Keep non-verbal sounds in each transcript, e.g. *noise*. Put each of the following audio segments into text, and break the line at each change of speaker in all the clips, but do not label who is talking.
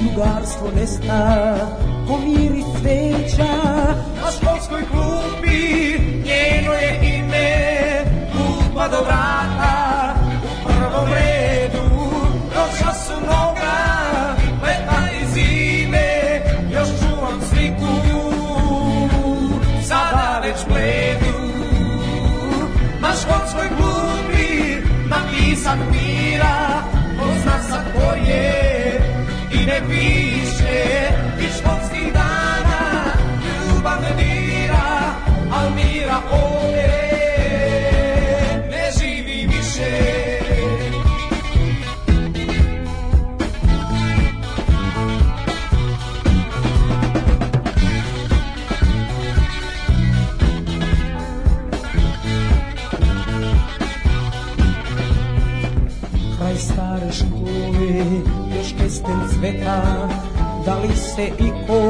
drugarstvo nesta po miri cveća na školskoj klupi njeno je ime klupa do vrata u prvom redu do času noga leta i zime još čuvam sliku sada već bledu na školskoj klupi napisan mira ko zna sa koje i ne piše i školskih dana ljubav ne dira al mira ovdje ne živi više kraj stare škole još kesten cveta da li se i ko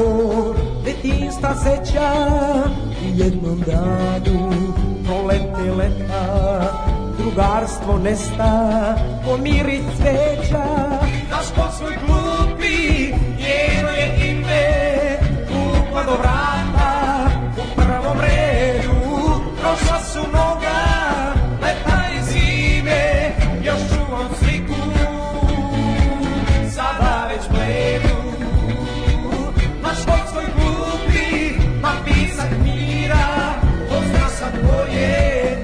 detinsta seća u jednom danu prolete leta drugarstvo nesta pomiri cveća na školskoj klupi njeno je ime klupa do vrata u prvom redu prošla su mnoga leta i zime još čuvam sliku sada već bledu na školskoj klupi ma pisak mira pozna sa tvoje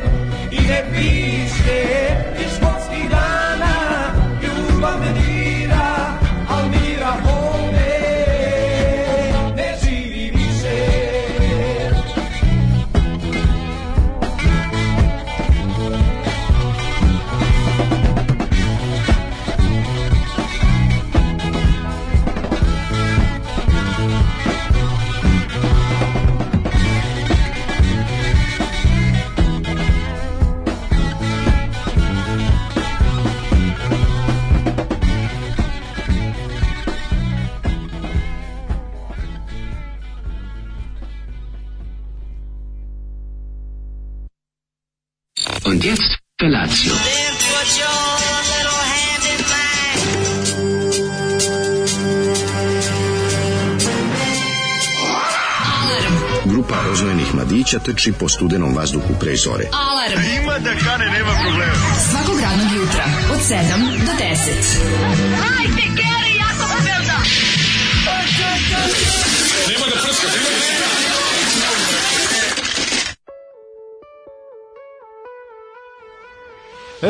i ne piše i školskih dana ljubav ne dira al mira ovde ne živi više
Und jetzt Felatio.
Grupa rozvojenih mladića trči po studenom vazduhu pre zore.
Alarm. A ima da kane, nema problema. Svakog radnog jutra, od 7 do 10. Hajde, Keri, jako se velda.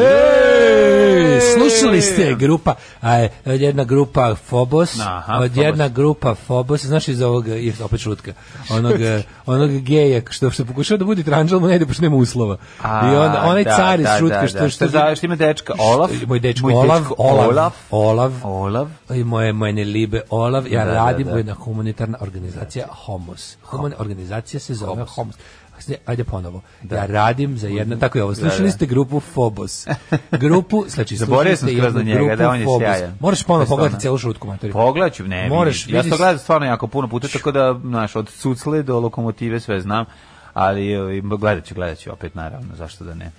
Ej, Slušali ste grupa, a e, jedna grupa Fobos,
Aha,
od jedna grupa Fobos, znaš iz ovog, je, opet šutka,
*laughs*
onog, e, onog geja što, što pokušava da budi tranđel, mu ne ide, pošto nema uslova.
A,
I onda, onaj
da,
car iz
da,
šutke,
da,
što,
da.
što,
za- što ima dečka Olaf.
moj dečko Olav, Olav, Olav,
Olaf.
i moje, moje ne libe Olav, ja
Da, da,
radim
da.
u jedna humanitarna organizacija Homos. Humana organizacija se zove Homos. Ne, Ajde ponovo. Ja radim za jedna, tako je ovo. Slušali ste grupu
*laughs*
Fobos. Grupu, znači,
Zaboravio sam
slušali ste
skroz na
jednu
njega, da,
grupu
on je
Fobos.
sjajan. E,
Moraš ponovo
Stvarno.
pogledati celu šutku materiju.
Pogledat ću, ne,
Moraš,
Moraš, ja sam
vidi-
to gledam stvarno jako puno puta, tako da, znaš, od Sucle do lokomotive sve znam, ali ovaj, gledat ću, gledat ću opet, naravno, zašto da ne.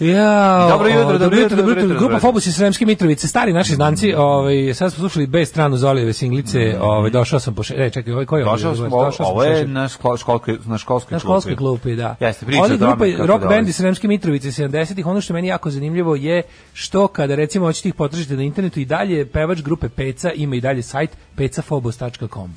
Ja,
Dobro jutro, dobro jutro, dobro jutro,
Grupa
dobro
Fobus iz Sremske Mitrovice, stari naši znanci, ovaj, sad smo slušali bez stranu Zolijeve singlice, ovaj, došao sam po še... E, čekaj, ovaj, koji je? ovaj
Mm. Došao
dobar?
smo,
sam
ovo
po
je
šešir.
na, ško- školskoj, na školskoj
Na
klupi.
školskoj klupi, da.
Jeste, priča
Oni
o tome
grupa je
kako
rock
dolazi.
band iz Sremske Mitrovice 70-ih, ono što je meni jako zanimljivo je što kada recimo hoćete ih potražiti na internetu i dalje pevač grupe Peca ima i dalje sajt pecafobos.com.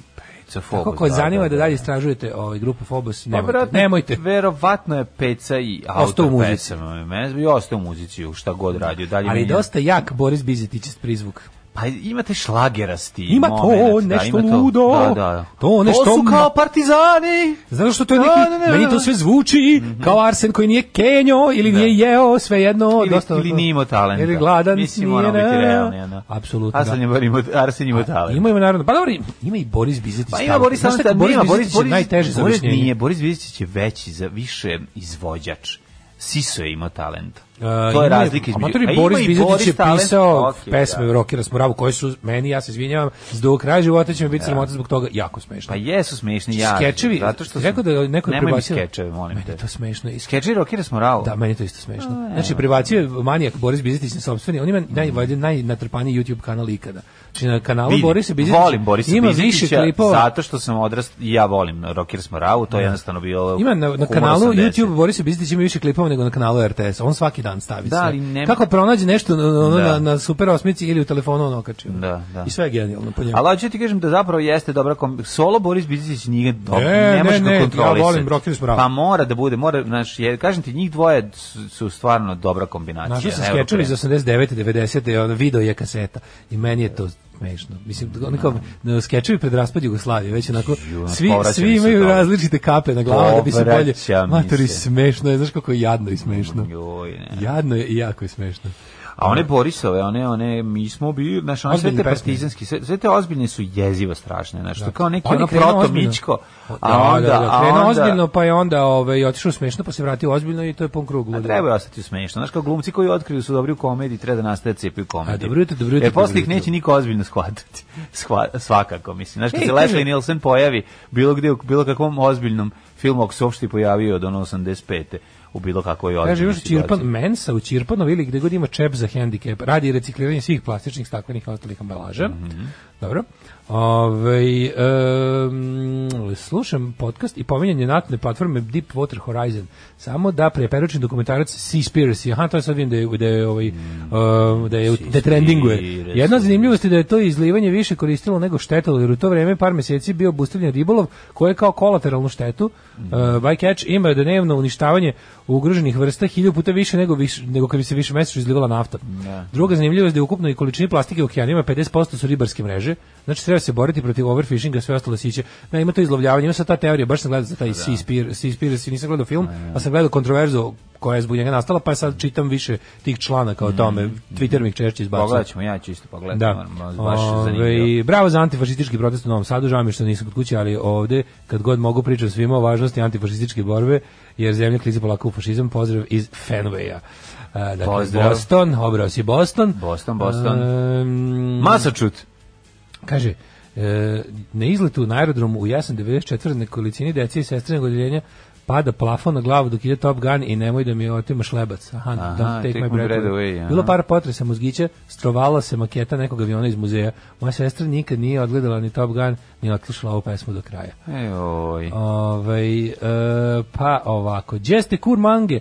Sa Fobos,
Kako ko
da,
zanima da,
da, Pa
dalje istražujete ovaj grupu Fobos, nemojte.
Verovatno-
nemojte.
Verovatno je peca i
Ostao u
autor
muzici.
pesama. Mene- I ostao u muzici, u šta god radio. Dalje
Ali
meni-
dosta jak Boris Bizetić prizvuk.
Pa imate šlagerasti
Ima to
moment, da,
nešto
ima to.
ludo.
Da, da.
To nešto
To su
ma-
kao partizani.
Zato što to je
Da,
neki,
da, da, da.
meni to sve zvuči
Mhm.
kao Arsen koji nije kenjo ili nije jeo, svejedno.
Ili-
dosta,
ili nije imao talenta.
Ili gladan.
Mislim, moramo
nije,
biti
ne.
realni, ono.
Apsolutno. da.
Arsen je bar imao, Arsen je imao talent.
Ima ima naravno. Pa dobro, ima i Boris Bizetić.
Pa ima
talent.
Boris
Znaš
Talent,
šta,
ali nema,
Boris Bizetić je E, najteži za
Boris
objašnjenje.
nije, Boris Bizetić je veći, za više izvođač. Siso je imao talent. to je razlika
E,
između.
Amatori Boris Bizetić pa je pisao okay, pesme da. Rokira Smoravu koje su meni, ja se izvinjavam, do kraja života će mi biti sramota zbog toga, jako smešno.
Pa jesu smešni ja.
Skečevi,
zato što
rekao da neko je prebacio.
Nemoj skečeve, molim
Meni
te.
je to smešno. I
Skeči Rokira Smoravu.
Da, meni je to isto smešno. Znači, prebacio je manijak Boris Bizetić na sopstveni, on ima
Mm.
naj, valjda najnatrpaniji YouTube kanal ikada. Znači, na kanalu
Vidim,
Borisa Bizetića
volim Borisa
ima više
Bizetića
klipova.
zato što sam odrast, i ja volim Rokir Smoravu, to je jednostavno bio
Ima na, na
humor
kanalu
80.
YouTube Borisa Bizetić ima više klipova nego na kanalu RTS. On svaki dan stavi
Da,
sve.
ali ne-
Kako pronađe nešto na- ono,
Da.
na, na Super osmici ili u telefonu on okači.
Da, da.
I sve je genijalno po njemu.
Ali hoću ti kažem da zapravo jeste dobra kom... solo Boris Bizić nije dobro.
Ne,
Ne, može
ne,
ga
ne,
kontrolisati.
ja volim Rokir Smoravu.
Pa mora da bude, mora, znaš, je, kažem ti njih dvoje su, su stvarno dobra kombinacija.
Našli se
Evo,
skečevi iz
pre-
89. 90. ono video je kaseta i meni je to smešno. Mislim, oni kao no, skečevi pred raspad Jugoslavije, već onako,
Ju,
svi,
povraća mi
svi
se
imaju
to.
različite kape na glavama da bi se bolje...
Povraća mi
Matori,
se.
smešno je, znaš kako je jadno i smešno.
Joj, ne.
Jadno je i jako je smešno.
A one Borisove, one, one, mi smo bili, znaš, one sve
Ozbiljne
te
pesme.
partizanski, sve, sve te ozbiljne su jezivo strašne, znaš, to kao neki
On je
ono
krenuo
proto
Pa ozbiljno.
Mičko,
Da,
a onda,
da, da,
a
krenuo
onda,
ozbiljno, pa je onda ovaj, otišao smešno, pa se vratio ozbiljno i to je pun krug.
A
ludila.
treba je ostati smešno. Znaš, kao glumci koji otkriju su dobri u komediji, treba da nastaje cepi u komediji.
A, dobro jutro, dobro jutro,
Jer posle
dobro
ih
jutro.
neće niko ozbiljno shvatati. *laughs* Shva- svakako, mislim. Znaš, kad
Ej,
se
kaže-
Leslie Nielsen pojavi bilo gde, u bilo kakvom ozbiljnom filmu, ako se uopšte i pojavio od ono 85. u bilo kakvoj ozbiljnoj
Kaže još
situaciji.
Čirpan, mensa u Čirpanovi ili gde god ima čep za hendikep, radi recikliranje svih plastičnih, staklenih i ostalih ambalaža. Dobro. Ovaj, em, slušam podcast i pominjanje natne platforme Deep Water Horizon. Samo da preperučim dokumentarac Seaspiracy. Aha, to je sad vidim da je, da je, ovaj, em, da je, u- da trendinguje.
Seaspiracy.
Jedna zanimljivost je da je to izlivanje više koristilo nego štetilo, jer u to vreme par meseci bio obustavljen ribolov koji je kao kolateralnu štetu. Mm. bycatch ima dnevno uništavanje ugroženih vrsta hilju puta više nego, viš, nego kad bi se više mesečno izlivala nafta. Druga zanimljivost je da je ukupno i količini plastike u okeanima 50% su ribarske mreže, znači treba se boriti protiv overfishinga i sve ostalo siće. Da, ima to izlovljavanje, ima sad ta teorija, baš sam gledao za taj Sea Spear- Sea Spiracy, nisam gledao film, a sam gledao kontroverzu koja je zbog njega nastala, pa sad čitam više tih članaka o tome, Twitter mi ih češće izbacuje.
Pogledat ćemo, ja ću isto pogledati.
Da.
moram, ono, baš je zanimljivo.
Ove, bravo za antifašistički protest u Novom Sadu, žao mi je što nisam kod kuće, ali ovde kad god mogu pričam svima o važnosti antifašističke borbe, jer zemlja klizi polako u fašizam. Pozdrav iz Fenwaya. E, dakle,
Pozdrav.
Boston, obrao si Boston.
Boston, Boston.
Ehm,
Masačut.
Kaže, e, na izletu na aerodromu u jesen 94. nekolicini dece i sestrinog odjeljenja pada plafon na glavu dok ide Top Gun i nemoj da mi otimaš lebac. Aha,
Aha,
don't take, my breath away.
aha.
Bilo par potresa mozgića, strovala se maketa nekog aviona iz muzeja. Moja sestra nikad nije odgledala ni Top Gun, ni odslušala ovu pesmu do kraja.
Ejoj.
Ovaj, e, pa ovako, gdje ste kur mange?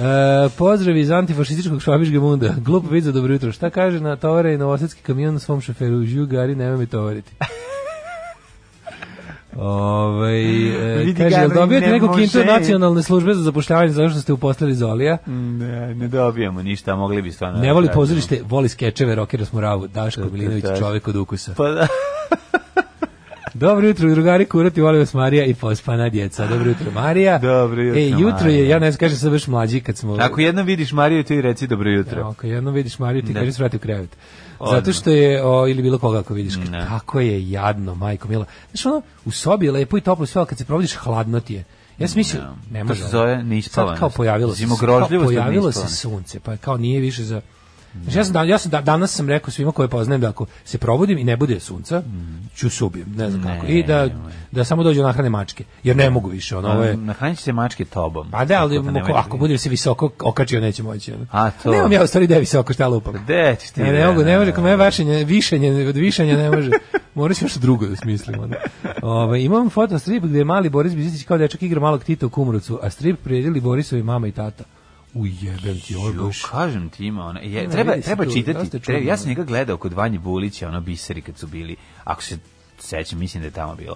E, pozdrav iz antifašističkog švabiške munda. *laughs* Glup vid za dobro jutro. Šta kaže na tovare i novosadski kamion svom šoferu? Žugari, nemoj mi tovariti. Ovaj e,
Vidi
kaže,
ga,
jel dobijate
ne
neku kintu od
može."
nacionalne službe za zapošljavanje zato što ste uposlali Zolija?
Ne, ne dobijamo ništa, mogli bi stvarno...
Ne voli
da-
pozorište, voli skečeve, rokera smuravu. Daško Milinović,
da.
čovjek od ukusa.
Pa
*laughs*
da.
Dobro jutro, drugari, kurati, volim vas Marija i pospana djeca. Dobro jutro, Marija.
Dobro jutro,
E, jutro je,
Marija.
ja ne znam, kažem sad baš mlađi kad smo...
Ako jednom vidiš Mariju, ti reci dobro jutro.
Ako jednom vidiš Mariju, ti
Da.
kažeš vrati u krevet. Zato
Odmah.
što je, o, ili bilo koga ako vidiš,
Ne.
kako je jadno, majko mila. Znaš, ono, u sobi je lepo i toplo sve, ali kad se provodiš, hladno ti je. Ja sam mislio, ne
To
može.
se
ovo.
zove neispavanost.
Sad kao pojavilo se, kao
Zimogrožljivost od
pojavilo se
neispavanosti.
sunce, pa kao nije više za... Znaš, ja sam, dan- ja sam da- danas sam rekao svima koje poznajem da ako se probudim i ne bude sunca,
Mhm.
ću se ubijem, ne znam kako. I da, da samo dođu nahrane mačke, jer ne mogu više, ono, ovo je...
Nahranit će se mačke tobom.
Pa da, ali
Tako da
ako,
nemojte
ako
biti.
budem se visoko okačio, neće moći. ono.
A, to. Pa
Nemam ja u stvari da je visoko, šta lupam.
Gde ćeš ti?
Ne, ne mogu, ne može, kod mene vašenje, višenje, od višenja ne može. Morat ću nešto drugo da smislim. Onda. Ove, imam fotostrip gde je mali Boris Bizitić kao dečak igra malog Tita u Kumrovcu, a strip prijedili Borisovi mama i tata. Ujebem ti, ovo je
Ju,
baš-
kažem ti ima ona. Je,
Ne,
treba
vidi se
treba
tu,
čitati.
dosta je
treba-
čudno.
ja sam njega gledao kod Vanje Bulića, ono biseri kad su bili. Ako se sećam, mislim da je tamo bilo.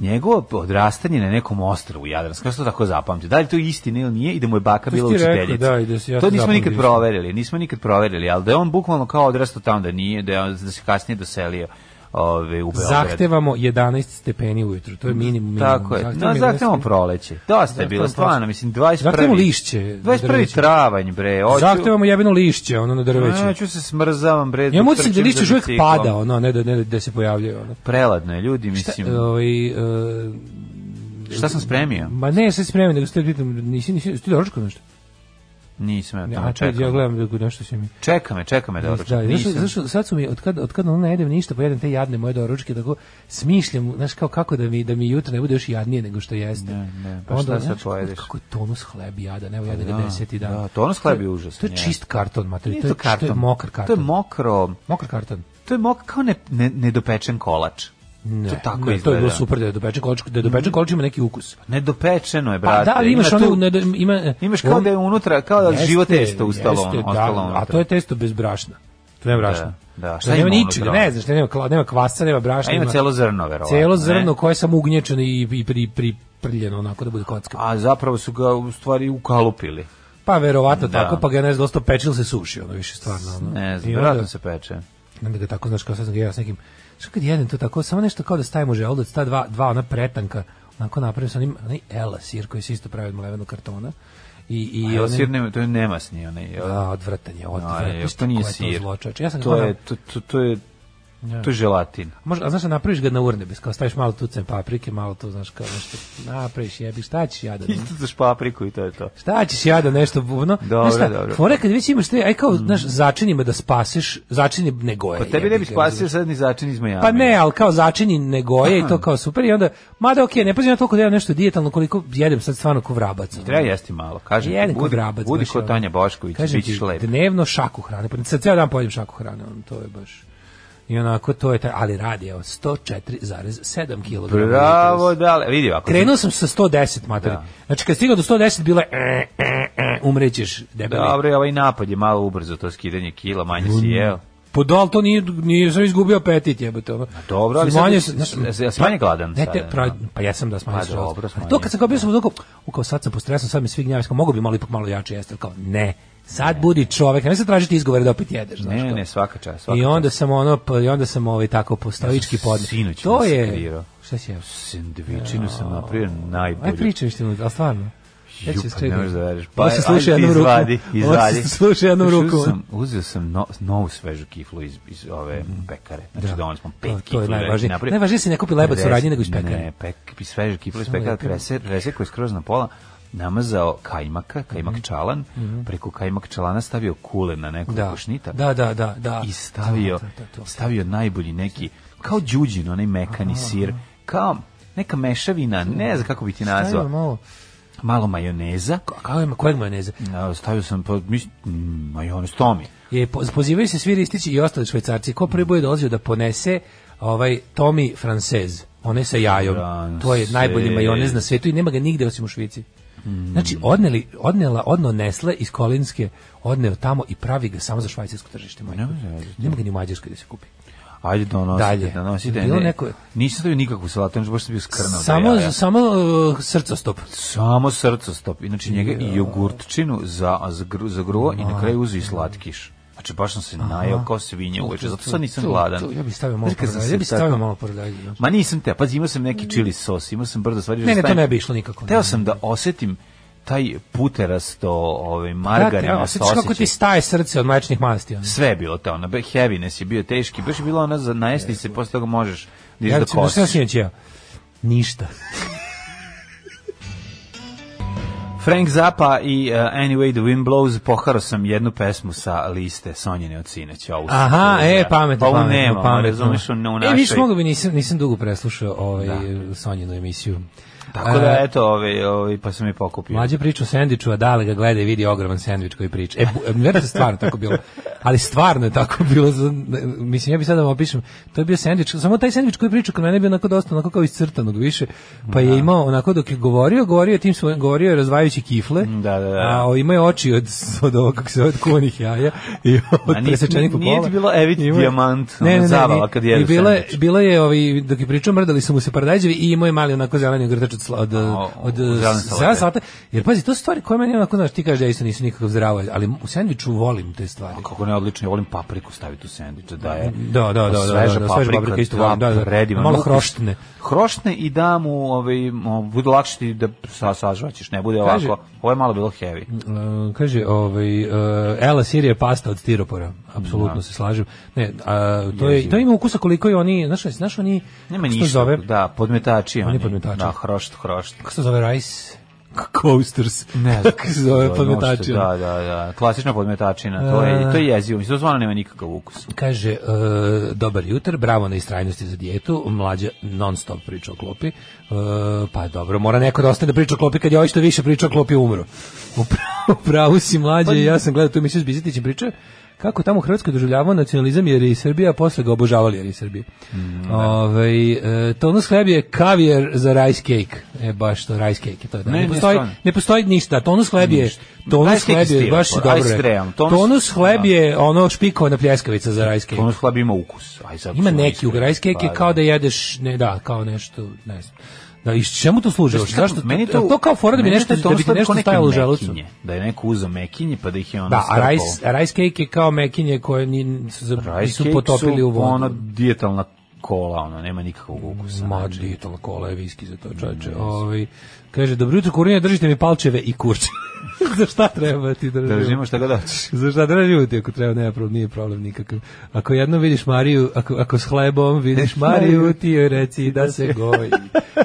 Njegovo odrastanje na nekom ostrovu Jadranskom, ja sam to tako zapamtio. Da li to istina ili nije i da mu je baka
To
bila
si ti rekao,
učiteljica.
da, i da si- ja
to
sam
nismo nikad
zapamtio.
proverili, nismo nikad proverili, ali da je on bukvalno kao odrastao tamo da nije, da, je on- da se kasnije doselio ove, u Beograd.
Zahtevamo 11 stepeni ujutru, to je minimum. minimum.
Tako je. No,
Zahtevamo 11
zahtevamo proleće. Dosta je
Zahtevamo
bilo,
proleće.
stvarno, mislim, 21.
Zahtevamo lišće,
21.
drveće.
travanj, bre. Oću,
Zahtevamo jebeno lišće, ono na drveću.
Ja ću se smrzavam, bre.
Ja
dok
moći da
trčim
lišće
za
uvijek
biciklom.
pada, ono, a ne da, ne da- da se pojavljaju. Ono.
Preladno je, ljudi, mislim.
Šta, ovaj, e,
Šta sam spremio?
Ma ne, sve spremio, nego ste pitam, nisi, nisi, ti doručkao nešto?
Nisam ja
Ne,
tamo
a čekaj, ja
čekam.
gledam da nešto se mi...
Čeka me, čeka me da
Da,
oručam.
zašto,
Nisam.
zašto, sad su mi, od kad, od kad ono ne jedem ništa, pa jedem te jadne moje doručke, tako smišljam, znaš, kao kako da mi, da mi jutro ne bude još jadnije nego što jeste.
Ne, ne, pa šta sad
znaš,
pojedeš? Pa
Kako je tonus hleb jadan, evo ja da
da,
ga deseti dan.
da, tonus hleb je
To
užasan,
To je
je.
čist karton, materi,
Nije
to, je- to je mokar karton.
To je mokro,
mokar karton.
to je mok kao ne, ne, nedopečen kolač.
Ne,
to tako
ne,
izgleda.
To je bilo super da je dopečen kolač, da je dopečen kolač ima neki ukus.
Nedopečeno je,
Pa
brate.
da, ali imaš
Ima
ono,
tu-
ne, da, ima,
Imaš kao
on-
da je unutra, kao da
Jeste,
živo testo ustalo
jeste,
ono,
da,
ostalo
A
unutra.
to je testo bez brašna. To nema brašna.
Da, da, šta
Šta nema
ima
ničega,
unutra?
ne znaš, nema, kla- nema kvasa, nema brašna.
A ima celo zrno, verovatno.
Celo
ne?
zrno koje je samo ugnječeno i, i pri, pri, prljeno, onako da bude kocka.
A zapravo su ga u stvari ukalupili.
Pa verovatno
Da.
tako, pa ga ne znam, dosta pečil se suši, ono više stvarno. Ono.
Ne znam,
I onda,
vjerojatno se peče.
i onda ga tako, znaš, kao sad sam ga ja s nekim, što kad jedem to tako, samo nešto kao da stavim u želudac, ta dva, dva ona pretanka, onako napravim sa onim, onaj elasir koji se isto pravi od mlevenog kartona. I, i
I
one-
sir nema, to je nemasni onaj. jel?
A, odvratan je, odvratan.
Aj,
Znaš
to nije
kako je
sir.
zločač. Ja sam ga
To je, to, to, to je,
Ja.
to je
*laughs*
želatin.
Možda, a znaš, da napraviš ga na urnebes, kao staviš malo tucen paprike, malo tu, znaš, kao nešto, napraviš jebi, šta ćeš jada?
*laughs* Istucaš papriku i to je to.
Šta ćeš jada nešto bubno?
Dobro,
Znaš šta,
dobro. Mm.
Fora je kad već imaš te, aj kao, znaš, začinima da spasiš, začini ne goje.
Pa tebi ne
jebi
bi
ga,
spasio sad ni začin iz Miami.
Pa ne, ali kao začini ne goje i to kao super i onda, mada okej, ne pazim na toliko da jedem nešto dijetalno koliko jedem sad stvarno ko vrabac. ono.
Treba jesti malo, kažem ti,
Jedan ko
budi,
vrabac.
budi
baš
ko
ono.
Tanja Bošković,
Kažem
bit
ti,
ćeš lep.
Dnevno šaku hrane, pa sad ceo dan pojedem šaku hrane, ono, to je baš... I onako, to je taj, ali radi, evo, 104,7 kg.
Bravo, dale, vidi ovako.
Krenuo sam sa 110, mater. Znači, kad stigao do 110, bilo je, e, e, e, umrećeš, debeli.
Dobro je ovaj napad je malo ubrzo to skidanje kila, manje si jeo.
Po dol to nije, nije sam izgubio apetit, jebote. ono.
dobro, ali
Smanjio
sad-
sam-
s- s- smanji gladan
Ne, te,
sada,
pra,
ono.
pa ja sam da smanjio
Pa
sam
dobro,
glas.
smanjio.
To kad sam kao bio sam kao, u kao sad sam pod stresom, sad mi svi gnjavaju, kao, mogu bi malo ipak malo jače jesti, ali kao ne. Sad budi čovek, ne se tražiti izgovore da opet jedeš, znaš.
Ne,
kao.
ne, svaka čast, svaka
I onda sam ono, pa, i onda sam ovaj tako po stoički podne.
sinoć
to je,
masakrirao.
šta si jeo?
čast. Sendvičinu sam napravio najbolju.
Aj pričaj što ali stvarno. Ja ću
Ju, pa
skrenuti.
ne možeš da veriš.
Ovo se
aj,
sluša
ajde ti
jednom rukom.
Izvadi, izvadi.
Ovo se sluša jednom
Znači, uzeo
rukom.
Sam, uzeo sam no, novu svežu kiflu iz, iz ove pekare. Znači, da. donali smo pet
Mhm. Pa, To- to je
kiflu.
najvažnije. Najvažnije si ne kupi lebac u
Res-
radnji nego iz pekare.
Ne, pek, svežu kiflu iz
Samo
pekare.
lepilo.
Trese, trese koji je skroz na pola namazao kajmaka,
Mhm.
kajmak čalan, preko kajmak čalana stavio kule na nekoliko
Da.
šnita
Da, da, da, da.
i stavio,
To, to, to, to.
stavio najbolji neki, kao đuđin, onaj mekani sir, kao neka mešavina, ne znam kako bi ti
Stavimo
nazvao,
malo.
malo majoneza,
Ka- Kako ima kojeg majoneze?
Ja, stavio sam pa mis, mm, majonez Tomi.
Je po- pozivaju se svi ristići i ostali švajcarci. Ko prvi bude dolazio da ponese ovaj Tommy Francez, onaj sa jajom.
Francez.
To je najbolji majonez na svetu i nema ga nigde osim u Švici. Znači, odneli, odnela, odno Nesle iz Kolinske, odneo tamo i pravi ga samo za švajcarsko tržište. majko.
Nema zezanja.
Nema ga ni u Mađarskoj da se kupi.
Ajde donosite,
Dalje.
donosite.
Bilo
Ne,
neko-
Nisam stavio nikakvu salatu, ono baš sam bio skrnav.
Samo,
da ja,
samo uh, srcostop.
samo srcostop. Inače njega i jogurtčinu za, za, gru, za gruvo i na kraju uzeo i slatkiš. Znači baš sam se najeo kao svinja uveče, zato sad nisam
Tu, tu,
gladan.
tu, Ja bih stavio malo
Znaš kad sam
paradajza.
se
Ja bih
tako-
stavio malo paradajza. znaš.
Ma nisam te, pazi, imao sam neki chili sos, imao sam brzo stvari. da
Ne, ne, to
stavim.
ne bi išlo nikako.
Teo sam da osetim taj puterasto
Brate,
ovaj, margarina
evo,
sa
osjećaš kako ti staje srce od mlečnih masti. ono.
sve je bilo to, ono, be- heaviness je bio teški, baš je bilo ono za najesti se, posle toga možeš da
Ja
ideš do
recimo, šta sam
kosi.
sinoć jeo? Ništa.
Frank Zappa i uh, Anyway the Wind Blows, poharo sam jednu pesmu sa liste Sonjene od sineć. Ovu sam
Aha,
čuo,
e,
da.
pametno,
pa
pametno,
nema,
pametno.
razumeš, ono, u
E, viš,
našoj...
mogu bi, nisam, nisam dugo preslušao ovaj, Sonjinu emisiju.
Tako da,
E,
eto, ovaj, ovaj, pa sam je pokupio.
Mlađe priča o sendviču, a dale ga gleda i vidi ogroman sendvič koji priča. E, bu- verujte, stvarno tako bilo. Ali stvarno je tako bilo. za- Mislim, ja bi sad da vam opišem. To je bio sendvič. Samo taj sendvič koji priča kod mene je bio onako dosta onako kao iscrtanog više. Pa je imao onako dok je govorio, govorio je tim svojim, govorio je razvajajući kifle.
Da, da, da.
A o, imao je oči od, od ovog, kako se zove, od kuvanih jaja i od
nije-
presečenih
nije ti
popola.
bilo Evit
Imao je-
Dijamant, ono, zabava kad jedu
I bilo je,
sendvič.
bilo je ovaj, dok je pričao, mrdali su mu se paradajđevi i imao je mali onako zeleni ogrtač od, sla- od,
O,
od
o, zelene salate.
zelene salate. Pa, Jer pazi, to su stvari koje meni onako, znaš, ti kažeš da ja isto nisu nikakav zdravo, ali u sendviču volim te stvari.
Pa Kako ne odlično, ja volim papriku staviti u sendviče, da je. pa
Da, da, da, da,
sveža
da, da, sveža
paprika,
paprika isto volim, da, da.
predivan
Malo
ukus.
hroštne.
Hroštne i da mu, ovaj, mo- bude lakše ti da sa, sažvaćeš, ne bude
Kaže-
ovako. Ovo je malo bilo heavy.
E, kaže, ovaj, e, Ela Sirija je pasta od stiropora, apsolutno se slažem. Ne, a, to, je, to ima ukusa koliko i oni, znaš, znaš oni,
Nema
kako se to
ništa,
zove,
da, podmetači oni.
podmetači.
Da, hrošt, hrošt.
kako se to zove, rice, coasters.
Ne znam.
Kako se zove ono. podmetačina.
Da, da, da. Klasična podmetačina. To je, to je jezivo. Mislim, to stvarno nema nikakav ukus.
Kaže, e, dobar jutr, bravo na istrajnosti za dijetu, mlađa non stop priča o klopi. E, pa dobro, mora neko da ostane da priča o klopi kad je ovaj što više priča o klopi umro. U pra- u pravu si
Pa-
mlađe, ja sam gledao tu emisiju s Bizetićem priče, kako tamo u Hrvatskoj doživljavao nacionalizam jer je i Srbija, a posle ga obožavali jer je i Srbija.
Mm,
Ovaj, e, tonus hleb je kavijer za rice cake. E, baš to, rice cake je to. Da.
Ne,
Ne,
ne,
postoji,
stvarno.
ne postoji ništa, tonus hleb je, tonus
Rice cake
hleb je,
stil,
baš si
ice
dobro. rekao.
cream, tonus-
Tonus, hleb
da.
je ono špikovana pljeskavica za rice cake.
Ono slab ima ukus. Aj, sad
Ima
ću
neki u
iskreno.
rice cake je
Pa,
kao da jedeš, ne da, kao nešto, ne znam. Da, i čemu to služi?
Znaš
uopšte?
kako,
Zašto?
meni
to, to kao fora da bi
meni
nešto,
to-
to
da
bi
bi
ti
to
nešto
neko neke
stajalo u želucu.
mekinje, Da je neko uzeo mekinje pa da ih je ono
Da, a
strpao.
rice, a rice cake je kao mekinje koje ni- su, za-
Rice
nisu
cake
potopili
su
u vodu.
Ono dietalna kola, ono, nema nikakvog ukusa.
Ma, dijetal kola je viski za to, čoveče. Ovaj, kaže, dobro jutro, kurinja, držite mi palčeve i kurče. *laughs* za šta treba ti držimo?
Držimo šta god hoćeš.
Za šta držimo ti ako treba, nema problem, nije problem nikakav. Ako jednom vidiš Mariju, ako, ako s hlebom vidiš *laughs* Mariju, ti joj reci da se goji.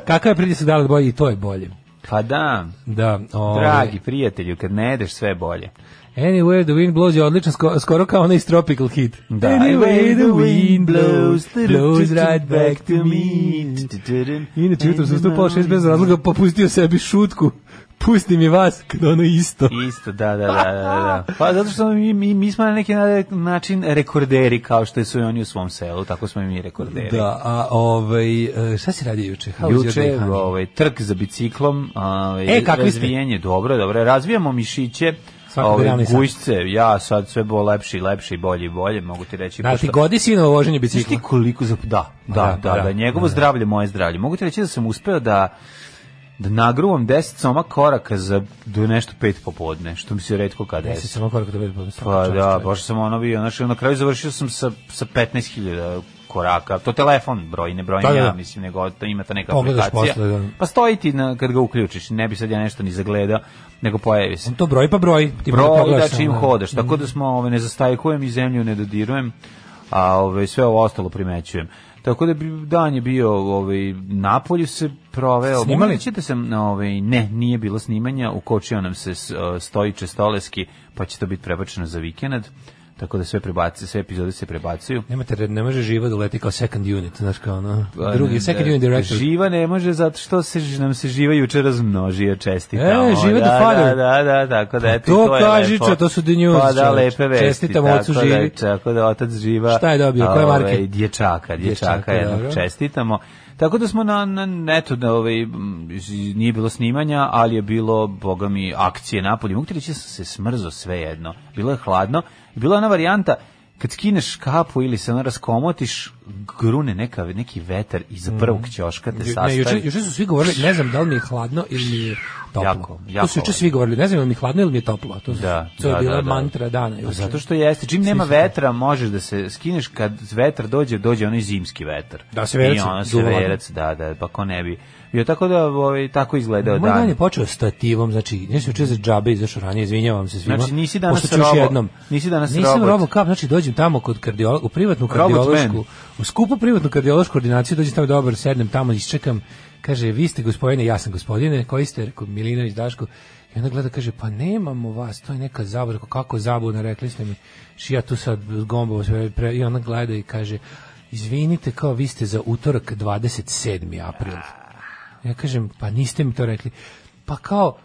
Kakav je pritisak dala bolje i to je bolje.
Pa da,
Da, ovaj,
dragi prijatelju, kad ne jedeš sve je bolje.
Anywhere the wind blows je odličan, sko- skoro kao onaj iz Tropical Hit.
Da.
Anywhere the wind blows, blows right back to me. Inače, jutro sam stupao šest bez razloga, pa pustio sebi šutku. Pusti mi vas, kada ono isto.
Isto, da, da, da, da, da. Pa zato što mi, mi, mi smo na neki na- način rekorderi, kao što su i oni u svom selu, tako smo i mi rekorderi.
Da, a ovaj, e, šta si radio juče? How was your
Juče
day, honey?
ovaj, trk za biciklom, ovaj,
E, kakvi ste?
razvijenje, dobro, dobro, razvijamo mišiće,
Svakog dana i sad.
gujšce, ja sad sve bo lepši, lepši, bolje i bolje, mogu ti reći.
Da,
pošto-
ti godi sinovo voženje
Znaš
bicikla.
ti koliko za da, da, da, da, njegovo zdravlje moje zdravlje. Mogu ti reći da sam uspeo da da nagruvam 10 soma koraka za do nešto pet popodne, što mi se retko kada
Ja
je.
se samo korak da vidim.
Pa da, baš sam ono bio, znači na kraju završio sam sa sa 15.000 koraka. To telefon broj, ne broj
Da, da,
ja,
da.
mislim, nego to ima ta neka
Pogledaš
aplikacija.
posle, da.
Pa stoji ti na, kad ga uključiš, ne bi sad ja nešto ni zagledao, nego pojavi se.
To broj pa broj. Ti možda
Broj,
pogledaš ono. Mhm.
da čim
samo,
hodaš, tako da smo, ove, ne zastajkujem i zemlju ne dodirujem, a ove, sve ovo ostalo primećujem. Tako da bi dan je bio ovaj napolju se proveo.
Snimali?
Mogu reći da sam ovaj ne, nije bilo snimanja, ukočio nam se s- e, stojiče stoleski, pa će to biti prebačeno za vikend. Tako da sve prebaci, sve epizode se prebacuju.
Nemate red, ne može živa da leti kao second unit, znaš kao ono,
Pa,
drugi,
ne,
second
da,
unit director.
Živa ne može zato što se ž- nam se živa juče razmnožio čestitamo.
E, živa
da,
the father. Pa
Da, da, da, tako da eto,
to
to, je
kaži,
lepo.
čo, to su the news,
Pa da,
čoveč.
lepe vesti.
Čestitam
tako
ocu
da,
Živi.
tako da otac živa.
Šta je dobio, koje marke?
Ovaj, dječaka, dječaka,
Dječaka,
jednog
dobro.
čestitamo. Tako da smo na, na eto, da, ovaj, m, z- nije bilo snimanja, ali je bilo, boga mi, akcije napolje. Mogu ti reći da sam se smrzo svejedno. Bilo je hladno. Bila je ona varijanta kad skineš kapu ili se ona raskomotiš, grune neka, neki vetar iz prvog ćoška te
Mhm. Ju- Ne,
sastavi.
juče, juče su svi govorili, ne znam da li mi je hladno ili mi je toplo.
Jako, jako
to su juče svi govorili, ne znam da li mi je hladno ili mi je toplo. To, su,
Da,
to je
da,
bila
da, da.
mantra dana.
Pa
Juče.
zato što jeste, čim nema vetra možeš da se skineš, kad vetar dođe, dođe onaj zimski vetar.
Da, severac,
I ono
duva ladno.
severac, da, da, pa ko ne bi. Jo, tako da, ovaj, tako izgledao
Moj dan je
dan.
počeo stativom, znači, nešto juče za džabe izašao ranije, izvinjavam se svima.
Znači, nisi danas
pošto ću još
robo-
jednom.
nisi danas
Nisam
robot.
robo kap, znači dođem tamo kod kardiologa, u privatnu
Robot
kardiološku,
man.
u skupu privatnu kardiološku ordinaciju, dođem tamo dobar, sednem tamo, isčekam, kaže, vi ste gospodine, ja sam gospodine, koji ste, rekao, Milinović Daško, I onda gleda, kaže, pa nemamo vas, to je neka zabuna, Rekao, kako zabuna, rekli ste mi, ši ja tu sad gombao sve, pre, i ona gleda i kaže, izvinite, kao vi ste za utorak 27. april. Ja kažem, pa niste mi to rekli. Pa kao,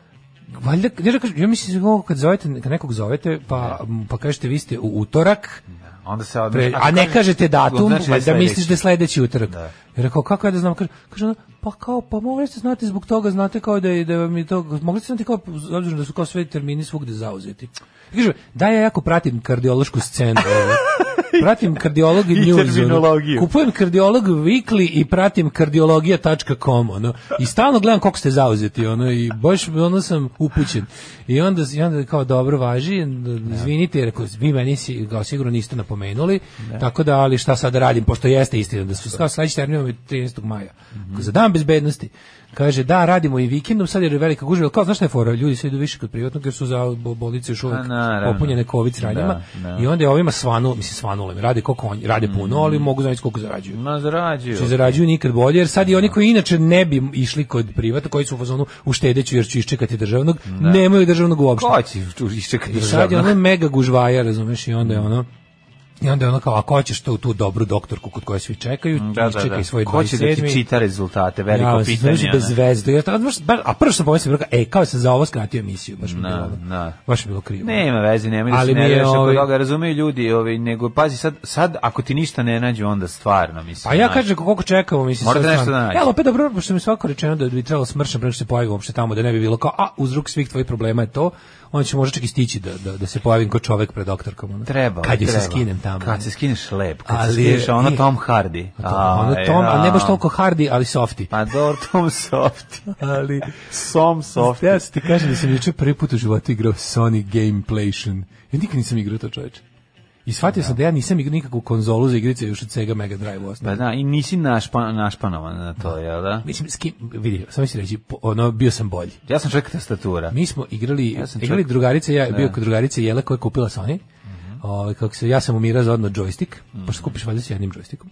valjda, ja, da kažem, ja mislim, ovo kad, zovete, kad nekog zovete, pa, pa kažete vi ste u utorak,
Onda se, odmah-
pre,
ako
a ne
kažeš-
kažete datum,
znači
valjda
sledeći.
misliš da je sledeći utorak.
Da.
Ja rekao, kako ja da znam? Kaže, kaže ona, pa kao, pa mogli ste znati zbog toga, znate kao da, je- da vam je to, mogli ste znati kao, s obzirom da su kao sve termini svugde zauzeti. Ja Kažem, da ja jako pratim kardiološku scenu. ovaj. pratim kardiolog i
I
news. ono.
terminologiju.
Kupujem kardiolog weekly i pratim kardiologija.com. Ono. I stalno gledam koliko ste zauzeti. Ono, I baš ono sam upućen. I onda, i onda kao dobro važi, izvinite, jer ako vi meni si, ga sigurno niste napomenuli, tako da, ali šta sad da radim, pošto jeste istina, da su kao sledeći termin vam je 13. maja. Za dan bezbednosti. Kaže, da, radimo i vikendom, sad jer je velika gužva, ali kao, znaš šta je fora, ljudi sad idu više kod privatnog, jer su za bo- bolnice još uvijek
A, naravno.
popunjene covid sranjima,
Da, Mm. da.
i onda je ovima svanu, mislim, svanulo im, rade, koliko oni, rade puno, ali mogu znači koliko zarađuju.
Ma zarađuju.
Što zarađuju nikad bolje, jer sad i oni koji inače ne bi išli kod privata, koji su u fazonu uštedeću jer ću iščekati državnog, nemaju državnog uopšte.
Ko će tu iščekati
I sad je
državno?
ono mega gužvaja, razumeš, i onda je ono I onda je ono kao, ako hoćeš tu, tu dobru doktorku kod koje svi čekaju,
Da, da,
čekaj
da.
svoj 27.
Ko će da ti čita rezultate, veliko
ja,
pitanje.
Znači bez
ono.
zvezdu. Ja, a, baš, bar, a prvo što sam pomislio, rekao, e, kao sam za ovo skratio emisiju, baš mi je
Da,
bilo, ono,
da.
baš mi je bilo krivo.
Nema veze, nema da
Ali
se
mi je,
nerviraš oko
ovaj-
toga, razumeju ljudi, ovaj, nego pazi, sad, sad ako ti ništa ne nađe, onda stvarno, mislim.
Pa ja
znaš.
kažem koliko čekamo, mislim.
Morate
sad
nešto
stvarno.
da nađete.
Evo, opet dobro, pošto mi je svako rečeno da bi trebalo smršan preko što se pojavi uopšte tamo, da ne bi bilo kao, a, uzrok svih tvojih problema je to, onda će možda čak i stići da, da, da se pojavim kao čovek pred doktorkom. ono.
Treba.
Kad je se
treba.
skinem tamo.
Kad se skineš lep, kad
Ali
se skineš, a ono
je-
Tom Hardy.
A, ono
Aj,
Tom, a ne baš
ja.
toliko hardi, ali softi.
Pa dobro, Tom
*laughs*
Soft.
Ali,
Som Soft.
ja ti kažem da sam juče prvi put u životu igrao Sonic Gameplation. Ja nikad nisam igrao to čoveče. I shvatio sam da ja nisam igrao nikakvu konzolu za igrice još od Sega Mega Drive u
Pa da, i nisi našpa, našpanovan na to, jel da?
Mislim, s kim, vidi, samo ću reći, po- ono, bio sam bolji.
Ja sam čovjek tastatura.
Mi smo igrali,
Ja sam
igrali
čak- Mhm.
drugarice, ja bio kod drugarice Jela koja je kupila Sony. Ovaj, kako se, ja sam umirao za odno joystick, pošto kupiš valjda s jednim joystickom.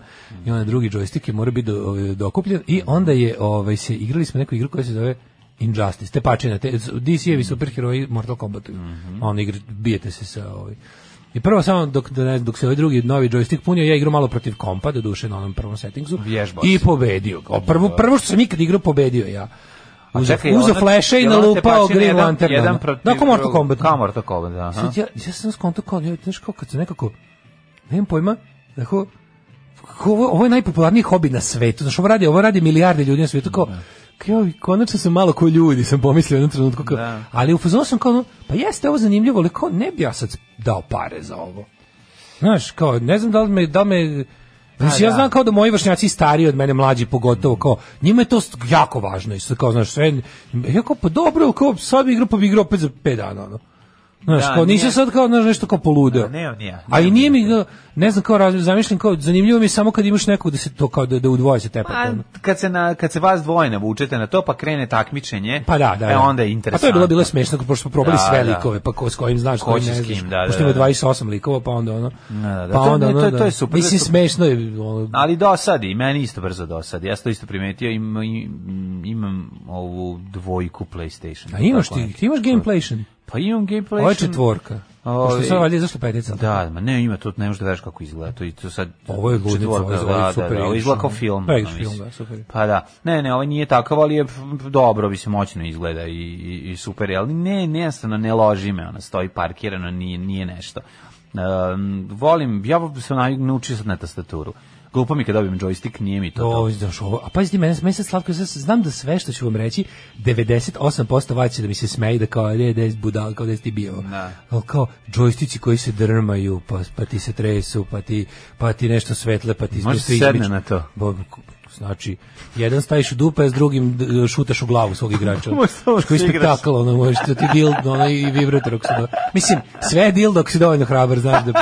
I onda drugi joystick je mora biti do, ovaj, dokupljen i onda je ovaj se igrali smo neku igru koja se zove Injustice, tepačina, te, DC-evi
Mhm.
superheroji Mortal Kombatuju. A on igri, bijete se sa ovaj, I prvo samo dok, da ne- dok se ovaj drugi novi joystick punio, ja igrao malo protiv kompa, doduše na onom prvom settingsu.
Vježbao
I
si.
pobedio. ga. O, Prvo, prvo što sam ikad igrao, pobedio ja. Uzo,
Čekaj,
uzo
ona-
fleše i
jel ona
nalupao
tepačina
Green
jedan-
Lantern.
Jedan
ono.
protiv...
Da, kao Mortal Kombat.
Kao Mortal Kombat, da. aha.
Sad ja, ja sam skonto kao, ja, znaš kao kad se nekako, nemam pojma, tako, kako ovo, ovo je najpopularniji hobi na svetu, znaš, ovo radi, ovo radi milijarde ljudi na svetu, kao, kao, joj, konačno sam malo ko ljudi, sam pomislio u jednom trenutku, kao,
Da.
ali u fazonu sam kao, ono, pa jeste ovo zanimljivo, ali kao, ne bi ja sad dao pare za ovo. Znaš, kao, ne znam da li me, da li me, Znači, ja
Pa da.
znam kao da moji vršnjaci stariji od mene, mlađi pogotovo, kao, njima je to st- jako važno, i sad kao, znaš, sve, ja kao, pa dobro, kao, sad bi igrao, pa bi igrao opet za 5 dana, ono. Znaš,
Da,
kao, nisam
nije- Pa
sad kao znaš, nešto kao poludeo.
Da, nemam ni ja,
A i
nemam
nije mi, ga- ne znam, kao razmišljam, zamišljam, kao, zanimljivo mi je samo kad imaš nekog da se to, kao da, da u dvoje se tepate.
A
ono.
Pa kad se na kad se vas dvoje navučete na to pa krene takmičenje,
Pa da, da.
e
da.
onda je interesantno.
Pa to je bilo bilo smešno, pošto smo probali
Da,
sve
da.
likove, pa ko, s kojim znaš,
Ko
kojim
će
ne
s
znaš.
kim, da, da,
pošto ima
da.
28 likova, pa onda ono.
da, da.
Pa
To-
onda
ne, to-
ono,
to
da.
je super,
Mislim,
to-
smešno je, ono,
Ali dosadi, meni isto brzo dosadi. Ja sam to isto primetio, im, im- imam ovu dvojku PlayStation.
A imaš ti, ti imaš gameplation.
Pa imam gameplay.
Ovo je četvorka.
Ovi-
Pošto je sad valjda izašla petica.
Da, ma ne, ima to, ne možeš da veš kako izgleda. To, i to sad,
Ovo je ludnica,
četvorka,
ovo je-
da,
ovo je
da,
super
da, ovo
igrič,
izgleda kao
ono.
film.
Da,
ono,
igrič film,
mislim.
da, super.
Pa da, ne, ne, ovaj nije takav, ali je f- dobro, bi se moćno izgleda i, i, i super, je, ali ne, nejastavno, ne loži me, ona stoji parkirano, nije, nije nešto. Um, volim, ja sam naj- naučio sad na tastaturu. Glupo mi kad dobijem joystick, nije mi to to.
O, znaš ovo. A pazi ti mene, meni se slatko, ja znam da sve što ću vam reći, 98% vas će da mi se smeje i da kao, je, da je budal, kao da si ti bio.
Da.
Ali kao, džojstici koji se drmaju, pa, pa ti se tresu, pa ti, pa ti nešto svetle, pa ti...
Može
nešto
se sedne
izmiče.
na to.
Bo, znači, jedan staviš u dupe, a s drugim d- šutaš u glavu svog igrača.
Može samo
Koji
se igraš.
spektakl, ono, možeš da ti dild, ono, i vibrator ako si do- Mislim, sve je dildo ako si dovoljno hrabar, znaš da,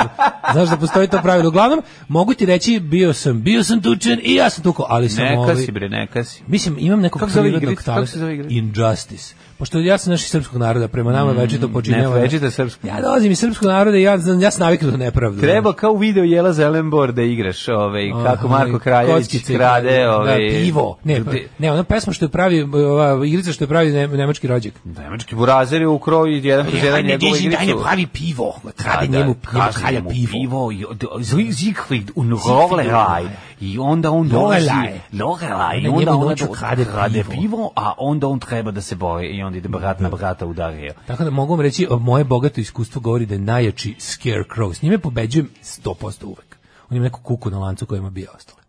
znaš da postoji to pravilo. Uglavnom, mogu ti reći, bio sam, bio sam tučen i ja sam tuko, ali sam
Neka
ovaj-
si bre, neka si.
Mislim, imam nekog
Kako se zove
prirodnog
igrica? Kako
talenta.
se zove igrica?
Injustice. Pošto ja sam naši srpskog naroda, prema nama mm, večito počinjava.
ne, večito je srpsko.
Ja dolazim iz srpskog naroda i ja, znam- ja sam naviknut na nepravdu.
Treba kao u video Jela Zelenbor da igraš, ovaj, kako
Aha,
Marko Kraljević
kockice i
krade,
krade,
ovaj,
da, pivo. Ne, pa- ne, ona pesma što je pravi, ova igrica što je pravi ne, nemački rođak.
Nemački burazer je ukrao i jedan kroz jedan njegovu igricu.
pravi pivo. Krade
A, da,
njemu, njemu
kaže
kralja
mu
pivo.
pivo i od- zli- Siegfried und Lorelei. I onda on dolazi,
Lorelei.
Lorelei, i
Onda
onda
njemu
on
noću krade
krade
pivo.
pivo, a onda on treba da se bori i onda ide brat na brata udario.
Tako da mogu vam reći, o, moje bogato iskustvo govori da je najjači Scarecrow. S njime pobeđujem 100% uvek. On ima neku kuku na lancu kojima bi ja ostale.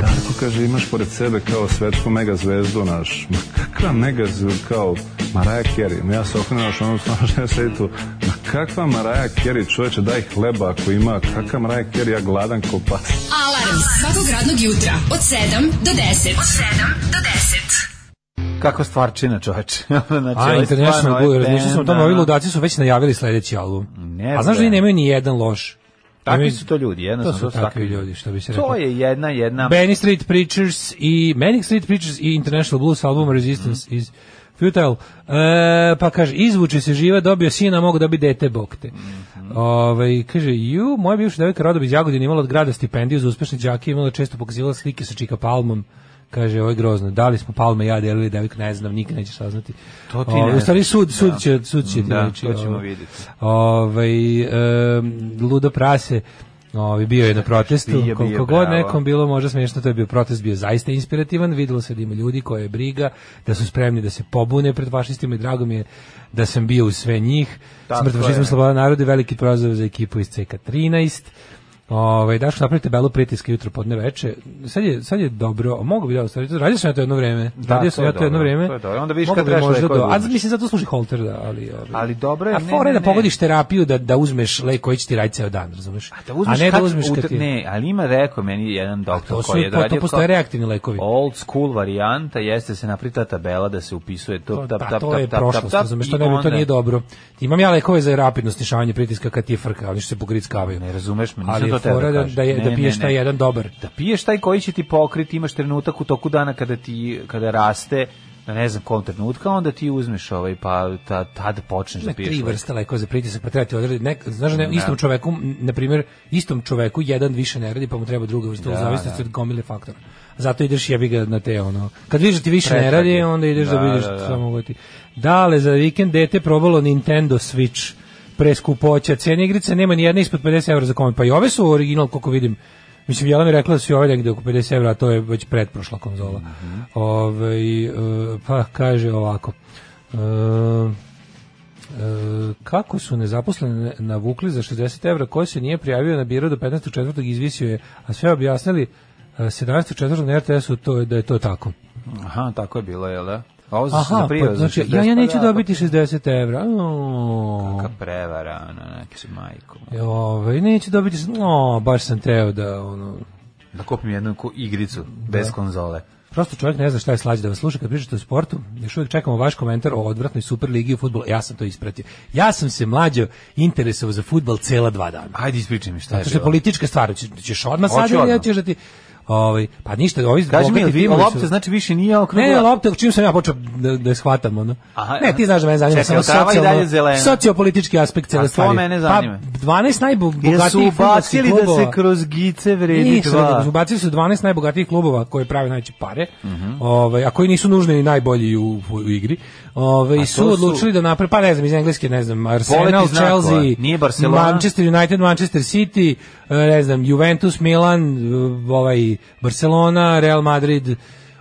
Darko kaže imaš pored sebe kao svetsku mega zvezdu naš. Ma kakva mega zvezdu kao Mariah Carey. Ma ja se okrenuo što ono stvarno što ja sedi tu. Ma kakva Mariah Carey čoveče daj hleba ako ima. Kakva Mariah Carey ja gladan ko pas.
Alarm svakog radnog jutra od 7 do 10. Od 7 do 10.
Kako stvarčina, čoveče. *laughs* znači,
A,
ovo je
International
stvarno,
Blue,
ovo je
razmišljao sam o tome,
band,
ovi
ono.
ludaci su već najavili sledeći album.
Ne
A znaš da
znam.
oni nemaju ni jedan loš?
Takvi su to ljudi, jednostavno.
To su takvi ljudi, što bi se reklo.
To je jedna, jedna...
Benny Street Preachers i Manic Street Preachers i International Blues album Resistance
Mhm.
is Futile. E, pa kaže, izvuče se živa, dobio sina, mogu dobiti dete, bog te.
Mhm.
Ovaj, kaže, ju, moja bivša devojka Rodob iz Jagodine imala od grada stipendiju za uspešne džake, imala često pokazivala slike sa Čika Palmom. Kaže, ovo je grozno. Da li smo Palme ja delili devojku, ne znam, nikad nećeš saznati.
To ti
Ovaj,
ne
U stvari sud,
znaš,
sud
da.
će, sud će ti
Da,
reći,
to ćemo
ovaj.
vidjeti.
Ovaj, em, ludo prase, Ovi bio je na protestu,
Bio, bio,
koliko god
bravo.
nekom bilo možda smiješno, to je bio protest, bio zaista inspirativan, videlo se da ima ljudi koje je briga, da su spremni da se pobune pred fašistima i drago mi je da sam bio u sve njih.
Tako
Smrt fašizmu,
je.
sloboda narodu i veliki prozor za ekipu iz CK13. Ovaj daš napravite belu pritiske jutro podne veče. Sad je sad je dobro, a mogu bi da ostavim. Radio sam ja to jedno vreme.
Da,
radio
to
sam
je
ja to jedno
dobro,
vreme.
to je dobro. Onda vidiš
Mogu
kad
bi
trebaš
možda
lekove
do- A
uzmeš.
mislim zato služi holter da, ali ovaj.
Ali dobro je,
A
ne,
fora je
ne,
da
ne.
pogodiš terapiju da da uzmeš lek koji će ti raditi ceo dan, razumeš?
Da uzmeš
a ne
kad-
da uzmeš
ut-
kad ti.
Ne, ali ima rekao meni jedan doktor
to su pa
koji je
to- to
radio
postoje reaktivni lekovi.
Old school varijanta jeste da se naprita tabela da se upisuje to,
To,
tap,
da,
tap,
to
tap,
je
tap,
prošlost,
tap,
razumeš,
i
to, ne, to
onda-
nije dobro. Imam ja lekove za rapidno snižavanje pritiska kad ti je frka, oni što se pogrickavaju.
Ne razumeš me, nisam
ali
to
je
tebe
fora da, da, je, da piješ taj jedan dobar.
Da piješ taj koji će ti pokriti, imaš trenutak u toku dana kada ti kada raste, na ne znam kom trenutka, onda ti uzmeš ovaj pa ta, tad počneš da
Ima
piješ.
tri
ovaj.
vrste lekova za pritisak, pa treba ti odrediti. Nek, znaš, ne, istom čoveku, m, na primjer, istom čoveku jedan više ne radi, pa mu treba druga vrsta, u zavisnosti od gomile faktora. Zato ideš jebi ga na te ono. Kad vidiš da ti više ne
Pretrage.
radi, onda ideš da,
Da,
vidiš
da, da.
šta mogu ti. Dale, za vikend dete probalo Nintendo Switch preskupoća. Cijena igrice nema ni jedna ispod 50 evra za komad. Pa i ove su original, koliko vidim. Mislim, Jela mi je rekla da su i ove negde oko 50 evra, a to je već pretprošla konzola.
Mhm.
Ovaj, e, pa kaže ovako. E, E, kako su nezaposlene navukli za 60 evra ko se nije prijavio na biro do 15.4. izvisio je, a sve objasnili e, 17.4. na RTS-u to, je- da je to tako.
Aha, tako je bilo, jel da? A Ovo za-
Aha,
za prijavu,
pa,
za
znači,
60,
ja, ja
pa
neću
da, pa
dobiti 60 evra. O,
Ka prevara, ono, znači, majko.
Ove, neću dobiti, no, baš sam teo da, ono,
Da kupim jednu ku- igricu bez konzole.
Prosto čovjek ne zna šta je slađe da vas sluša kad pričate o sportu. Još uvijek čekamo vaš komentar o odvratnoj Superligi u futbolu. Ja sam to ispratio. Ja sam se mlađo interesovao za futbol cela dva dana.
Ajde ispričaj mi šta Pa je
Zato što je
bilo.
politička stvar, Ć- ćeš odmah
Hoću
sad ili ja
odmah.
ćeš da ti... Ovaj, pa ništa, ovi
Kaži mi,
bogati
jel vi
timovi su-
lopta znači više nije
Ne,
okrugla?
ne, lopta, čim sam ja počeo da, da je shvatam, ono.
Aha.
ne, ti znaš da me zanima
Čekaj,
samo
jel trava i dalje
socijalno,
zelena?
sociopolitički aspekt
A
cele
to
stvari.
mene zanima.
Pa, 12
Jer su
najbogatijih futbolskih
ubacili da
klubova.
se kroz gice vredi
Nisu, nego
dva.
su Ubacili su 12 najbogatijih klubova koje prave najveće pare,
Mhm.
ovaj, a koji nisu nužni ni najbolji u, u igri. Ovaj,
to
su
su-
odlučili da naprave, pa ne znam, iz engleske, ne znam, Arsenal,
Voleti znakova,
Chelsea,
nije Barcelona.
Manchester United, Manchester City, eh, ne znam, Juventus, Milan, eh, ovaj, Barcelona, Real Madrid,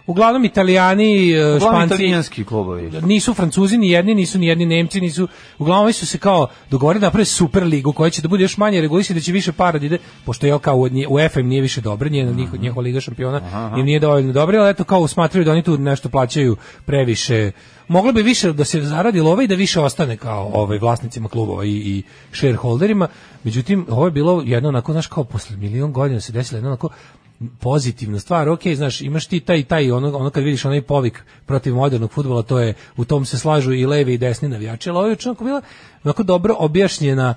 uglavnom Italijani, eh,
Uglavnom
Španci,
italijanski klubovi.
nisu Francuzi ni jedni, nisu ni jedni Nemci, nisu uglavnom ovi su se kao dogovorili da naprave super ligu koja će da bude još manje regulisana, da će više para da ide, pošto je kao u UEFA im nije više dobro, nije njihova, njihova liga šampiona im nije dovoljno dobro, ali eto kao smatraju da oni tu nešto plaćaju previše. Moglo bi više da se zaradi love i da više ostane kao ovaj vlasnicima klubova i, i shareholderima. Međutim, ovo je bilo jedno onako, znaš, kao posle milion godina se desilo jedno onako pozitivna stvar, ok, znaš, imaš ti taj, taj, ono, ono kad vidiš onaj povik protiv modernog futbola, to je, u tom se slažu i levi i desni navijači, ali ovo je učinako bila onako dobro objašnjena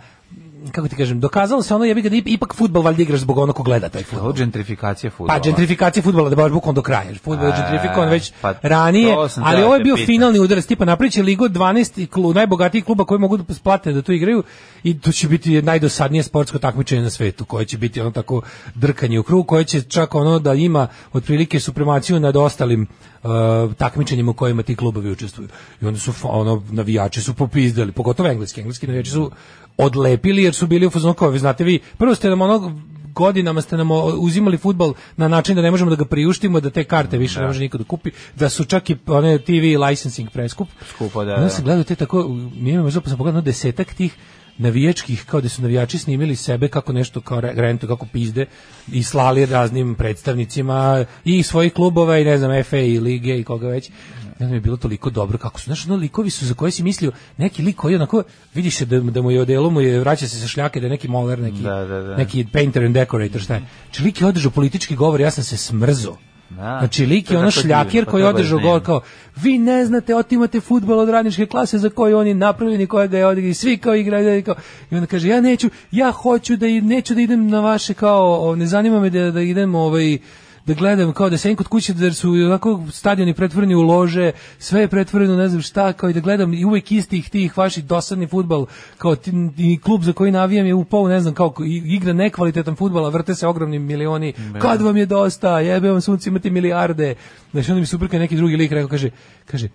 kako ti kažem, dokazalo se ono jebi ga da ip- ipak futbol valjda igraš zbog onog ko gleda taj
Ovo
futbol.
je gentrifikacija futbola.
Pa gentrifikacija futbola da baš bukom do kraja. Futbol je
E,
gentrifikovan već
pa
ranije,
to sam
ali
teo
ovo je
te
bio
pitam.
finalni udarac, tipa napriče ligu od 12 klub, najbogatijih kluba koji mogu da splate da tu igraju i to će biti najdosadnije sportsko takmičenje na svetu, koje će biti ono tako drkanje u krug, koje će čak ono da ima otprilike supremaciju nad ostalim e, takmičenjima u kojima ti klubovi učestvuju. I onda su fa- ono navijači su popizdali, pogotovo engleski, engleski navijači su odlepili jer su bili u fazonu kao vi znate vi prvo ste nam onog godinama ste nam o- uzimali futbal na način da ne možemo da ga priuštimo, da te karte više ne može niko da kupi, da su čak i one TV licensing preskup. Ono
Skupo, da,
Onda
da.
sam gledao te tako, nije me možda pa sam pogledao desetak tih navijačkih, kao da su navijači snimili sebe kako nešto, kao re- rentu, kako pizde i slali raznim predstavnicima i svojih klubova i ne znam, FA i lige i koga već. Ne znam, je bilo toliko dobro kako su, znaš, ono likovi su za koje si mislio, neki lik koji onako, vidiš se da, da mu je odelo, mu je, vraća se sa šljake, da je neki moler, neki,
Da, da, da.
neki neki painter and decorator, šta je. Znači, lik je održao politički govor, ja sam se smrzo.
Da.
Znači, lik
To je
je ono
tako
šljakir
divno, pa
koji
to baš
održao
divno.
govor kao, vi ne znate, otimate futbol od radničke klase za koju oni napravljeni, koja ga je odigrao i svi kao igraju. i Kao, I onda kaže, ja neću, ja hoću da, i- neću da idem na vaše kao, o, ne zanima me da, da idem ovaj, da gledam kao da sedim kod kuće da su onako stadioni pretvoreni u lože, sve je pretvoreno ne znam šta, kao i da gledam i uvek istih tih vaših dosadni fudbal, kao ti, i klub za koji navijam je upao, u, ne znam, kao i- igra nekvalitetan fudbal, a vrte se ogromni milioni. Kad vam je dosta, jebe vam sunce, imate milijarde. Znači onda mi super kad neki drugi lik rekao kaže, kaže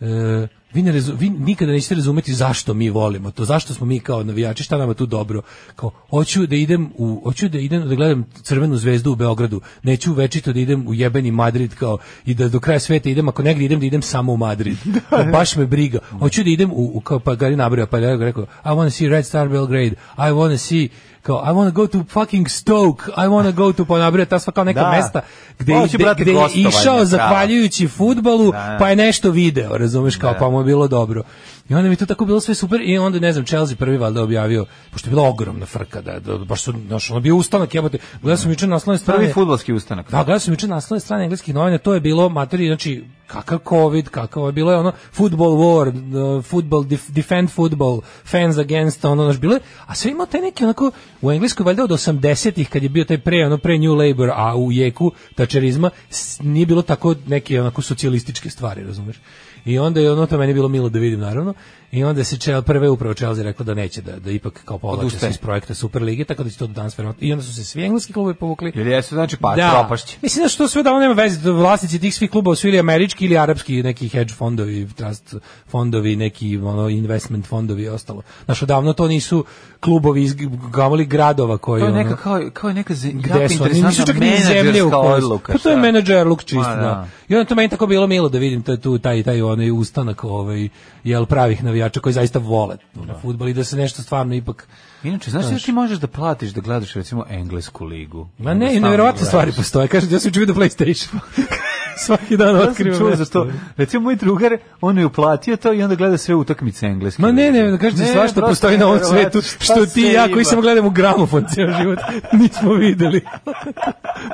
E, vi, ne razu- vi nikada nećete razumeti zašto mi volimo to, zašto smo mi kao navijači, šta nama tu dobro. Kao, hoću da idem u, hoću da idem da gledam crvenu zvezdu u Beogradu, neću večito da idem u jebeni Madrid kao i da do kraja sveta idem, ako negdje idem da idem samo u Madrid. Kao, baš me briga. Hoću da idem u, u kao, pa Gari nabrao, pa ja rekao, I wanna see Red Star Belgrade, I wanna see kao I wanna go to fucking Stoke, I wanna go to pa nabrao ta sva kao neka
Da.
mesta gde,
Hoću,
gde,
brate,
gde je
gostovanje,
išao
pravo.
zahvaljujući futbalu,
Da.
pa je nešto video, razumeš, kao pa mu je bilo dobro. I onda mi je to tako bilo sve super i onda ne znam Chelsea prvi valjda objavio pošto je bila ogromna frka da, da baš su znaš, ono bio ustanak jebote. Gledao sam juče naslovne strane.
Prvi fudbalski ustanak.
Da, gledao sam juče naslovne strane engleskih novina, to je bilo materije, znači kakav covid, kakav je bilo je ono football war, uh, football def- defend football, fans against ono naš bilo, je- a sve ima te neke onako u engleskoj valjda od 80-ih kad je bio taj pre ono pre New Labour, a u jeku tačerizma s- nije bilo tako neke onako socijalističke stvari, razumeš? I onda je ono to meni bilo milo da vidim naravno. I onda se Chelsea prve upravo Chelsea rekla da neće da da ipak kao povlače se
Odustaje.
iz projekta Superlige, tako da će to do danas verovatno. I onda su se svi engleski klubovi povukli.
Jer jesu, znači, pa,
Da.
propašće.
Mislim da što sve da ono nema veze, da vlasnici tih svih klubova su ili američki ili arapski neki hedge fondovi, trust fondovi, neki ono investment fondovi i ostalo. Znaš, odavno to nisu klubovi iz g- gamoli gradova koji
To je
ono,
neka kao, kao je neka ze- jako
gde su oni, nisu
interesantna
čak ni zemlje u
menadžerska
kojoj su.
odluka.
Pa to je
šta?
menadžer luk čisto,
Ma,
da.
da.
I onda to meni tako bilo milo da vidim taj, tu, taj, taj onaj ustanak ovaj, jel, pravih navijača koji zaista vole da. futbol i da se nešto stvarno ipak
Inače, znaš da ti možeš da platiš da gledaš recimo englesku ligu?
Ma ne,
Jednostavno
nevjerovatne
gledaš.
stvari postoje. Kažem, ja sam čuo da PlayStation. *laughs* Svaki dan
Ja sam
otkrivam.
čuo za
nešto.
to. Recimo, moj drugar, on je uplatio to i onda gleda sve utakmice engleske.
Ma ne, ne, Pa
lige.
kažem ti
Ne,
svašta
prosto
postoji na ovom
nevjerovatno.
svetu, što
Šta
ti i
sve
ja koji
ima?
samo gledam u gramofon cijel život, *laughs* nismo videli.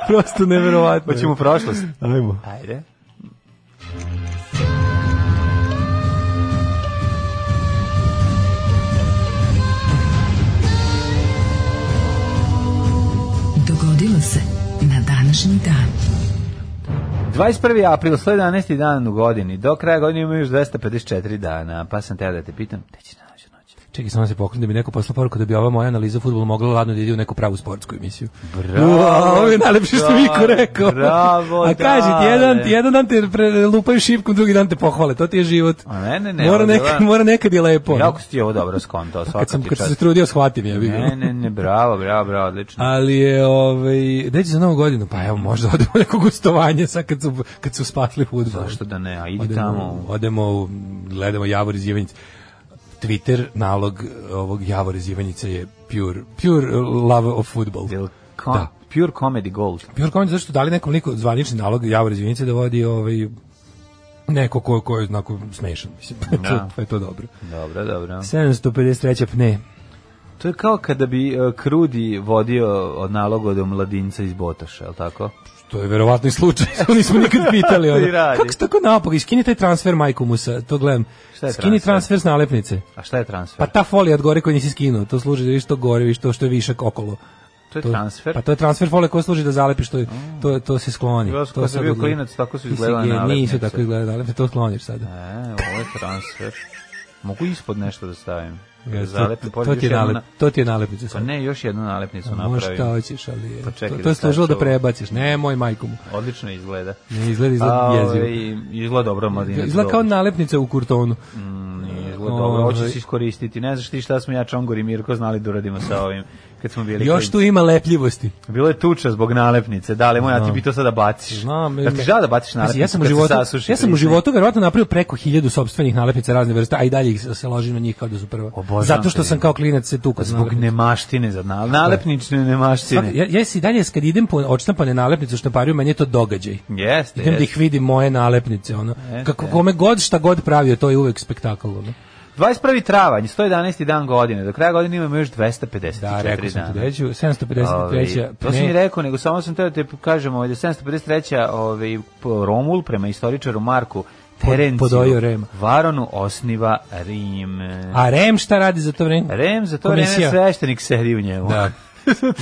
Prosto neverovatno.
Hoćemo u prošlost.
Ajmo.
Ajde.
Dogodilo se na današnji dan.
21. april, 111. dan u godini. Do kraja godine ima još 254 dana. Pa sam teo da te pitam, gde ćeš naći noć?
Čekaj, samo se pokrenu da mi neko posla poruku da bi ova moja analiza futbola mogla ladno da ide u neku pravu sportsku emisiju.
Bravo,
Ua, ovo je najlepše što mi Iko rekao.
bravo,
A kaži ti,
dale.
jedan, jedan dan te pre- lupaju šipkom, drugi dan te pohvale. To ti je život.
A ne, ne, ne,
Mora,
ovdje
nekad,
je-
mora nekad je lepo. ono.
Jako si ti ovo dobro skontao, svaka
kad sam,
ti
kad sam se
čast.
trudio, shvatim je. bilo.
Ne, ne, ne, bravo, bravo, bravo, odlično.
Ali je, ovaj, gde će za novu godinu? Pa evo, možda *laughs* odemo na neko gostovanje sad kad su, kad su spasli futbol.
Zašto da ne, a idi
Odemo,
tamo.
odemo u- gledamo Javor iz Ivanjice. Twitter nalog eh, ovog Javor iz Ivanjice je pure, pure love of football.
Jel Kom,
Da.
Pure Comedy Gold.
Pure comment zašto dali nekom liku zvanični nalog Javor iz Ivanjice da vodi ovaj, neko ko, ko je znako smešan. Mislim, *laughs* pa, je to,
Da.
pa je to dobro.
Dobro, dobro.
753. pne.
To je kao kada bi e, Krudi vodio od naloga do mladinca iz Botoša, je tako?
To je verovatno i slučaj, *laughs* to nismo nikad pitali.
Šta
Ono.
ti radi?
Kako se tako napak, skini taj transfer majku mu sa, to gledam.
Šta je
Skini
transfer?
transfer s nalepnice.
A šta je transfer?
Pa ta folija od gore koju nisi skinuo, to služi da vidiš to gore, vidiš to što je višak okolo.
to je transfer.
Pa to je transfer folija koja služi da zalepiš, to, je- to, to se skloni.
Gledao sam
To
kad sam
sad
bio
odgleda-
klinac, tako su
Ti si
izgledale
gen- Nisu
nalepnice.
tako izgledale nalepnice, to skloniš sada.
E, ovo je transfer. Mogu ispod nešto da stavim.
Ja,
Zalepim
to,
pored
to, ti je
još jednu
nalep,
na-
to ti je nalepnica
Pa
sad.
ne, još jednu nalepnicu
A
napravim.
Možeš šta hoćeš, ali je,
Pa čekaj
to, to
da
je služilo da
sačuvam.
prebaciš. Ne, moj majku mu.
Odlično izgleda.
Ne izgleda, izgleda
A,
jezivo.
ovaj, Izgleda dobro, mladinac.
Izgleda kao
Dobrić.
nalepnica u kurtonu.
Nije Izgleda dobro,
Ovaj.
hoćeš iskoristiti. Ne znaš ti šta smo ja, Čongor i Mirko znali da uradimo sa ovim. Kad smo bili
Još
klinci.
tu ima lepljivosti.
Bilo je tuča zbog nalepnice, da li moja, ti bi to sada baciš.
Znam,
Jel ti žao da baciš
Pazi,
nalepnicu
ja sam u
kad se
životu,
sasuši
ja sam u
priznaj?
životu verovatno napravio preko 1000 sopstvenih nalepnica razne vrste, a i dalje ih se- se ložim na njih kao da su prva.
Obožavam
Zato što
te.
sam kao klinac se tukao za
Zbog
nalepnice.
nemaštine, za nal- nalepnične nemaštine.
Svaka- Ja, ja se i dalje kad idem po odštampane nalepnice u štampariju, meni je to događaj.
Jeste,
Idem da
jeste.
ih vidim moje nalepnice, ono. Kako kome god šta god pravio, to je uvek spektakl, ono.
21. travanj, 111. dan godine. Do kraja godine imamo još 254
Da, rekao sam ti
dana.
treću,
Ovaj,
753.
to sam i
pne-
rekao, nego samo sam teo da te kažem, ovaj, da 753. Ovaj, po- Romul, prema istoričaru Marku Terenciju,
podojio Rema.
Varonu osniva Rim.
A Rem šta radi za to vreme?
Rem za to
Komisija.
vreme sveštenik sedi u njemu. *laughs*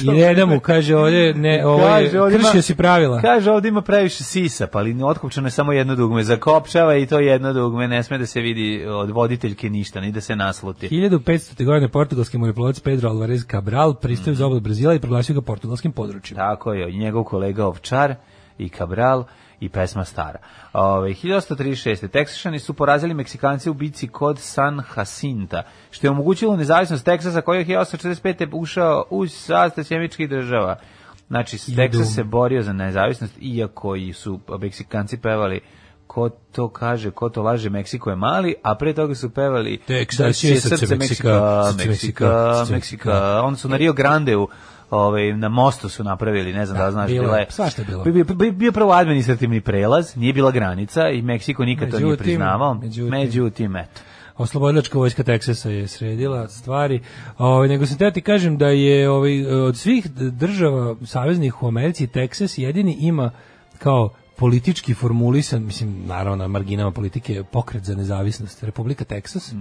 Da. I ne mu, kaže ovdje, ne, ovo je,
ovdje ima-
kršio si pravila.
Kaže, ovdje ima previše sisa, pa ali otkopčano je samo jedno dugme. Zakopčava i to jedno dugme, ne sme da se vidi od voditeljke ništa, ni da se nasluti.
1500. godine portugalski moreplovac Pedro Alvarez Cabral pristao iz obala Brazila i proglasio ga portugalskim područjem.
Tako je, i njegov kolega Ovčar i Cabral i pesma Stara. Ove, 1836. Teksašani su porazili Meksikanci u bici kod San Jacinta, što je omogućilo nezavisnost Teksasa koji je 1845. ušao u sastav sjemičkih država. Znači, Teksas se borio za nezavisnost, iako i su Meksikanci pevali ko to kaže, ko to laže, Meksiko je mali, a pre toga su pevali
Teksas je srce Meksika, srce
Meksika,
Meksika,
Meksika,
srce
Meksika. Onda su na Rio Grandeu ovaj na mostu su napravili, ne znam da, li znaš,
bilo
bila
je,
je.
svašta je bilo.
Bi- bi- bi- Bio, prvo administrativni prelaz, nije bila granica i Meksiko nikad to nije
Međutim,
priznavao.
međutim.
Međutim, eto.
Oslobodilačka vojska Teksasa je sredila stvari. Ovaj nego sam teo ti kažem da je ovaj od svih d- država saveznih u Americi Teksas jedini ima kao politički formulisan, mislim naravno na marginama politike pokret za nezavisnost Republika Teksas.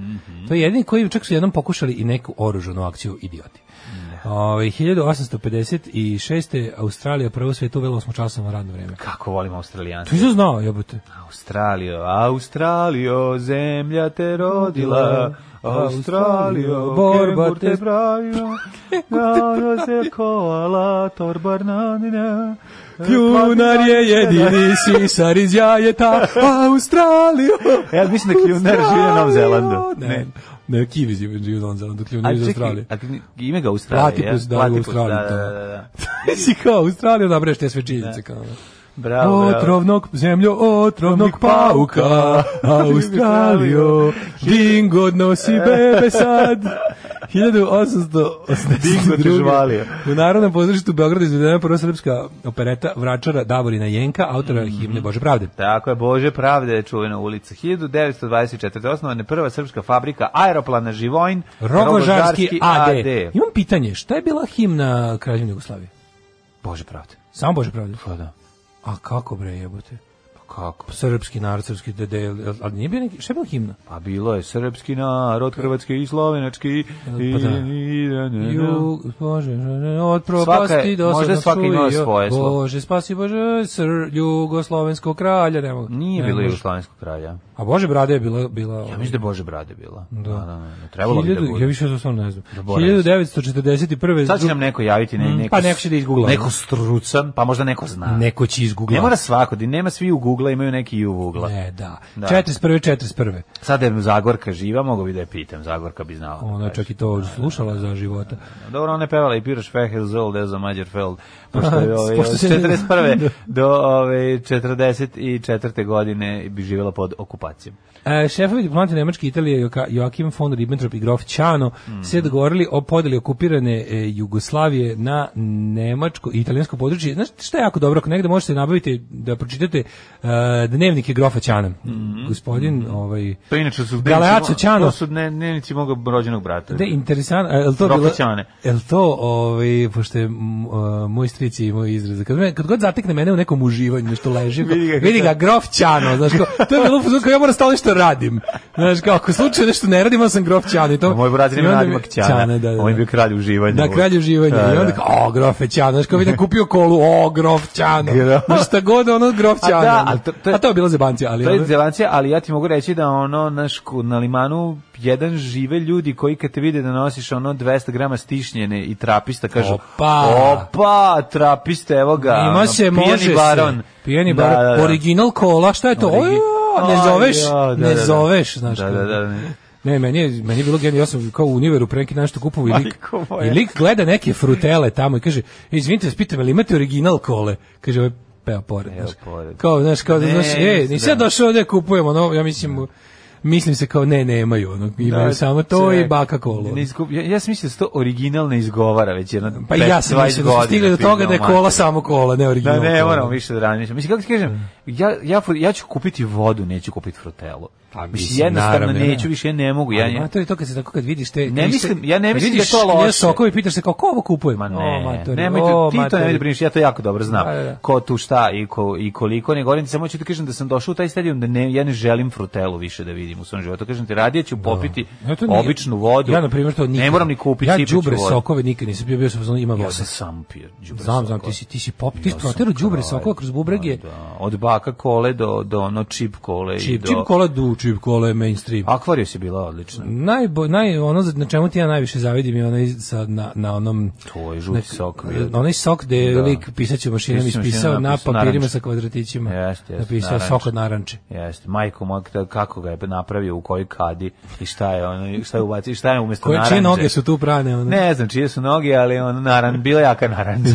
To je jedini koji čak su jednom pokušali i neku oružanu akciju idioti. Ovaj 1856. Australija prvo svetu uvela osmočasovno radno vreme.
Kako volim Australijanci.
To je znao, jebote.
Australijo, Australijo, zemlja te rodila. Australijo,
Borba
borba te
te-
pravio. Nada se koala, torbar na nina.
E, Kljunar je jedini sisar iz jajeta Australiju. *laughs*
Ja mislim da kljunar živi na Novom Zelandu.
Ne, ne, ne kivi živi živi na Novom Zelandu, kljunar
A
je iz
čekaj,
Australije.
a kni- ime ga Australija.
Platypus,
ja?
da, u
Platypus,
Australiji,
Da,
to.
da, da, da.
Si kao Australija, da breš te sve činjenice. Kao. ono.
Bravo, bravo.
Otrovnog zemljo, otrovnog pauka, Australijo, dingo *laughs* nosi bebe sad. 1882.
Dingo te žvalio.
U Narodnom pozorištu u Beogradu izvedena je prva srpska opereta vračara Davorina Jenka, autora himne Bože pravde.
Tako je, Bože pravde, čuvena ulica. 1924. osnovana je prva srpska fabrika aeroplana Živojn,
Rogožarski AD. Imam pitanje, šta je bila himna Kraljevine Jugoslavije?
Bože pravde.
Samo Bože pravde.
Pa da.
A kako bre jebote?
Pa kako?
Srpski narod, srpski dede, ali nije bio neki, šta je bila himna?
Pa bilo je srpski narod, hrvatski i slovenački. I,
Pa da.
i- da, ne, da.
Jug, Bože, od
Svaka
propasti
je-
do
možda
srpskog
svaka ima
suja.
svoje slovo.
Bože, spasi Bože, sr, jugoslovenskog kralja, ne mogu.
Nije
ne
bilo
može.
Jugoslovenskog kralja.
A Bože brade je bila... bila
Ja mislim da je Bože brade bila.
Da.
da, da, da. Trebalo bi da
Hiljadu- Ja
bude.
više to stvarno ne znam.
Zaboravio sam.
1941.
Sad će nam neko javiti, ne,
Mm,
neko,
pa neko će da izgugla.
Neko strucan, pa možda neko zna.
Neko će izgugla.
Ne mora svako, di nema svi u Google, imaju neki i u Google.
Ne, da.
Da.
41. 41.
Sada je Zagorka živa, mogu bi da je pitam, Zagorka bi znala.
Ona je
da
čak
kaže.
i to slušala za života.
Dobro, ona je pevala i Piroš Fehelzold, Ezo Mađerfeld,
*laughs*
pošto je ove,
Pošto
od
se- *laughs*
41. do ove, 44. godine bi živjela pod okupacijom.
E, šefovi diplomate Nemačke i Italije Joka- Joachim von Ribbentrop i Grof Ćano se dogovorili o podeli okupirane e, Jugoslavije na nemačko i italijansko područje. Znaš šta je jako dobro, ako negde možete nabaviti da pročitate e, dnevnike Grofa Ćana. Gospodin, ovaj...
To inače su...
Galeaco Ćano.
To su ne, nenici mog rođenog brata.
Da, interesantno. El to
Grofa
bilo,
Ćane.
el to, ovaj, pošto je m, e, moj stric je imao izraz. Kad, me, kad god zatekne mene u nekom uživanju, nešto
*laughs*
leži, kao,
Vidi ga kako-
vidi ga, grof Ćano, znaš, kao, to je bilo fuzon kao ja moram stalno nešto radim. Znaš, kao, ako slučajno nešto ne radim, onda sam grof Ćano. I to,
A moj brat
i
je
onda mi-
nadimak Ćana.
Ćane, da, da,
On je
da.
bio kralj uživanja.
Da, kralj uživanja.
Da,
I onda
da.
kao, o, grofe Ćano. Znaš, kao vidim, kupio kolu, o, grof Ćano.
Grof.
Znaš, šta god, ono, grof
A
Ćano.
da, ali to- to je-
A to je bilo zebancija, ali...
To je
ono-
zelancija, ali ja ti mogu reći da ono naš na limanu jedan žive ljudi koji kad te vide da nosiš ono 200 grama stišnjene i trapista kažu
Opa!
opa trapista evo ga
Ima
ono,
se,
pijani
može
baron
se. Pijani baron.
Da, da, da.
Original kola, šta je to?
Origi-
Ojo, ne
Aj,
zoveš,
ja, da,
ne
da, da.
zoveš, znaš.
Da,
kao.
da, da, ne.
Ne, meni je, meni je bilo genijalno, ja sam kao u univeru pre neki dan što kupovao i lik,
Majko moja.
i lik gleda neke frutele tamo i kaže, izvinite, vas pitam, jel imate original kole? Kaže, ovaj peo pored,
Peo
znaš.
pored.
Kao, znaš, kao,
Ne,
znaš, e,
da.
nisi ono, ja došao ovde, kupujemo, no, ja mislim, mislim se kao ne, nemaju, ono, imaju
Da,
samo to
ček.
i baka ono." kolu.
Ne izgu- ja, ja sam mislio da se to originalno izgovara već jedno
Pa i ja sam
15-20
mislio da smo stigli do
godina
toga da je
filma.
kola samo kola, ne
Da
originalno.
ne,
kola. ono.
moramo više da razmišljam. Mislim, kako ti kažem, ja, ja, fu- ja ću kupiti vodu, neću kupiti frutelu.
Pa, mislim,
mislim, jednostavno
naravno,
neću,
ne.
više ne mogu. Ja,
Ja,
ja,
to je to kad se tako kad vidiš te...
Ne
vidiš
mislim- ja ne
kad
mislim da je
vidiš
to loše.
šljive sokove i pitaš se kao, ko ovo kupuje?
Ma
O,
ne,
matori,
nemoj
o,
ti, ti to
matori.
ne da briniš, ja to jako dobro znam.
Da, da, da.
Ko tu šta i, ko, i koliko, ne govorim ti, samo ću ti kažem da sam došao u taj stadion da ne, ja ne želim frutelu više da vidim u svom životu. Kažem ti, radije ću popiti
Ja to nije-
običnu vodu.
Ja, na primjer, to nikad.
Ne moram ni kupiti,
Ja
sipat ću
džubre
vodu.
sokove nikad nisam bio, bio sam u fazonu, ima
Ja
vode.
sam sam pio đubre
Znam, znam,
sokova.
ti si, ti si pop, ti si
Ja sam
proterao đubre
kralj.
sokova kroz bubrege.
Da, da. Od baka kole do, do ono čip kole i
Čip,
do...
čip kola du, čip kola je mainstream.
Akvarijus je bila odlična.
Najbo, naj, ono za- na čemu ti ja najviše zavidim je onaj sa, na, na onom...
To Pa je žuti sok.
na-
bio.
Onaj sok gde je
Da.
lik pisaću mašinom
Pisaću mašinom
ispisao na
napisao
papirima
naranče.
sa kvadratićima.
Jeste, jeste,
napisao
naranče. Pa
sok od naranče.
Jeste, majko moja, kta- kako ga je napravio, u kojoj kadi i šta je ono, i šta je ubacio, i šta je umjesto
Koje
naranđe.
čije noge su tu prane? Ono?
Ne znam čije su noge, ali ono, naran, bila jaka
*laughs*
naranđa.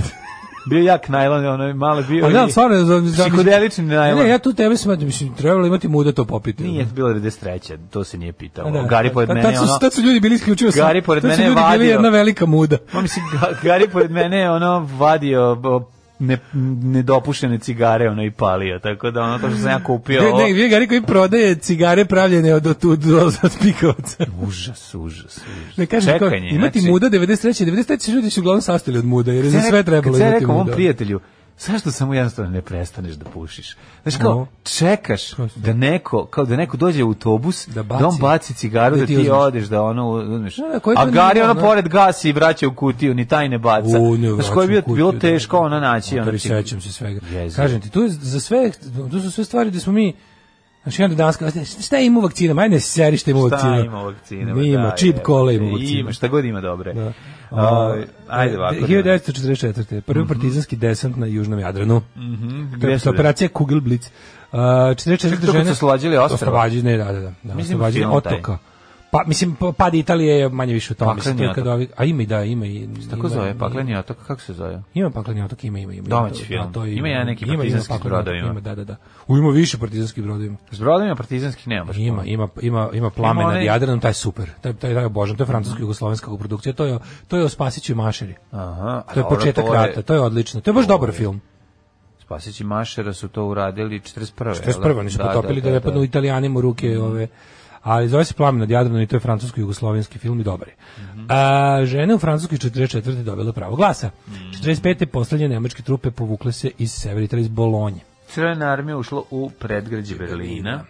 bio jak najlon, ono, malo je bio
Pa da,
i-
stvarno, za, za,
psihodelični najlon.
Ne, ne, ja tu tebe smatram, mislim, trebalo imati muda to popiti.
Nije bilo 93. to se nije pitalo.
A da,
Gari pored
tad-
mene,
tad su,
ono...
Tad su ljudi bili isključivo... sa-
Gari pored
tad su
mene
ljudi bili
vadio.
jedna velika muda.
Ma mislim, Ga- Gari pored mene je ono vadio bo- ne, nedopušene cigare ono i palio, tako da ono to što sam ja kupio...
Ne,
ovo-
ne, gdje Gari koji prodaje cigare pravljene od, od, od, od, od pikovca.
Užas, užas, užas.
Ne kažem kao,
Čekanje,
imati
znači-
muda 93. 93. ljudi su uglavnom sastali od muda, jer je za
Kad sam
sve
rekao-
trebalo
kad sam ja
imati
rekao mom
muda.
prijatelju, zašto samo jednostavno ne prestaneš da pušiš? Znaš kao,
No.
čekaš
se-
da neko, kao da neko dođe u autobus, da,
Da baci.
on baci cigaru, da,
Da
ti
ti uzmeš.
odeš, da ono uzmeš.
Da, da, koje
A
to
Gari
nije
ono
ono.
pored gasi i vraća u kutiju, ni taj ne baca.
U, ne,
Znaš
vraćam
koje je bio,
kutiju,
bilo
da,
teško
da.
ono naći. ono
Motori,
cig-
sećam se svega.
Jezivo.
Kažem ti, tu, je za sve, tu su sve stvari da smo mi Znači, onda danas kao, šta ima u vakcinama? Ajde, ne seri šta ima u vakcinama.
Šta ima u vakcinama?
Ima,
da,
čip
je.
kola ima u vakcinama. e,
Ima, šta god ima dobre.
Da.
Ovaj, ajde ovako. da- Mhm.
1944. Prvi partizanski desant na Južnom Jadranu. To je
Gde su bili?
operacija Kugelblitz. Uh, 44.
Čekaj, to kad
žene-
su oslobađali ostrva?
Oslobađanje, da, da, da. da
Mislim,
oslobađanje
film taj.
otoka. Pa, mislim, pa- pad Italije je manje više u tom. Mislim,
Pakleni
to je kad
otok.
ovi- a ima i da, ima i...
Tako
ima-
zove, pakleni otok, kako se zove?
Ima pakleni otok, ima, ima, ima.
Domaći
Da,
film.
to je-
Ima jedan neki
ima- ima
partizanski s
Pakleni otok,
brodovima.
Ima, da, da, da. U, ima više partizanskih brodovima.
Pa S brodovima partizanskih nema baš.
Ima, ima, ima, ima plame
Ima
nad
onaj- Mhm.
Jadranom, taj je super. Taj, taj, taj obožavam, to je francusko-jugoslovenska produkcija. To je, to je o Spasiću i Mašeri.
Aha, a
To je
dobro,
početak
to je-
rata, to je odlično. To je baš dobar film.
Spasić i Mašera su to uradili 41.
41. Oni su potopili da, ne padnu italijanima u ruke
Mhm.
ove ali zove se Plamen nad Jadranom i to je francusko-jugoslovenski film i dobar je.
Mhm.
A, žene u Francuskoj 44. dobile pravo glasa.
Mhm.
45. poslednje nemačke trupe povukle se iz severa Italije, iz Bolonje.
Crvena armija ušla u predgrađe Berlina.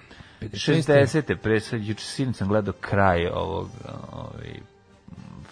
60. Presad, juče sin sam gledao kraj ovog ovaj,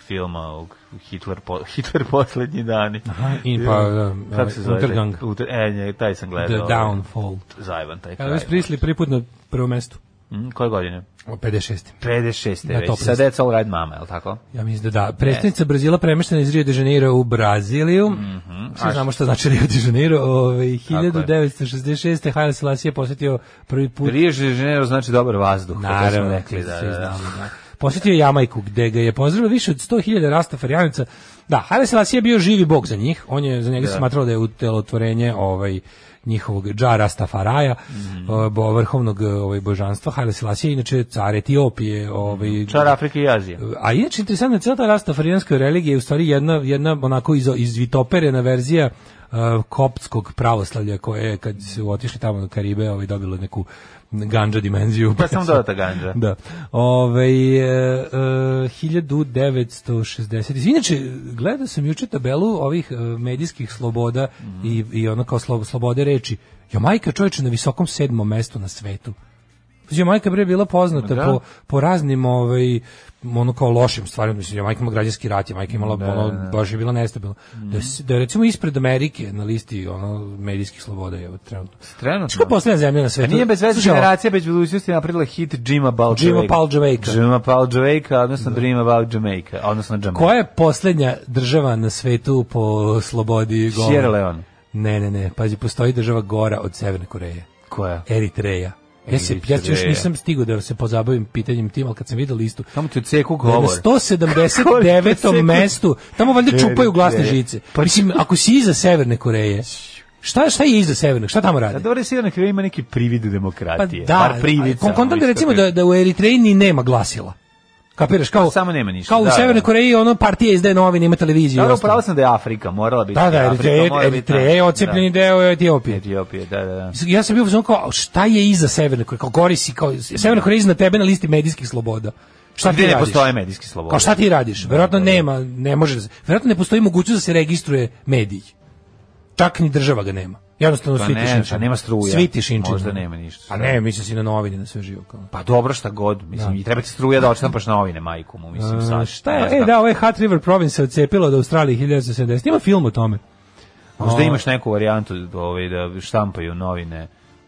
filma ovog Hitler, po, *laughs* Hitler poslednji dani.
Aha, i pa, da,
Kako se zove?
Untergang.
Uter, e, nje, taj sam
The
gledao.
Downfall.
Zajvan taj kraj.
Elvis Presley prvi put na prvo mestu.
Mm, koje godine?
O 56.
56.
Na
već.
top
Sada
listi.
je It's All Right Mama, je li tako?
Ja mislim da da. Predstavnica Brazila premeštena iz Rio de Janeiro u Braziliju. Svi
Mhm. A
znamo šta znači Rio de Janeiro. Ove,
Tako je.
1966. Haile Selassie je posjetio prvi put
Rio de Janeiro znači dobar vazduh. to smo
Naravno,
rekli, da,
svi
da, da.
znamo, da. Posjetio je Jamajku, gde ga je pozdravilo više od 100.000 rastafarjanaca. Da, Haile Selassie je bio živi bog za njih. On je, za njega se smatrao da je utelotvorenje ovaj, njihovog dža Rastafaraja,
Mhm.
bo, vrhovnog ovaj, božanstva. Haile Selassie je inače car Etiopije. Ovaj,
Mhm. Čar Afrike i Azije.
a inače interesantno je cijela ta rastafarijanska religija je u stvari jedna, jedna onako iz, izvitoperena verzija uh, koptskog pravoslavlja koje je kad su otišli tamo na Karibe ovaj, dobilo neku ganđa dimenziju. *laughs*
Pa samo dodata ganđa.
Da. Ove, e, e, 1960. Inače, gledao sam juče tabelu ovih e, medijskih sloboda i, i ono kao slo- slobode reči. Jamajka čovječe na visokom sedmom mestu na svetu. Jamajka bre bila poznata
Da.
po, po raznim ovaj ono kao lošim stvarima, mislim Jamajka ima građanski rat, Jamajka imala ono, baš je bila nestabilna. Da, je s- da je recimo ispred Amerike na listi ono medijskih sloboda je trenutno. Znači,
Trenutno.
kao poslednja zemlja na svetu.
Pa Nije bez veze
Slušaj, ovo,
generacija, bez budućnosti je napravila hit Jim About
Jim
Jamaica.
About Jamaica.
Jim About Jamaica, odnosno Dream About Jamaica, odnosno Jamaica.
Koja je posljednja država na svetu po slobodi govora?
Sierra Leone.
Ne, ne, ne, pazi, postoji država gora od Severne Koreje.
Koja?
Eritreja. Ja, se, ja se još
Eritreja.
nisam stigao da se pozabavim pitanjem tim, ali kad sam vidio listu,
Tamo ti odseku
da je na
govor. *laughs*
179. mestu, tamo valjda čupaju glasne
Eritreja.
žice.
Pa
Mislim, ako si iza Severne Koreje, Šta, šta je iza severnog? Šta tamo
Da
rade?
Pa dobro Sjeverna Koreja ima neki privid demokratije.
Pa da,
bar ono, privid.
ali kontam da recimo da, da u Eritreji ni nema glasila. Kapiraš, kao,
Samo nema ništa,
Kao
da,
u Severnoj
da.
Koreji, ono, partija izdaje novine, ima televiziju. i
Dobro,
ostalo.
pravo sam da je Afrika, morala biti.
Da, da,
Afrika,
Eritreja,
mora biti,
Eritreja je
da.
ocepljeni deo Etiopije.
Etiopije, da, da, da.
Ja sam bio u fazonu kao, šta je iza Severne Koreje? Kao gori si, kao, Severna Koreja je iznad tebe na listi medijskih sloboda. Šta ti
Gde ne
radiš?
postoje medijski slobode.
Kao šta ti radiš? Verovatno nema, ne može, da se- verovatno ne postoji mogućnost da se registruje medij. Čak ni država ga nema. Jednostavno
Pa
svi
ne,
ti šinčine.
pa nema struje.
Svi ti šinčine.
Možda nema ništa.
Pa ne, mislim si na novine, na sve živo. Kao.
Pa dobro šta god, mislim, i treba ti struja da odštampaš novine, majku mu, mislim, sad.
Šta je?
Znaš
E,
kako?
da, ovaj Hat River Province se odcepilo od Australije 1970. Ima film o tome. ono-
Možda imaš neku varijantu ovaj, da štampaju novine.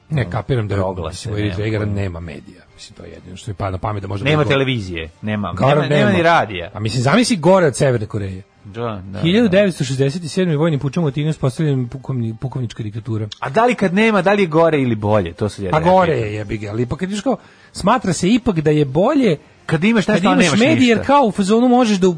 Ne, kapiram da je
Ono, Proglase,
mislim, u Eritreji
nema.
igra nema medija. Mislim, to je jedino što mi pada na pamet da možda...
Nema
bude gore.
televizije, nema,
Gore
nema, nema ni radija.
A mislim, zamisli gore od Severne Koreje.
Da, da, da.
1967. vojnim pučom u Atinu uspostavljena pukovni, pukovnička diktatura.
A da li kad nema, da li je gore ili bolje? To su ja
Pa
rekao.
gore je, jebi ga, ali ipak kad ideš kao, smatra se ipak da je bolje
Kad imaš
kad
nešto, a
imaš
nemaš
medije, jer
ništa.
kao u fazonu možeš da u-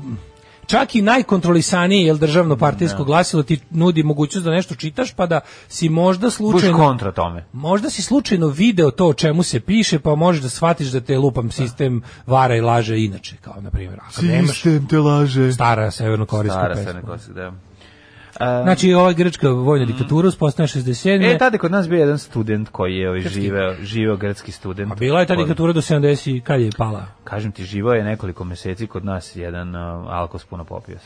čak i najkontrolisanije, jel državno partijsko glasilo ti nudi mogućnost da nešto čitaš, pa da si možda
Buš
slučajno...
kontra tome.
Možda si slučajno video to o čemu se piše, pa možeš da shvatiš da te lupam sistem vara i laže inače, kao na primjer. Ako nemaš
te laže.
stara severnokorejska
Stara se
pesma.
neko da.
Znači, ova grčka vojna diktatura uspostavljena 67.
Mhm. E, tada je kod nas bio jedan student koji je ovaj, živeo, živeo gradski student.
A bila je ta
Kod-
diktatura do 70 i kad je pala?
Kažem ti, živao je nekoliko meseci kod nas jedan uh, alkos puno popio. se.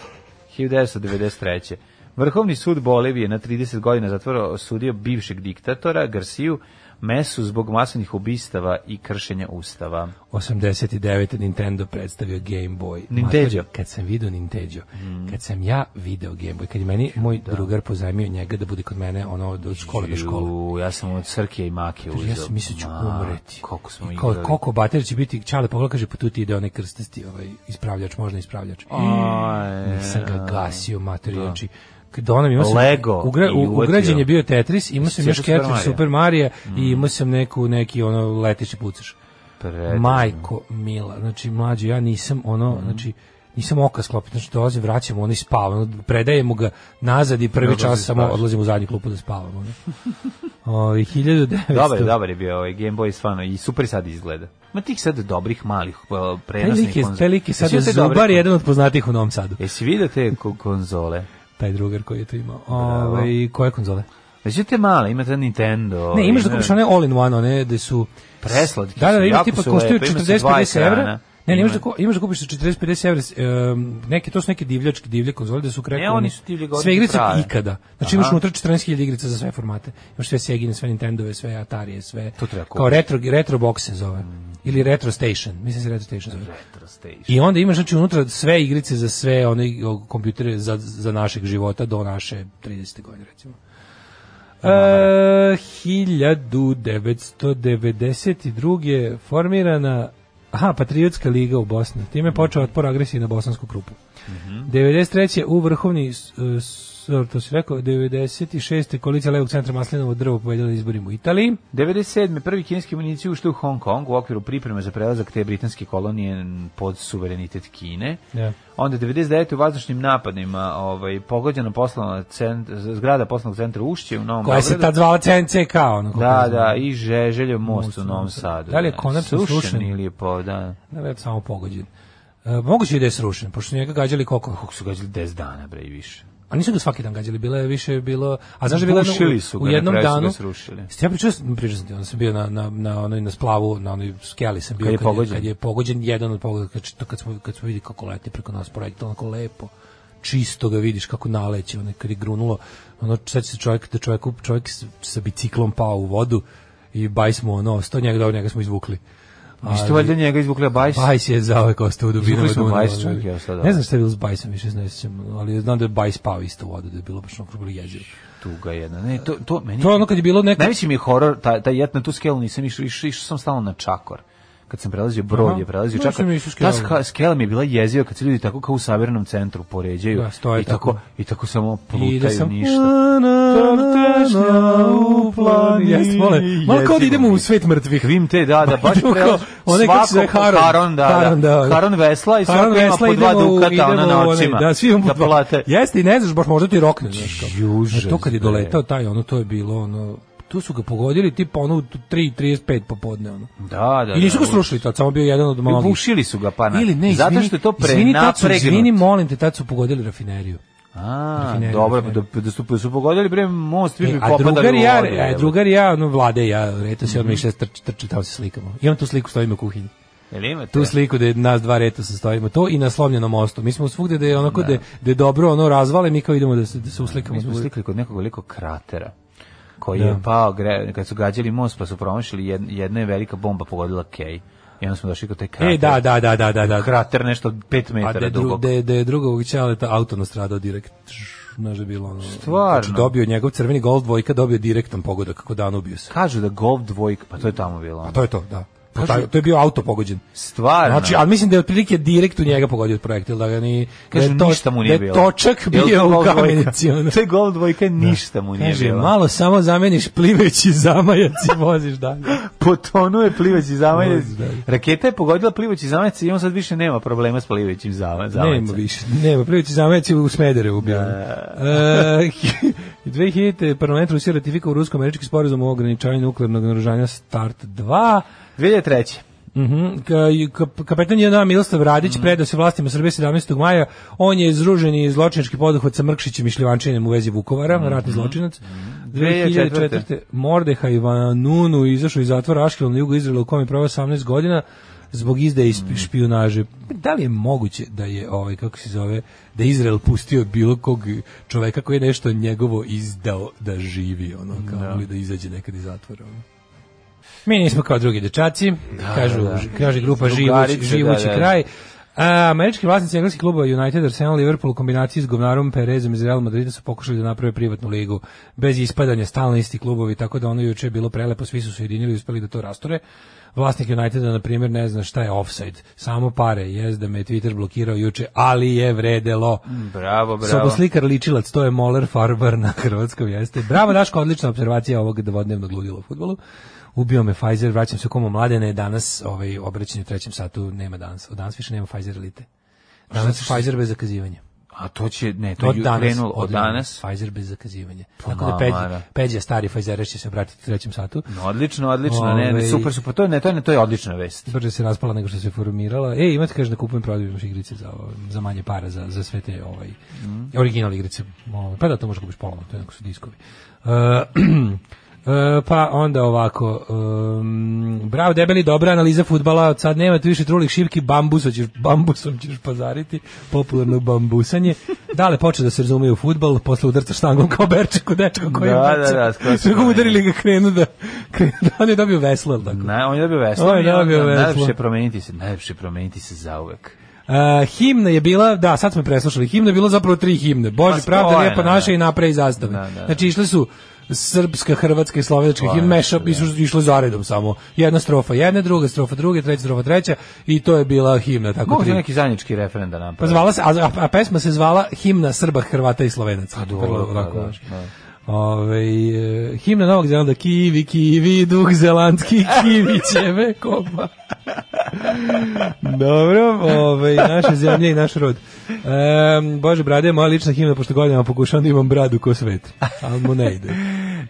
1993. Vrhovni sud Bolivije na 30 godina zatvora osudio bivšeg diktatora Garciju Mesu zbog masovnih ubistava i kršenja ustava.
89. Nintendo predstavio Game Boy.
Nintendo.
Matori, Kad sam video Nintendo,
Mhm.
kad sam ja video Game Boy, kad je meni moj drugar pozajmio njega da bude kod mene ono od od škole do škole.
Ju, ja sam od Srkija i Make uzeo.
Ja sam mislio ću
Ma,
umreti.
Koliko smo
I kao-
igrali.
Koliko baterija će biti, čale pogledaj, kaže, pa tu ti ide onaj krstasti ovaj, ispravljač, možda ispravljač.
E, Aj,
Nisam ga gasio, mater, znači, kada ona mi imao sam,
Lego
ugra,
i
u-
uvatio.
ugrađen je bio Tetris, imao sam
Super
još Ketris
Mario. Mm.
Super Marija i imao sam neku, neki ono leteći pucaš.
Pretežno.
Majko mila, znači mlađe, ja nisam ono,
Mm.
znači, nisam oka sklopiti, znači dolazim, vraćam, ono i spavam, ono, predajemo ga nazad i prvi čas samo odlazim u zadnju klupu da spavam. Ono. *laughs* O, 1900...
Dobar, je, dobar je bio ovaj Game Boy stvarno i super sad izgleda. Ma tih sad dobrih malih uh,
Taj
prenosnih
lik je,
konzola.
taj lik je sad
Jesi vidio te dobre
zubar,
kon-
jedan od poznatijih u Novom Sadu.
Jesi vidio te ko- konzole?
Taj drugar koji je to imao. Ovaj, Ove, koje konzole?
Znači te male, imate Nintendo.
Ne, imaš da
ima-
kupiš one all in one, one da su
Pa Preslatke
Da, da,
su,
da, ima
jako
tipa
su
koštaju
lepe, ima se
40
dva
50 evra.
ekrana.
Ne, ne, imaš
Ima.
da, ko- imaš da kupiš za 40 50 evra, em, neke to su neke divljačke divlje konzole da su krekane.
oni su divlje godine
Sve igrice
prave.
ikada. Znači imaš unutra 14.000 igrica za sve formate. Imaš sve Segine, sve Nintendove, sve Atarije, sve
To treba
kao
kupiti. Mm.
retro retro box se zove. Ili Retro Station, mislim se Retro Station zove.
Retro Station.
I onda imaš znači unutra sve igrice za sve one o, kompjutere za, za našeg života do naše 30. godine recimo. E, 1992. formirana aha, Patriotska liga u Bosni. Time je počeo otpor agresiji na bosansku krupu. 93. u vrhovni s- s- e, to si rekao, 96. koalicija levog centra Maslinovo drvo pobedila na izborima u Italiji.
97. prvi kineski municij ušli u Hong Kong u okviru pripreme za prelazak te britanske kolonije pod suverenitet Kine.
Da.
Onda 99. u vazdušnim napadima ovaj, pogođena poslovna cent, zgrada poslovnog centra Ušće u Novom
Koja se
Beogradu.
tad zvala CNCK. Ono, koliko
Da,
znam.
da, i Žeželjev most u Novom Sadu.
Da li je konačno srušen?
ili je po, da.
Na web samo pogođen. E, moguće i da je srušen, pošto su njega gađali koliko?
Kako su gađali 10 dana, bre, i više.
A nisu ga svaki dan gađali, bilo je više bilo, a znaš da je bilo jedno-
Bušili su ga,
u
na
jednom
kraju su ga
danu.
srušili.
Jeste Ja pričao, sam- pričao sam ti, onda sam bio na na na onoj na splavu, na onoj skeli sam bio
Kad je pogođen?
kad je pogođen jedan od pogođenih, kad, to kad smo kad smo vidjeli kako leti preko nas projektil, onako lepo čisto ga vidiš kako naleće, onaj kad je grunulo, ono sad se čovjek da čovjek čovjek s- sa biciklom pao u vodu i bajs mu ono, sto njega dobro, njega smo izvukli.
Vi ste valjda njega izvukli bajs?
Bajs je zaovek ostao u dubinama
Izvukli smo
Dunava,
Bajs,
da.
čovjek je ostao, da.
ovaj. Ne znam šta je bilo s Bajsom, više ne sjećam, ali znam da je Bajs pao isto u vodu, da je bilo baš onako bilo jezivo.
Tuga jedna. Ne, to, to, meni...
To je ono kad je bilo neko...
Najveći mi je horor, taj, taj jet na tu skelu nisam išao, išao, išao sam stalno na čakor. kad sam prelazio brod
Aha.
je prelazio
No,
čak
sam i išao
ta
skelom.
ska- skela mi je bila jeziva kad se ljudi tako kao u savernom centru poređaju
Da, stoje
i tako,
tako.
i tako samo
I da
plutaju
sam...
ništa
Crtešnja u planini. Jeste, mole. Malo kao da idemo u svet mrtvih.
Kvim te, da, da,
*laughs*
baš
Idemo
prelaz,
kao- onaj kako se zove,
svako
Haron.
Haron, da,
Haron,
da,
da.
Haron vesla i svako ima po dva
idemo u-
dukata, ona
idemo
na
u onaj-
očima,
Da, svi imamo po
da
dva.
plate.
Jeste, i ne znaš, baš možda ti rokne, znaš kao.
Juže,
A to kad je
bre.
doletao taj, ono, to je bilo, ono, tu su ga pogodili tipa ono u 3.35 popodne, ono.
Da, da.
I nisu
da,
ga srušili tad, samo bio jedan od
I
mnogih.
Bušili su ga, pa na.
Ili ne,
zato
izvini,
što je to
izvini, tad su- Izvini,
prenapregnut.
molim te, tad su pogodili rafineriju.
A,
rafineriju,
dobro,
rafineriju.
da, da su, da su pogodili bre most, vi
E,
bi
a
popadali
drugar
u
i ja,
vodu.
a
evo.
drugar i ja, ono, vlade i ja, reto se odmah išli, trč, trč, tamo se slikamo. Imam tu sliku, stojimo u kuhinji.
Jel imate?
Tu sliku da je nas dva reta se stojimo, to i na slomljenom mostu. Mi smo svugde da je onako da, je- da je dobro ono razvale, mi kao idemo da se, da se uslikamo.
Mi smo
zbog-
slikali kod nekog velikog kratera koji
Da.
je pao, gre, kad su gađali most pa su promašili, jed- jedna je velika bomba pogodila Kej. I onda smo došli kod taj krater.
E, da, da, da, da, da, da.
Krater nešto 5
A da
metara
je, dru,
dugog.
da, je, da je drugog ćaleta auto nastradao direkt. Znaš da je bilo ono...
Stvarno?
Znači dobio njegov crveni gol dvojka, dobio direktan pogodak kako dan ubio se.
Kažu da golf dvojka, pa to je tamo bilo.
A to je to, da. Pa taj- to je bio auto pogođen.
Stvarno.
Znači, ali mislim da je otprilike direkt u njega pogodio projektil, da ga ni...
Kažu,
da je to-
ništa mu nije
da
bilo.
je točak
Jel to
bio u
golf dvojka?
kamenici. ono.
*laughs* To je golf dvojka, ništa mu nije
Kaže,
bilo.
malo samo zameniš plivajući zamajac i voziš dalje.
potonuo je plivaći zamajac.
Vozi, da.
Raketa je pogodila plivaći zamajac i on sad više nema problema s plivaćim zama- zamajcem.
Nema više. Nema, plivajući zamajac je u Smederevu ubio. E, *laughs* 2000. parlament Rusije ratifikao rusko-američki sporazum o ograničavanju nuklearnog naružanja START 2.
2003.
Mhm. Ka- i kap- Kapetan JNA Miloslav Radić predao se vlastima Srbije 17. maja. On je izruženi zločinački poduhvat sa Mrkšićem i Šljivančinom u vezi Vukovara, ratni zločinac. 2004. Mordeha Ivanunu izašao iz zatvora Aškelom na jugu Izraela u kom je provao 18 godina zbog izdaje i sp- špijunaže. Da li je moguće da je, ovaj, kako se zove, da je Izrael pustio bilo kog čoveka koji je nešto njegovo izdao da živi, ono, kao ili da izađe nekad iz zatvora, ono. Mi nismo kao drugi dečaci, kažu, kaže grupa
Drugarice,
Živući, živući
da, da.
kraj. A, američki vlasnici engleskih klubova United, Arsenal, Liverpool u kombinaciji s govnarom Perezom iz Real Madrida su pokušali da naprave privatnu ligu bez ispadanja stalno isti klubovi, tako da ono juče je bilo prelepo, svi su se ujedinili i uspeli da to rasture. Vlasnik Uniteda, na primjer, ne zna šta je offside. Samo pare, jezda me je Twitter blokirao juče, ali je vredelo.
Bravo, bravo.
Soboslikar ličilac, to je Moller Farber na hrvatskom jeste. Bravo Daško, odlična observacija ovog dvodnevnog ludila u futbolu. Ubio me Pfizer, vraćam se komu mladene, danas ovaj, obraćanje u trećem satu nema danas. Od danas više nema Pfizer elite. Danas Pfizer bez zakazivanja.
A to će, ne, to
Od
je
danas,
krenulo od danas.
Pfizer bez zakazivanja.
Pa,
Tako da
mamara.
Peđa, Peđa stari Pfizer će se obratiti u trećem satu.
No, Odlično, odlično, ne, ne,
Ovaj-
super, super, to je, ne, to je, ne, to je odlična vest.
Brže se raspala nego što se formirala. E, imate kaže da kupujem prodaju još igrice za, ovo, za manje para, za, za sve te ovaj,
Mm.
original igrice. Ovaj, Pa da, to možeš kupiš polovno, to je onako su diskovi. E, *clears throat* e, pa onda ovako em, bravo debeli dobra analiza futbala sad nema tu više trulih šipki bambusom ćeš, bambusom ćeš pazariti popularno bambusanje dale počeo da se razume u futbal posle udarca štangom kao berček u dečko koji
Da,
je bacio.
da,
*laughs*
da, skroz
Su ga
promenio.
udarili ga krenu da, krenu *laughs* da on je dobio veslo jel tako?
Ne, on je dobio veslo.
On je dobio veslo.
Najlepše je promeniti se, najlepše je promeniti se zauvek.
Uh, himna je bila, da, sad smo je preslušali, himna je bila zapravo tri himne. Bože,
Pa
pravda,
spojena,
lijepa
da.
naša i napre i zastave.
Da, da, da.
Znači, išle su srpska, hrvatska i slovenačka himna, meša, i su išle zaredom samo. Jedna strofa jedne, druga strofa druge, treća strofa treća i to je bila himna. Tako
Mogu
tri.
neki zajednički referenda napraviti.
Pa zvala se, a, a, a pesma se zvala Himna Srba, Hrvata i Slovenaca.
dobro,
Vrlo
da,
onako,
da,
znaš.
da.
Ovaj, e, himna Novog Zelanda, kivi, kivi, duh zelandski, kivi će me kopa. Dobro, ovaj, naše zemlje i naš rod. Em, Bože, brade, je moja lična himna, pošto godinama pokušavam da imam bradu ko svet, ali mu ne ide.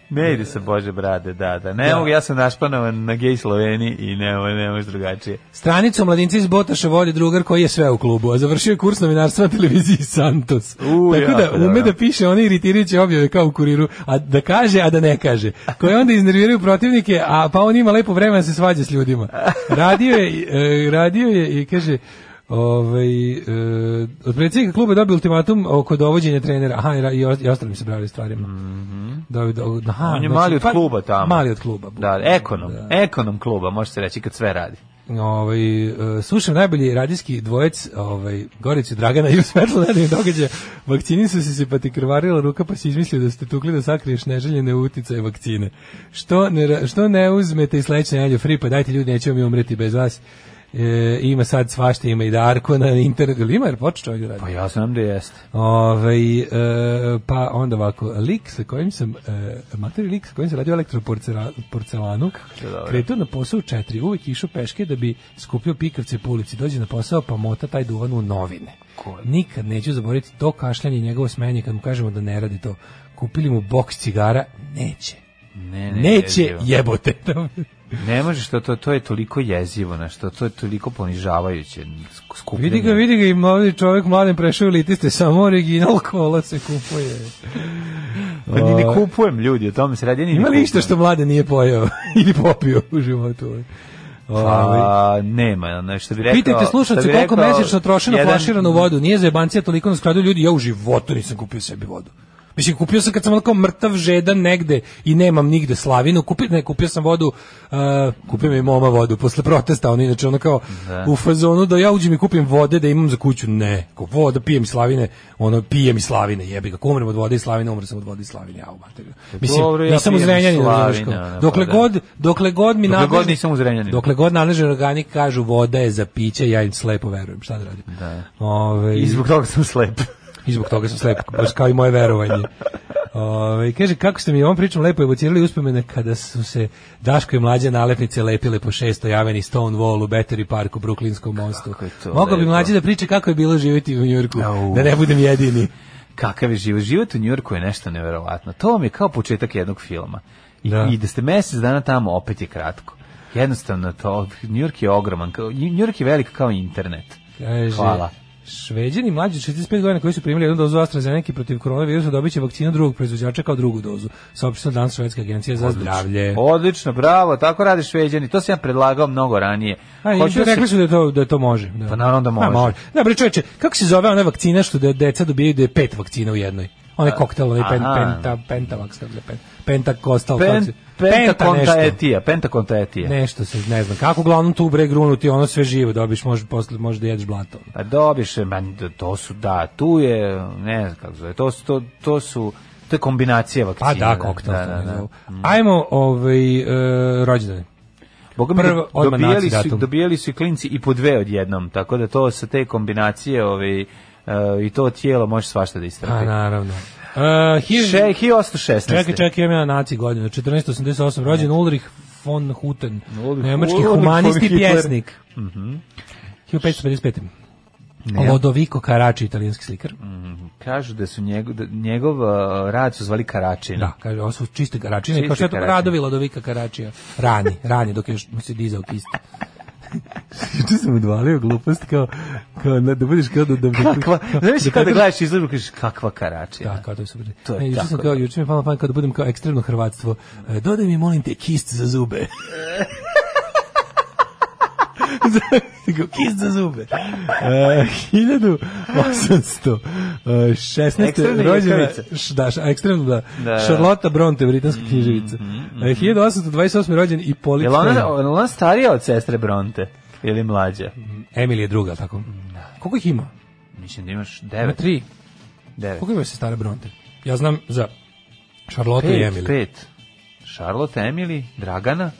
Ne ide se, Bože, brade, da, da. Ne mogu, ja sam našpanovan na gej Sloveniji i ne, mo- ne možeš drugačije.
Stranicu mladinci iz Botaša vodi drugar koji je sve u klubu, a završio je kurs novinarstva na televiziji Santos.
U,
Tako
jako
da ume
dobro.
da piše one iritirajuće objave kao u kuriru, a da kaže, a da ne kaže. Koje onda iznerviraju protivnike, a pa on ima lepo vremena da se svađa s ljudima. Radio je, e, radio je i kaže, Ovaj, e, od predsjednika kluba je dobio ultimatum oko dovođenja trenera. Aha, i ra- i, o- i ostalim se bravili stvarima. Dobio do- aha,
Mhm. On je
znači,
mali od
pa-
kluba tamo.
Mali od kluba.
Da, ekonom, ekonom kluba, može se reći, kad sve radi.
Ovaj e, slušam najbolji radijski dvojec, ovaj Goricu Dragana *laughs* i Svetlo Nedelje događa. Vakcini su se se pa ti krvarila ruka pa si izmislio da ste tukli da sakriješ neželjene uticaje vakcine. Što ne ra- što ne uzmete i sledeće nedelje free pa dajte ljudi nećemo mi umreti bez vas. E, ima sad svašta, ima i Darko na internetu, ili ima jer počeo čovjek da radi.
Pa ja znam da jeste.
Ovaj, e, pa onda ovako, lik sa kojim sam, e, materi lik sa kojim sam radio elektroporcelanu, kretao na posao u četiri, uvijek išao peške da bi skupio pikavce po ulici, dođe na posao pa mota taj duvan u novine. Nikad neću zaboraviti to kašljanje i njegovo smenje kad mu kažemo da ne radi to. Kupili mu boks cigara, neće.
Ne, ne,
Neće
jezivo. *laughs*
jebote.
Ne možeš, to, to, to je toliko jezivo, znaš, to, to je toliko ponižavajuće. sk- Skupljanje.
vidi ga, vidi ga, i mladi čovjek mladen prešao u litiste, samo original kola se kupuje.
Pa ni ne kupujem ljudi, o tome se radi. ja Ni ne
Ima li išta
kupujem.
što mlade nije pojeo *laughs* ili popio u životu? Ovaj.
Pa, nema, ono što bi rekao...
Pitajte
što
slušalce
bi
koliko
rekao
mesečno troše na
jedan-
flaširanu vodu. Nije za jebancija toliko nas kradu ljudi. Ja u životu nisam kupio sebi vodu. Mislim, kupio sam kad sam ono kao mrtav žedan negde i nemam nigde slavinu. Kupio, ne, kupio sam vodu, uh, kupio mi je moma vodu posle protesta. Ono, inače, ono kao u fazonu da ja uđem i kupim vode da imam za kuću. Ne, ko voda, pijem iz slavine, ono, pijem iz slavine, jebi ga. Ako umrem od vode i slavine, umrem sam od vode i slavine. Ja, u materinu. Mislim,
Dobro, ja
nisam
pijem iz
uzrenjanin.
slavine,
znaš, kao,
ono, pa
Dokle
da.
god, dokle god mi
Dokle god
nadležni-
nisam uz Renjanin.
Dokle god nadležni organi kažu voda je za piće, ja im slepo verujem. Šta da radim? Da. Ove,
I zbog toga sam slep.
i zbog toga sam slep, baš kao i moje verovanje. Ove, kaže, kako ste mi ovom pričom lepo evocirali uspomene kada su se Daško i mlađe nalepnice lepile po šesto javeni Stonewall u Battery Parku, Brooklynskom mostu.
je to
Mogao bi
lepo.
mlađe da priče kako je bilo živjeti u Njurku,
Au.
da ne budem jedini.
Kakav je život? Život u Njurku je nešto neverovatno. To vam je kao početak jednog filma. I
Da.
da, i da ste mesec dana tamo, opet je kratko. Jednostavno to, Njurk je ogroman, kao, Njurk je velik kao internet.
Kaže,
Hvala.
Šveđani mlađi od 65 godina koji su primili jednu dozu AstraZeneca protiv koronavirusa dobit će vakcinu drugog proizvođača kao drugu dozu, saopštila danas Švedska agencija za zdravlje.
Odlično, bravo, tako rade šveđani. To sam ja predlagao mnogo ranije.
A, i
Hoću da
rekli
se
su da to, da to može. Da.
Pa naravno da može.
A, Da, bre čoveče, kako se zove ona vakcina što da deca dobijaju da je pet vakcina u jednoj? Onaj koktel, onaj pen,
aha.
penta, pentavax, kako se pen, pentakostal, kako se-
Pen, pentakonta
nešto.
etija, pentakonta etija.
Nešto se, ne znam. Kako uglavnom tu bre grunu ti ono sve živo dobiš, može, posle, može da jedeš blato.
Pa dobiš, man, to su, da, tu je, ne znam kako zove, to su, to, to su, to je kombinacija vakcina.
Pa da, koktel.
Da,
to
da, Mm.
ne
da.
zovu. Ajmo ovaj, e, rođendane.
Boga mi,
Prvo, odmah
dobijali,
naci
su,
datum.
dobijali su i klinci i po dve odjednom, tako da to sa te kombinacije ovaj, e, i to tijelo može svašta da
Pa
istrapi.
naravno. Uh,
Še, 1816.
Čekaj, čekaj, imam ja naci godinu. 1488 rođen Ulrich von Hutten,
Ulrich-
nemački
Ulrich von
humanist i
Hitler.
pjesnik.
Mhm.
1555. Lodovico Karači, italijanski slikar.
Mhm.
Kažu da su njegov, da, njegov e, rad su zvali Karačin.
Da, kaže, ovo su čiste Karačine,
Čiste
kao što je to
Karačine.
radovi Lodovika Karačija. Rani, rani, dok je još mu se dizao
*laughs*
kista.
Juče sam odvalio glupost kao, kao da budeš kao da... da
Kakva, znaš kada gledaš izložbu, kažeš kakva Karačina.
Da, kao to je super.
To je
ne, juče sam
tako
kao,
dobro.
juče mi je palo na pamet kao da budem kao ekstremno hrvatstvo. E, Dodaj mi, molim te, kist za
*laughs*
zube. Kao, kist za zube. E, 1800 e, 16.
Ekstremna
rođena
ljukavica.
š- da, š- ekstremno da,
Da, da.
Charlotte Bronte, britanska književica. E, 1828. rođen i Polit
Jel ona, jel ona starija od sestre Bronte? Ili mlađa?
Emily je druga, tako. Koliko ih ima?
Mislim da imaš
Ima
9.
tri.
9.
Koliko ima se stare Bronte? Ja znam za Charlotte i
5.
Emily.
5. Charlotte, Emily, Dragana,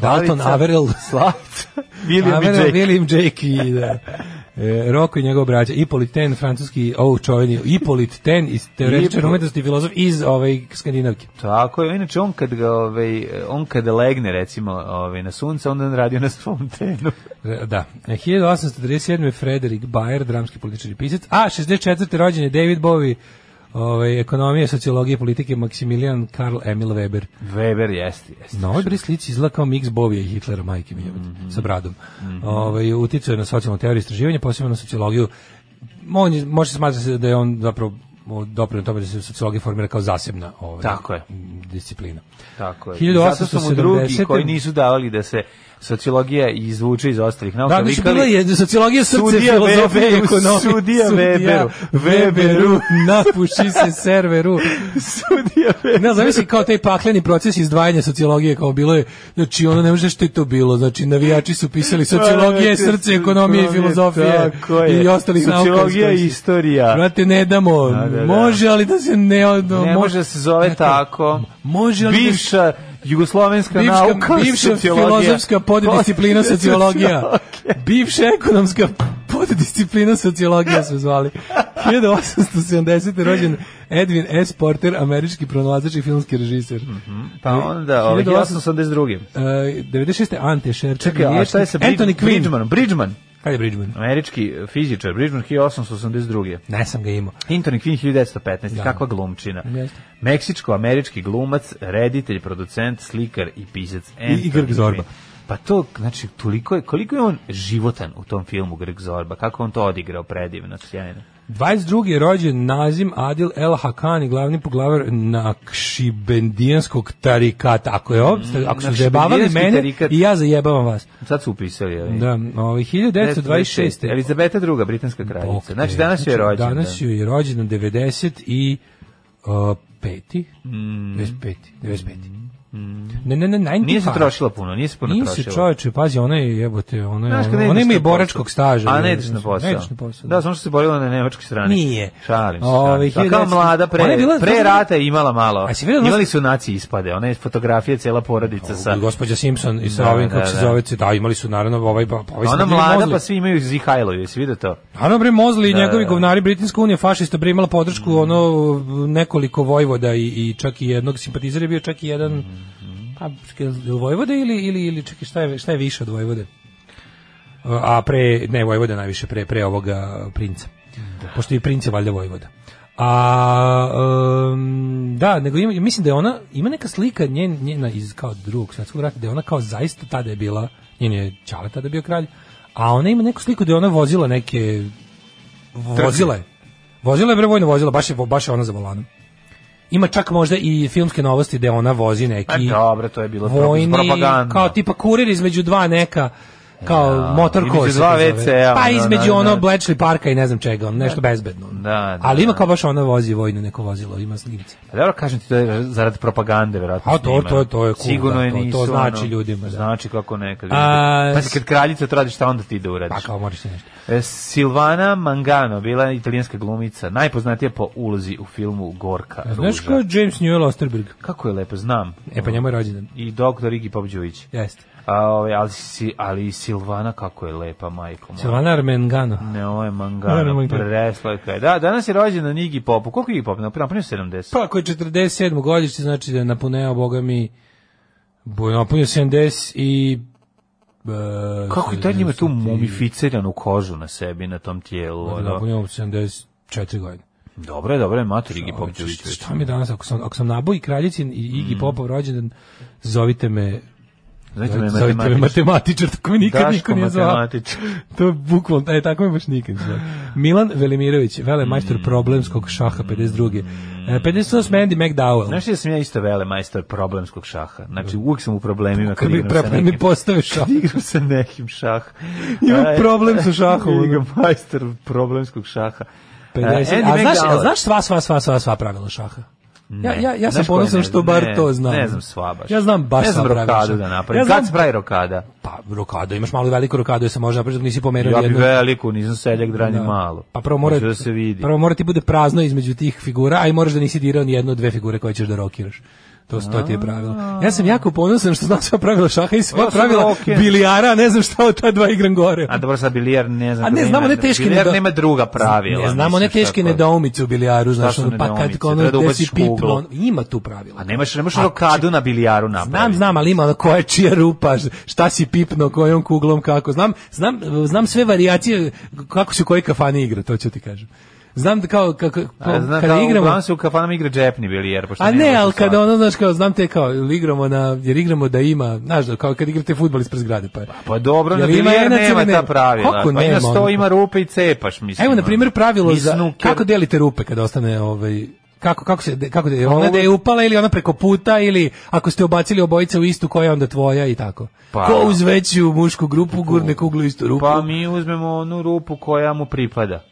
Dalton
Slavica.
Averell.
Slavica, William i
Averell,
Jake.
William Jake i da. E, Roko i njegov braća, Ipolit Ten, francuski, ovo čoveni, Ipolit Ten, iz teoretičar
Ipolit.
umetnosti i filozof iz ovaj, Skandinavke.
Tako je, inače on kad ga, ovaj, on kad legne recimo ovaj, na sunce, onda on radi na svom tenu.
E, Da. E, 1837. je Frederik Bayer, dramski političar i pisac, a 64. rođen je David Bowie, ovaj, ekonomije, sociologije, politike, Maximilian Karl Emil Weber.
*laughs* Weber jeste, jeste.
Na ovoj bris slici izgleda kao miks Bovija i Hitlera, majke mi jebote,
Mhm.
sa bradom. Ovaj, uticao je na socijalnu teoriju istraživanja, posebno na sociologiju. On je, može se smatrati da je on zapravo doprinio tome da se sociologija formira kao zasebna ovaj,
Tako je.
disciplina.
Tako je.
1870.
Zato su mu drugi koji nisu davali da se sociologija izvuče iz ostalih nauka.
Da, znači
vikali,
bila
*laughs*
je sociologija srce,
Sudija
filozofija i
Weberu,
ekonomija.
sudija Weberu, Weberu.
napuši se serveru.
Sudija Weber.
Ne, zamisli kao taj pakleni proces izdvajanja sociologije kao bilo je, znači ono ne može što je to bilo, znači navijači su pisali sociologije,
Sociologije,
srce, ekonomije i filozofije
tako je.
i ostalih nauka.
Sociologija i istorija.
Brate, ne damo,
da, da.
može ali da se ne... ono,
Ne može da se zove tako.
Može ali da se-
Bivša jugoslovenska
bivša,
nauka,
bivša
sociologija.
filozofska poddisciplina sociologija.
Sociologija.
Bivša ekonomska poddisciplina sociologija su zvali. 1870. rođen Edwin S. Porter, američki pronalazač i filmski režiser.
Pa onda, ovaj,
1882.
1882.
E, 96. Ante Šerček.
Čekaj, a šta je sa Brid-
Anthony Quinn.
Bridgmanom? Bridgman,
Kaj je Bridgman?
američki e, fizičar, Bridgman 1882.
Ne sam ga imao.
Anthony Quinn 1915, kakva glumčina.
Jeste.
Meksičko-američki glumac, reditelj, producent, slikar i pisac. Anthony
Grg Zorba.
Quinn. Pa to, znači, toliko je, koliko je on životan u tom filmu Grg Zorba, kako je on to odigrao predivno, sjajno.
22. je rođen Nazim Adil El Hakani, glavni poglavar Nakšibendijanskog tarikata. Ako, je, ob- ako su zajebavali
Nakšibendijanski
mene,
tarikat.
i ja zajebavam vas.
Sad su upisali. Ovaj.
Da, ovaj 1926.
Elizabeta II, britanska kraljica.
Bog te.
znači, danas joj je
Znači,
rođen.
Danas
da.
joj je rođena 90 i uh, peti? 95. 95. Ne, ne, ne, 95.
Mm. Nije se trošila puno, nije se puno
Pa. Nije se
trošila.
čoveče, pazi, ona je jebote, ona, je,
Znaš, kad
ona,
ne
ona
ideš
ima i
na posao.
boračkog staža.
A ne ideš na posao.
Ne ideš na posao.
Da, samo što se borila na nemačkoj strani.
Nije.
Šalim se.
Ove,
Ove, A kao
1900
mlada, pre,
Ona je bila-
pre rata je imala malo.
A si vidjela-
Imali su naci ispade. Ona je fotografija cijela porodica sa...
I gospođa Simpson i sa
Da,
ovim, kako
da,
se
da.
zove, da, imali su naravno ovaj... Pa, pa ovaj
Ona
snimljeni
mlada,
mozli.
pa svi imaju Zihajlovi, jesi vidio to?
Naravno bre Mozli i
Da,
njegovi
da. Mm.
govnari Britanska unija fašista bre imala podršku ono nekoliko vojvoda i, i čak i jednog simpatizera je bio čak i jedan
Mhm.
pa čekaj, jel vojvode ili ili ili čekaj šta je šta je više od vojvode? A pre ne vojvode najviše pre pre ovoga princa. Pošto i princ je valjda vojvoda. A em, da, nego ima, mislim da je ona ima neka slika njen njena iz kao drugog svetskog rata da je ona kao zaista tada je bila njen je ćale tada bio kralj. A ona ima neku sliku da je ona vozila neke vozila je. Vozila je bre vojno vozila, baš je, baš je ona za volanom. Ima čak možda i filmske novosti gde ona vozi
Pa
neki
dobro, to je bilo
vojni,
propaganda.
kao tipa kurir između dva neka kao
Ja,
motor
između
koš.
dva WC-a,
Pa
ono,
između
da,
ono
da.
Bletchley parka i ne znam čega, ono, nešto bezbedno.
Da, da,
Ali ima
da.
kao baš ona vozi vojno neko vozilo, ima snimce.
A dobro, kažem ti, to je zarad propagande, verovatno.
A to-
snimano.
to je- to je cool,
Sigurno
da,
je
to- to
nisu,
znači
ono,
ljudima, da.
Znači kako nekad.
A,
Pa kad kraljica to radi, šta onda ti da
Pa
uradiš?
kao moraš nešto.
E, Silvana Mangano, bila je italijanska glumica, najpoznatija po ulozi u filmu Gorka.
Znaš
Ruža.
ko je James Newell Osterberg?
Kako je lepo, znam.
E pa njemu je rođendan.
I doktor Igi Popđović.
Jeste.
A, ovaj, ali, si- ali i Silvana kako je lepa, majko moja.
Silvana Armengano.
Ne, ovo je
Ovo
Mangano,
je Mangano.
preslaka. je. Da, danas je rođena Igi Popu. Koliko je Igi Pop? Napunio 70.
Pa ako je 47. godište, znači da je napuneo, boga mi, bo je napunio 70 i... e,
Kako je taj njima tu
70 i-
mumificiranu kožu na sebi, na tom tijelu? Ono?
Napunio 74 godine.
Dobro je, dobro je, matur Igi
Ovi,
Popđović.
Znači, šta- Šta mi je danas, ako sam, ako sam naboj i kraljicin i
Mm.
Igi Popov rođendan, zovite me
Znate me,
Zovite me
matematičar.
matematičar, tako me nikad
Daško
niko nije zvao.
matematičar.
To je bukvalno, e, tako me baš nikad
*laughs*
zvao. Milan Velimirović, velemajstor
Mm.
problemskog šaha 52. E, 58. Andy McDowell.
Znaš da sam ja isto vele majstor problemskog šaha. Znači, uvijek sam u problemima kad
Kad mi,
igram sa
pre,
nekim.
mi postave šah.
Kad *laughs* igram sa nekim šah.
Imam
E,
problem sa šahom, ono.
*laughs* Igram majstor problemskog šaha.
50.
E,
A
Andy
znaš,
McDowell.
a znaš sva, sva, sva, sva, sva pravila šaha? Ja,
Ne.
ja, ja sam
Znaš koje
ponosan
ne
što
znam?
bar
Ne,
to znam.
Ne znam sva baš.
Ja znam baš
Ne znam
sva pravila
rokadu
šaha.
da napravim.
Ja
Kad
znam-
se pravi rokada?
Pa, rokado, imaš malo i veliko rokado, ja sam možda napraviti, nisi pomerao
Ja bi
jednu.
veliku, nisam seljak dranje malo.
Pa prvo mora
Hoću da se vidi.
Prvo mora ti bude prazno između tih figura, a i moraš da nisi dirao ni jednu od dve figure koje ćeš da rokiraš. To su to ti je pravilo. Ja sam jako ponosan što znam sva pravila šaha i sva
Ja sam
pravila
roker.
bilijara, a ne znam šta od ta dva igram gore.
A dobro, sad bilijar ne znam.
A ne,
da
znamo
ima-
ne teške
Bilijar
nedo-
nema druga pravila.
Ne znamo ne
mislim,
teške
šta god.
nedoumice u bilijaru, znaš,
su
ono, pa kad
nedoumice?
ono,
Treba da
gde si
ubaciš kuglu.
piplo, ono, ima tu pravila.
A nemaš, nemaš
A,
rokadu na bilijaru
Znam,
napraviti.
znam, ali ima ono koja je čija rupa, šta si pipno, kojom kuglom, kako. Znam, znam, znam sve varijacije kako se u kojoj kafani igra, to ću ti kažem. Znam da kao, kako,
A, znam,
kad
kao,
Ono, igramo,
Uglavnom se u kafanama igra džepni bilijar. pošto
a ne,
nema
ali
za
kada
svaku.
ono, znaš, kao, znam te kao, jel igramo na, jer igramo da ima, znaš, da, kao kad igrate futbol ispred zgrade, pa je.
Pa dobro, na
Jel ima
bilijar
jednac ili
nema ta
nema?
pravila.
Kako
pa i
nema,
na sto
ono?
ima rupe i cepaš, mislim. ono.
Evo, na primjer, pravilo
I
za,
snooker.
kako delite rupe kada ostane, ovaj, kako kako se kako da ona da je upala ili ona preko puta ili ako ste obacili obojice u istu koja je onda tvoja i tako.
Pa-
Ko uz veću mušku grupu gurne kuglu u istu rupu.
Pa mi uzmemo onu rupu koja mu pripada.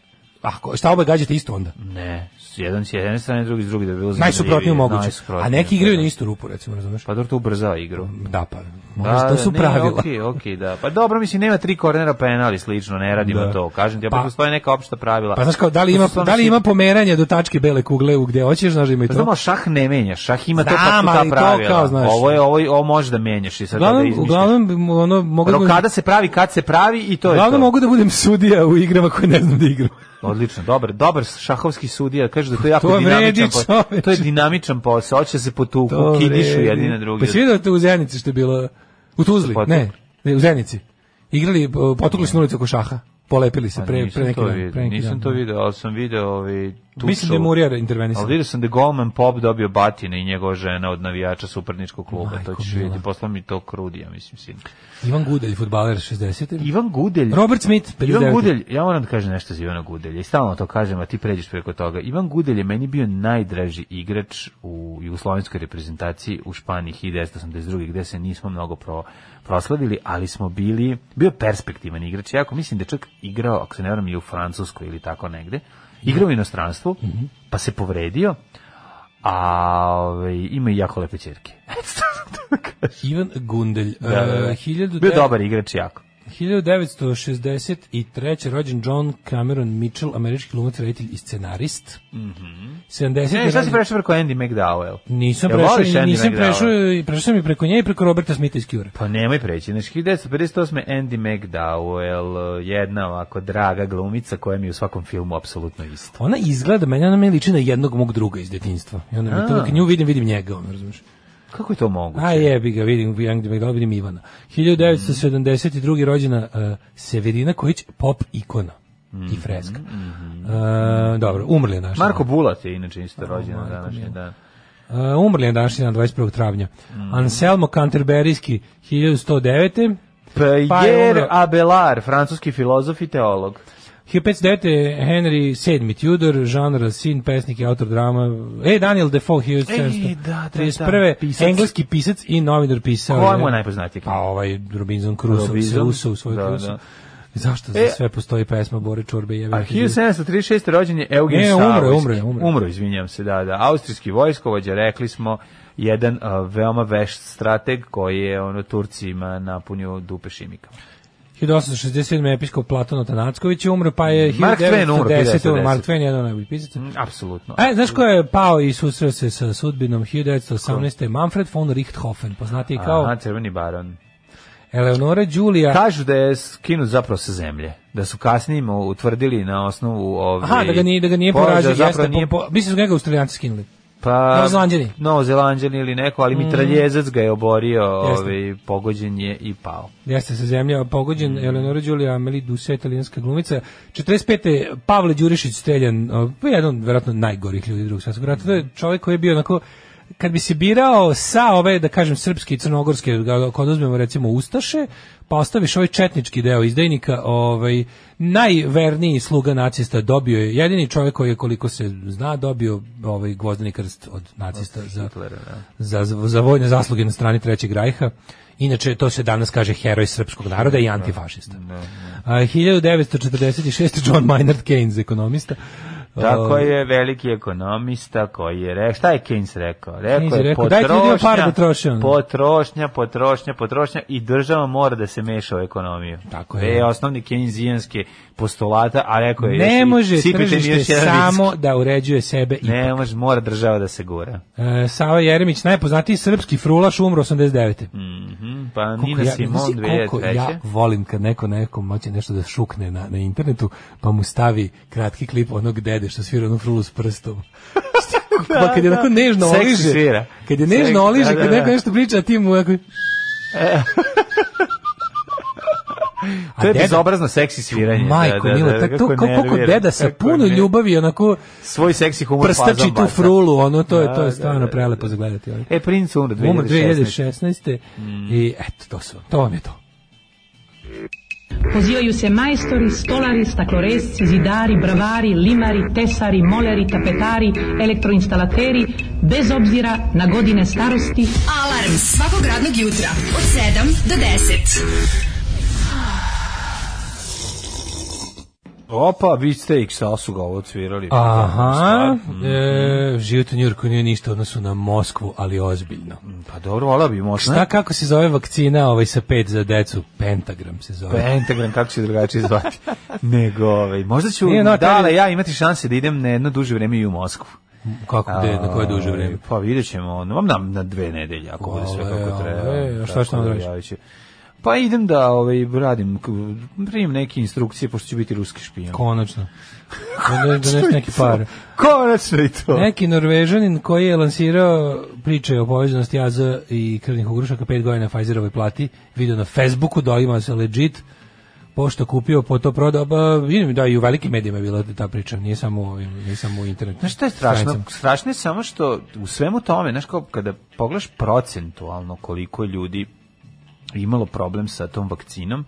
Ako Ah, šta oba gađate isto onda.
Ne, s jedan s jedne strane, drugi s drugi da bi bilo
Najsuprotnije
zanimljivije.
moguće.
Najsuprotnije,
A neki igraju
pa
na
da.
istu rupu recimo, razumeš?
Pa dobro to ubrzava igru.
Da pa. Možda to su
ne,
pravila.
Okej, okej, da. Pa dobro, mislim nema tri kornera penali slično, ne radimo
Da.
to. Kažem ti, ja
Pa-
pa, postoje neka opšta pravila.
Pa znaš kao, da li ima,
To su stvarno
da li
svi-
ima pomeranje do tačke bele kugle u gde hoćeš, znaš da ima i
Pa
to.
znamo, šah ne menja, šah ima to
Znam,
pa su ta
ali to
pravila.
kao, znaš.
ovo je, ovo, je- ovo može da menjaš i sad da
Uglavnom,
izmišljaš.
uglavnom, bi mu ono, mogu da budem,
Rokada se pravi kad se pravi i to je to.
uglavnom mogu da budem sudija u igrama koje ne znam da igram.
Odlično, dobar, dobar šahovski sudija, kaže da to je jako
To vredi,
dinamičan posao.
čoveče.
To je dinamičan posao, hoće se potuku,
To
kinišu
vredi.
jedni na drugi.
Pa si vidio to u Zenici što je bilo? U Tuzli,
Potukli.
ne, ne, u Zenici. Igrali, o, potukli su na ulicu oko šaha. Polepili se pre, pre neki
to
dan. Pre
vidio,
neki
Pa nisam
dan.
to video, ali sam video ovaj tuču.
Mislim da je Murija intervenisao.
Ali vidio sam da je Golman Pop dobio batine i njegova žena od navijača suparničkog kluba.
Majko
to ćeš
mila.
vidjeti, poslao mi to krudija, mislim, sin.
Ivan Gudelj, futbaler 60.
Ivan Gudelj.
Robert Smith, 59.
Ivan Gudelj, ja moram da kažem nešto za Ivana Gudelja i stalno to kažem, a ti pređeš preko toga. Ivan Gudelj je meni bio najdraži igrač u jugoslovenskoj reprezentaciji u Španiji 1982. gde se nismo mnogo pro, proslavili, ali smo bili, bio je perspektivan igrač, jako mislim da je čak igrao, ako se ne varam, i u Francuskoj ili tako negde, igrao u inostranstvu,
Mhm.
pa se povredio, a ovaj, ima i jako lepe *laughs* čerke.
Ivan Gundelj, e, da,
da, da. bio je dobar igrač jako.
1963. rođen John Cameron Mitchell, američki glumac, reditelj i scenarist. Mm 70.
Ne, Mhm. E, šta si
rođen-
prešao preko Andy McDowell?
Nisam
Jel
prešao,
voliš
i
Andy
nisam
McDowell?
prešao, i prešao sam i preko nje i preko Roberta Smitha iz Cure.
Pa nemoj preći, znači 1958. Andy McDowell, jedna ovako draga glumica koja mi je u svakom filmu apsolutno ista.
Ona izgleda, meni ona me liči na jednog mog druga iz detinjstva. I onda mi to,
A.
kad nju vidim, vidim njega, ono, razumiješ.
Kako je to moguće?
A jebi ga, vidim, vidim, vidim, vidim Ivana. 1972. rođena eh, Severina Kojić, pop ikona i freska. Eh, dobro, umrli je naš.
Mhm, Marko Bulat je inače isto rođen na
Marko
današnji
mila.
dan.
Uh, umrli je današnji dan 21. travnja.
Mhm.
Anselmo Canterberijski 1109. Pa je
Pierre
umro.
Abelard, francuski filozof i teolog.
1509. je Henry VII. Tudor, Jean Racine, pesnik i autor drama. E, Daniel Defoe, 1731.
E, da, da, da, pisac.
Engleski pisac i novinar pisao.
Ko je
je-
mu je najpoznatiji?
Pa ovaj Robinson Crusoe,
Robinson.
Robinson. Crusoe u svojoj
Da,
Crusoe.
da.
Zašto za
E,
sve postoji pesma Bore Čorbe i
A
Jevike?
1736. rođen je Eugen
Ne, umro je,
Savojski.
umro je, umro je.
Umro, izvinjam se, da, da. Austrijski vojskovođa, rekli smo, jedan a, veoma vešt strateg koji je ono Turcima napunio dupe šimikama.
1867. episkop Platon Otanacković je umro, pa je
Mm, Mark Twain umro,
1910. umro,
1910.
Mark Twain je jedan od najboljih pisaca.
Apsolutno.
E, znaš ko je pao i susreo se sa sudbinom 1918. Manfred von Richthofen, poznati kao
Aha, crveni baron.
Eleonora Đulija.
Kažu da je skinut zapravo sa zemlje. Da su kasnije mu utvrdili na osnovu ove...
Aha, da ga nije, da ga nije
položaja,
poražio,
zapravo
jeste,
nije-
nije... po, po, mislim da su ga australijanci skinuli.
pa,
Novozelanđani. Mm.
Novozelanđani ili neko, ali mitraljezac ga je oborio,
Jeste.
ovaj, pogođen je i pao.
Jeste se zemlja pogođen, Eleonora Đulija, Amelie Doucet, italijanska glumica. 45. Pavle Đurišić streljan, o, pa jedan od verovatno najgorih ljudi drugog svjetskog rata. To je čovjek koji je bio onako kad bi se birao sa ove, da kažem, srpske i crnogorske, ga- ako oduzmemo recimo Ustaše, pa ostaviš ovaj četnički deo izdajnika, ovaj, najverniji sluga nacista dobio je, jedini čovjek koji je, koliko se zna, dobio ovaj gvozdeni krst od nacista za,
Hitlera, da.
za, za vojne zasluge na strani Trećeg rajha. Inače, to se danas kaže heroj srpskog naroda i antifašista. A, 1946. John Maynard Keynes, ekonomista.
Tako
Ovaj,
je veliki ekonomista koji je rekao, šta je Keynes rekao? Rekao
Keynes
je,
je rekao, dajte
potrošnja,
ljudima para da troše, ono.
potrošnja, potrošnja, potrošnja i država mora da se meša u ekonomiju.
Tako
To
je.
osnovni Keynesijanske postulata, a rekao je... još
Ne
i-
može
sipite mi
tržište
još jedan viski.
samo da uređuje sebe i
Ne, može, mora država da se gura.
E, Sava Jeremić, najpoznatiji srpski frulaš, umro 89. Mm,
Mhm, pa Nina Simon
koliko
2003.
ja volim kad neko nekom moće nešto da šukne na, na internetu, pa mu stavi kratki klip onog dede što svira onu frulu s
*laughs*
prstom. pa kad je onako nežno
Seksi
oliže,
svira.
kad je
Seksi,
nežno oliže,
da, da,
kad neko
da. E,
nešto priča, a ti mu onako... A
To je
deda-
bezobrazno seksi sviranje.
Majko, Mila, tak- to
kako
kao- koliko
nervira,
deda sa
kako
puno
ne-
ljubavi onako
Svoj seksi humor
prstači
fazom
tu
baca.
frulu, ono, to je, to
Da,
je
da,
stvarno
da, da.
prelepo za gledati. ovaj. ali.
E, princ umre
Umro
2016. Mm.
2016. I eto, to, su, to vam je to.
Pozivaju se majstori, stolari, stakloresci, zidari, bravari, limari, tesari, moleri, tapetari, elektroinstalateri, bez obzira na godine starosti.
Alarm svakog radnog jutra od 7 do 10.
Opa, beach steak, sa su ga ovo cvirali.
Aha,
Mm,
e, život u Njurku nije ništa u odnosu na Moskvu, ali ozbiljno.
Pa dobro, vola bi možda.
Šta, kako se zove vakcina ovaj sa pet za decu? Pentagram se
Pa
zove.
Pentagram, kako će drugačije
*laughs*
zvati. Nego, ovaj, možda ću,
Nije, no,
dale,
tebi-
ja imati šanse da idem na jedno duže vreme i u Moskvu.
Kako, gde, na koje duže vreme?
Pa vidjet ćemo, na, na, na dve nedelje, ako bude sve
Ale,
kako treba.
ale, a šta
Tako
ćeš tamo da radiš?
javit ću. Pa idem da ovaj, radim, k- primim neke instrukcije, pošto ću biti ruski špijan. *laughs*
Konačno. Da ne- da ne- neki par.
Konačno i to.
Neki Norvežanin koji je lansirao priče o povezanosti AZ i krvnih ugrušaka pet godina Pfizerovoj plati, video na Facebooku, doima se legit, pošto kupio, po to prodao, ba, vidim da i u velikim medijima je bila ta priča, nije samo, u ovim, nije samo u internetu.
Znaš Pa šta je strašno?
stranicama.
Strašno je samo što u svemu tome, znaš kao kada pogledaš procentualno koliko je ljudi imalo problem sa tom vakcinom,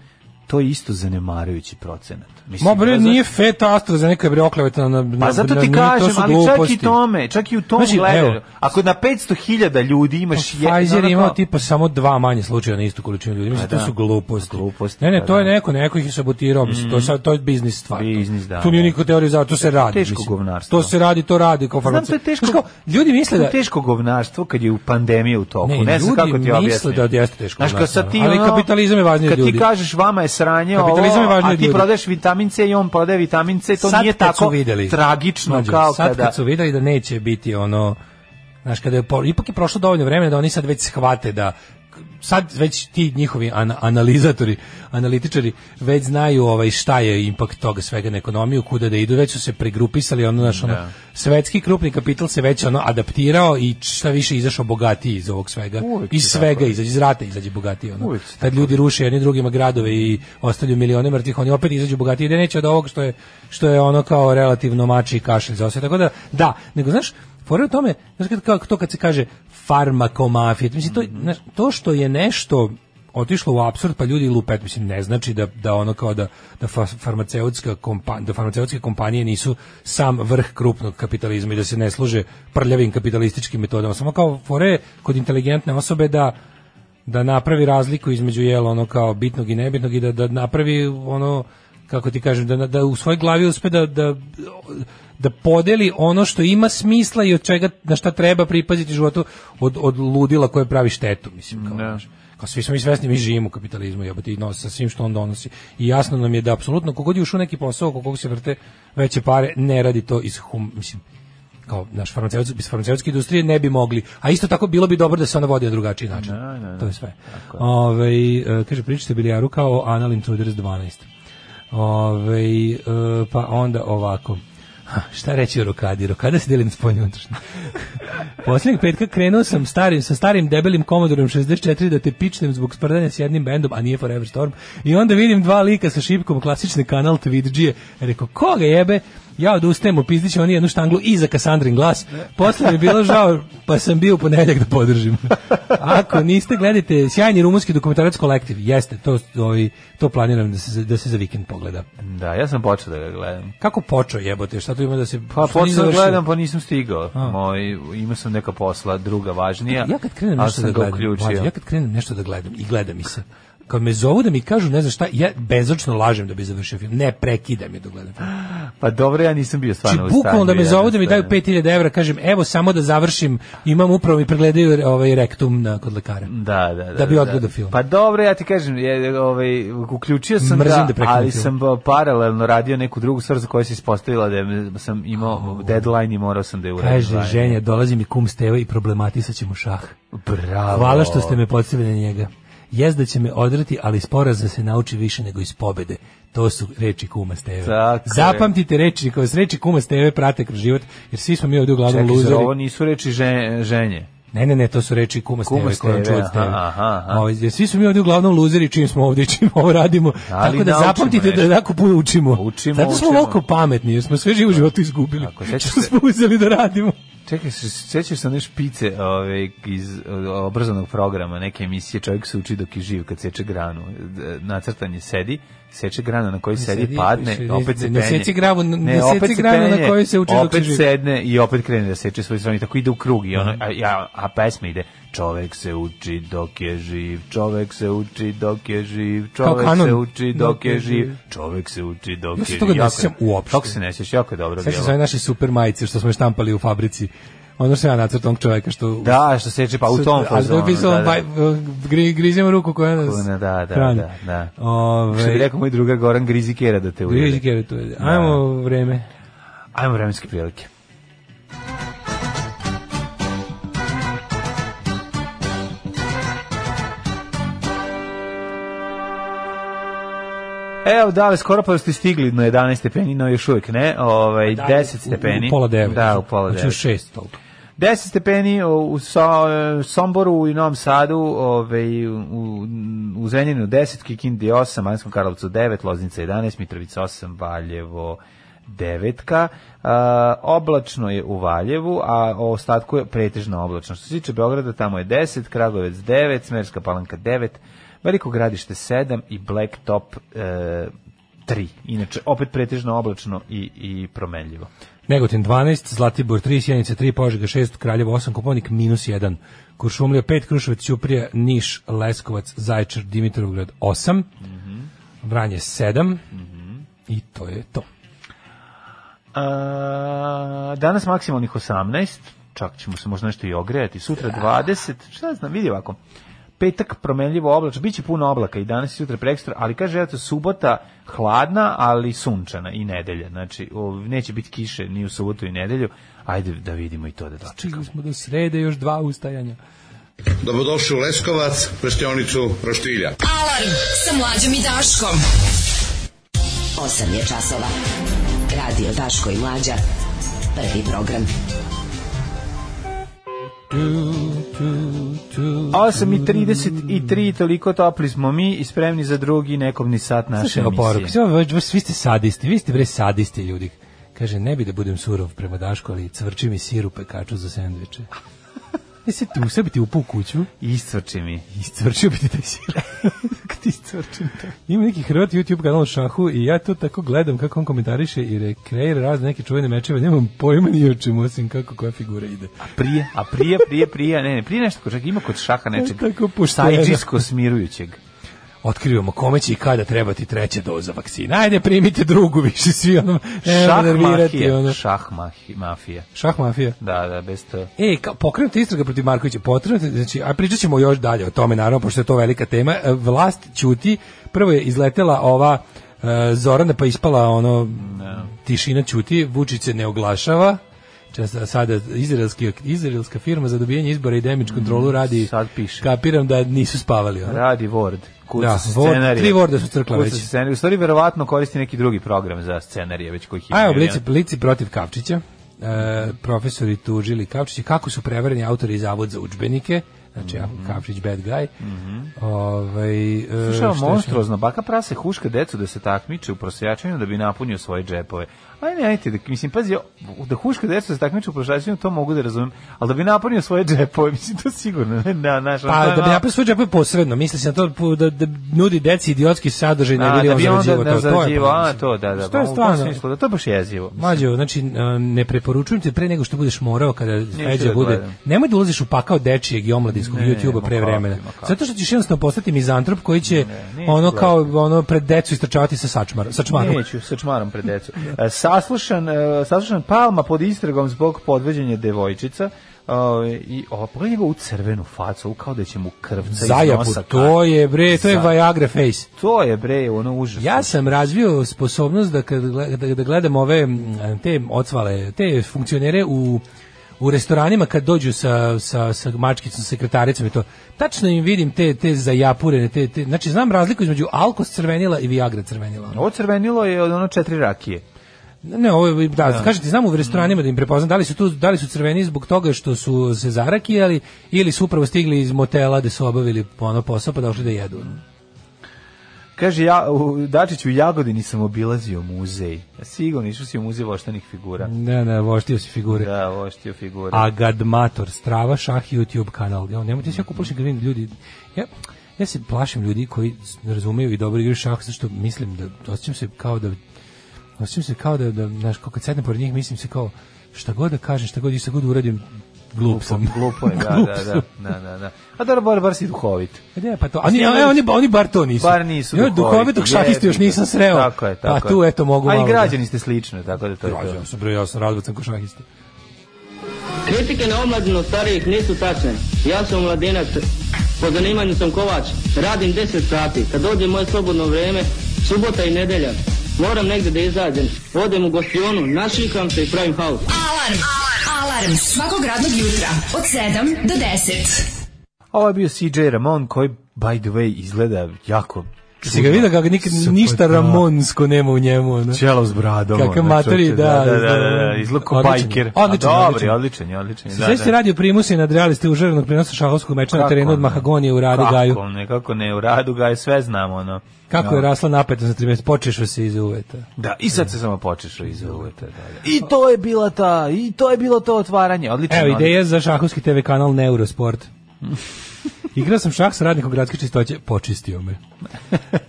to je isto zanemarujući procenat. Mislim,
Ma bre,
znaš-
nije feta Astra za neka je bre okleveta na, na,
Pa zato ti
na- na- to
kažem,
su
ali čak i
gluposti.
tome, čak i u tom
Znači, evo.
gledanju. Ako na 500.000 ljudi imaš jedan...
Pfizer
ono
je imao
kao-
tipa samo dva manje slučaja na istu količinu ljudi. Mislim,
Pa
to
da.
su gluposti.
Gluposti,
ne, ne,
pa
to je
da. Mhm.
neko, neko ih je sabotirao. Mislim, to, je, sad- to je biznis stvar.
Biznis, da,
Tu nije
da.
niko teorija za to se radi.
teško
mislim.
govnarstvo.
To se radi, to radi kao
Pa Znam, to
farmacija.
je teško,
Znaš kao, ljudi misle
to
da...
je teško govnarstvo kad je u pandemija u toku.
Ne,
Ne, znam
ljudi
kako ti
misle
objasnim.
da jeste teško
Znaš, kad
govnarstvo,
sad ti,
ali
ono,
kapitalizam je važniji od
kad
ljudi.
ti kažeš vama je sranje
Kapitalizam je
ovo,
važniji
a
od
ti
ljudi.
prodaješ vitamin C i on prodaje vitamin C, to
Sad
nije
kad su
tako
videli,
tragično
Mlađo,
kao
sad
kada...
kad su videli da neće biti ono znaš kada je po- ipak je prošlo dovoljno vremena da oni sad već shvate da sad već ti njihovi an- analizatori, analitičari već znaju ovaj šta je impakt toga svega na ekonomiju, kuda da idu, već su se pregrupisali, ono naš ono svetski krupni kapital se već ono adaptirao i šta više izašao bogatiji iz ovog svega.
Uvijek
iz
je
svega izađe iz rata izađe bogatiji ono.
Uvijek se
Kad ljudi ruše jedni drugima gradove i ostavljaju milione mrtvih, oni opet izađu bogatiji, da neće od ovog što je što je ono kao relativno mači i kašelj za sve. Tako da da, nego znaš, fora je u tome, znaš kad kao to kad se kaže farmakomafija, mislim to znaš, to što je nešto otišlo u apsurd pa ljudi lupet mislim ne znači da da ono kao da da fa- farmaceutska kompa- da farmaceutske kompanije nisu sam vrh krupnog kapitalizma i da se ne služe prljavim kapitalističkim metodama samo kao fore kod inteligentne osobe da da napravi razliku između jel ono kao bitnog i nebitnog i da da napravi ono kako ti kažem da da u svojoj glavi uspe da da da podeli ono što ima smisla i od čega na šta treba pripaziti u životu od od ludila koje pravi štetu mislim kao znaš. Kao svi smo mi svesni, mi živimo u kapitalizmu, jebote, i nos sa svim što on donosi. I jasno nam je da apsolutno kogod je ušao u neki posao, oko kog se vrte veće pare, ne radi to iz hum, mislim, kao naš farmaceutski bez farmaceutske industrije ne bi mogli. A isto tako bilo bi dobro da se ona vodi na drugačiji način. To je sve. Ovaj e, kaže pričate bilijaru kao o Anal Intruders 12. Ovaj e, pa onda ovako. Ha, šta reći o rokadi? Rokada se deli na spoljnu i unutrašnju. Posljednjeg petka krenuo sam starim, sa starim debelim komodorom 64 da te pičnem zbog sprdanja s jednim bendom, a nije Forever Storm. I onda vidim dva lika sa šipkom, klasični kanal Twidžije. Rekao, koga jebe? Ja odustajem, opizdiće oni jednu štanglu i za Kassandrin glas. Posle mi je bilo žao, pa sam bio u ponedeljak da podržim. Ako niste, gledajte sjajni rumunski dokumentarac kolektiv. Jeste, to, ovaj, to planiram da se, za- da se za vikend pogleda.
Da, ja sam počeo da ga gledam.
Kako počeo jebote? Šta tu ima da se...
Pa
što nije
počeo da
završio?
gledam, pa nisam stigao. Moj, imao sam neka posla, druga važnija.
ja kad krenem
ali
nešto da
sam ga
gledam,
uključio.
mlađe, ja kad krenem nešto da gledam i gleda mi se. Kad me zovu da mi kažu ne znam šta, ja bezočno lažem da bi završio film. Ne prekidam je dok gledam film.
Pa dobro, ja nisam bio
Znači,
stvarno u stanju.
bukvalno da me zovu da mi daju
jednostavno.
5000 evra, kažem, evo samo da završim, imam upravo mi pregledaju ovaj rektum na, kod lekara.
Da, da, da.
Da bi odgledao film.
Pa dobro, ja ti kažem, je, ovaj, uključio sam
Mrzim da
ga,
prekinem
ali
film.
sam ba- paralelno radio neku drugu stvar za koju se ispostavila da je- sam imao deadline i morao sam da je uradim.
Kaže,
Zajedno.
ženja, dolazi mi kum Steva i problematisat ćemo šah.
Bravo.
Hvala što ste me podsjeli na njega. Jezda će me odrati, ali iz poraza se nauči više nego iz pobede. To su reči kuma Steve.
Tako je.
Zapamtite reči, kao s reči kuma Steve prate kroz život, jer svi smo mi ovdje uglavnom
Čekaj, zar
luzeri.
ovo nisu reči žen- ženje.
Ne, ne, ne, to su reči kuma Steve,
Kuma
koje on
Steve,
čuo od Steve.
aha, aha, aha.
Ovo, jer svi smo mi ovdje uglavnom luzeri čim smo ovdje, *laughs* čim ovo radimo.
Ali
Tako da
naučimo
zapamtite
nešto.
da jako puno učimo.
Učimo,
Zato smo
učimo.
ovako pametni, jer smo sve živo u životu izgubili.
Tako, sećaš
Što
se-
smo uzeli da radimo.
Čekaj, se sećaš se one špice ove, iz o, obrazovnog programa, neke emisije Čovjek se uči dok je živ kad seče granu. D- Nacrtan je sedi, seče granu na kojoj sedi,
sedi,
padne,
piše,
opet se penje.
ne seci granu, ne seci
opet se
granu na
penje,
kojoj se uči dok je
opet
živ.
sedne i opet krene da seče svoj strani. Tako ide u krug i ono, a, ja, a pesma ide Čovjek se uči dok je živ, čovjek se uči dok je živ, čovjek
kanon.
se uči dok je živ, čovjek se uči dok
Ja
je
se
živ.
toga ne
Jako-
sjećam uopšte.
Kako se ne sjećaš, jako je dobro
Sve se
bilo.
zove naše super majice što smo štampali u fabrici. Ono što ja nacrtam onog čoveka što...
Da, što seče pa u tom
Ali da
fazonu.
je pisalo,
da, da.
gri, grizimo ruku koja nas...
Kuna, da, da,
hrani.
da, da. Što bi
Ove,
rekao moj druga Goran Grizikera da te ujede.
Grizike je tu. Ajmo vreme.
Ajmo vremenske prilike. Evo, dale, skoro pa ste stigli na 11 stepeni, no još uvijek ne, ovaj, 10 stepeni.
U, u pola devet.
Da, u pola
Znači u
devet.
šest toliko.
10 stepeni o, u So- e, Somboru i Novom Sadu, ovaj, u, u Zrenjaninu 10, Kikindi 8, Manjskom Karlovcu 9, Loznica 11, Mitrovica 8, Valjevo 9. oblačno je u Valjevu, a o ostatku je pretežno oblačno. Što se tiče Beograda, tamo je 10, Kragovec 9, Smerska palanka 9, Veliko gradište 7 i Blacktop e, 3. Inače, opet pretežno oblačno i, i promenljivo.
Negotin 12, Zlatibor 3, Sjenica 3, Požega 6, Kraljevo 8, Koponik minus 1, Kuršumlija 5, Kruševac, Ćuprija, Niš, Leskovac, Zaječar, Dimitrovgrad 8,
Mhm.
Vranje 7 i to je to.
A, danas maksimalnih 18, čak ćemo se možda nešto i ogrejati, sutra 20, šta ja znam, vidi ovako, petak promenljivo oblač, bit će puno oblaka i danas i sutra prekstra, ali kaže, eto, subota hladna, ali sunčana i nedelja, znači, o, neće biti kiše ni u subotu i nedelju, ajde da vidimo i to da dočekamo.
Čekali smo do srede još dva ustajanja.
Dobrodošli u Leskovac, prštionicu Roštilja.
Alarm sa mlađom i Daškom. 8 je časova. Radio Daško i mlađa. Prvi program.
8.33, toliko topli smo mi i spremni za drugi nekovni sat naše
Slušaj, oporuku,
emisije.
sve ovo, baš- baš vi ste sadisti, vi ste bre sadisti ljudi. Kaže, ne bi da budem surov prema Dašku, ali cvrči mi sir u pekaču za *laughs* sendviče. Jesi ti u sebi ti upao u kuću?
Iscrči mi.
Iscvrčio bi ti taj sir. Ti iscvrčim to. *laughs* Ima neki Hrvat YouTube kanal o šahu i ja to tako gledam kako on komentariše i rekreira razne neke čuvene mečeve. Nemam pojma ni o čemu, osim kako koja figura ide.
Prije, a prije, prije, prije, ne, ne, prije nešto, čak ima kod šaha nečeg
Tako pošteno.
sajđisko smirujućeg.
Otkrivamo kome će i kada trebati treća doza vakcina. Ajde, primite drugu više svi ono. nemojte
Šah
nervirati,
mafija,
ono.
šah mahi- mafija.
Šah mafija.
Da, da, bez to.
E, ka, pokrenuta istraga protiv Markovića, potrebno, znači, a pričat ćemo još dalje o tome, naravno, pošto je to velika tema. E, Vlast ćuti, prvo je izletela ova e, Zorana, pa ispala ono, tišina ćuti, Vučić se ne oglašava, Čas- a sada izraelski, izraelska firma za dobijanje izbora i damage kontrolu radi,
Mm, sad piše.
kapiram da nisu spavali. Ono.
Radi Word. Kuca
Da,
se
Word,
scenarije.
tri Worda su crkla
Kuca
već.
se scenarije. U stvari, verovatno koristi neki drugi program za scenarije, već koji
A evo, blici, blici protiv Kavčića. E, profesori tužili Kavčića kako su prevareni autori i zavod za udžbenike. Znači, ja,
Mhm.
Kavčić bad guy. Ovaj, e, šta
Slušao
još?
Mhm. monstruozno, baka prase huška decu da se takmiče u prosjačenju da bi napunio svoje džepove. Ajde, ajde, da, mislim, pazi, da huška decu da se takmiče u prosjačenju, to mogu da razumem, ali da bi napunio svoje džepove, mislim, to sigurno, ne, ne, znaš, ono, to
Pa
je
da bi
malo-
napravio svoj džep posredno, misli se na to pu- da, da nudi deci idiotski sadržaj ne
A,
bi
da
on
bi onda
zarađivao to. To
ne
je
zarađivao, a
problem.
to, da, da,
To je
u tom
stvarno.
smislu, da, to je baš jezivo.
Mlađo, znači e, ne preporučujem te pre nego što budeš morao kada Feđa
da
bude.
gledam.
Nemoj da ulaziš u pakao dečijeg i omladinskog
Ne, ma
YouTubea pre
kako,
vremena.
ma kako.
Zato što ćeš jednostavno postati mizantrop koji će
neću
ono
gledati.
kao ono pred decu istrčavati sa sačmar, sačmarom.
Neću, sa čmarom pred decu. E, Saslušan, e, saslušan Palma pod istragom zbog podveđenja devojčica. e, I ovo, pogledaj njegovu crvenu facu, ovo kao da će mu krvca iz
Zajabu,
nosa.
to je bre, to je
Za-
Viagra face.
To je bre, ono užasno.
Ja sam razvio sposobnost da kad gle- da, da gledam ove m, te ocvale, te funkcionere u u restoranima kad dođu sa, sa, sa mačkicom, sekretaricom i to, tačno im vidim te, te zajapurene, te, te, znači znam razliku između alkos crvenila i viagra crvenila.
Ovo crvenilo je od ono četiri rakije.
Ne, ovo je, da, kažete, znam u restoranima da im prepoznam, da li su tu, da li su crveni zbog toga što su se zarakijali ili su upravo stigli iz motela da su obavili ono posao pa došli da jedu.
Kaže, ja, u Dačiću u Jagodini sam obilazio muzej. Ja sigurno išao si u muzej voštanih figura.
Ne, ne, voštio si figure.
Da, voštio figure.
Agadmator, Strava, Šah, YouTube kanal. Ja, nemojte se jako plašiti, vidim ljudi. Ja, ja se plašim ljudi koji razumeju i dobro igraju šah, zato što mislim da osjećam se kao da osjećam se kao da, da znaš, kako kad sednem pored njih, mislim se kao šta god da kažem, šta god i šta god uradim, *laughs* glup sam.
Glupo je, da, da, da, da, da, da. A dobro, bar, bar si duhovit.
Ne, pa to, a ne, ne, oni, oni bar to nisu.
Bar nisu
Ja duhovitog šahistu još
jebi ga.
nisam sreo.
Tako je, tako
Pa
je.
tu, eto, mogu
A
malo da-
i građani ste slično, tako da to je to.
Rođen sam, bre, ja sam razbacan ko šahista.
Kritike na omladinu starijih nisu tačne. Ja sam mladinac, po zanimanju sam kovač, radim 10 sati. Kad dođe moje slobodno vrijeme, subota i nedelja, moram negdje da izađem. Odem u gostionu, našikam se i pravim haus.
Alarm. Alarm svakog radnog jutra od 7 do 10.
Ovo je bio CJ Ramon koji, by the way, izgleda jako...
Si ga vidio kako nikad
Super,
ništa
da.
ramonsko nema u njemu. Ono.
Čelo s bradom.
Kakav
ono,
matori,
čoče,
da.
Da, da, da, da, izgleda kao
Odličan je.
bajker. A
Odličan, je, odličan.
Dobri,
je.
odličan, je, odličan. je,
Se Sve ste radio primuse i nadreali ste užarenog prenosa šahovskog meča na
Kako
terenu od
ne?
Mahagonije u Radu
Kako
Gaju.
ne, kako ne, u Radu Gaju, sve znam, ono.
Kako
No.
je rasla napeta za 13, počešao se iz uveta.
Da, i sad se samo počešao iz uveta. Da, da. I to je bila ta, i to je bilo to otvaranje, odlično.
Evo ideja za šahovski TV kanal Neurosport. Igrao sam šah sa radnikom gradske čistoće, počistio me.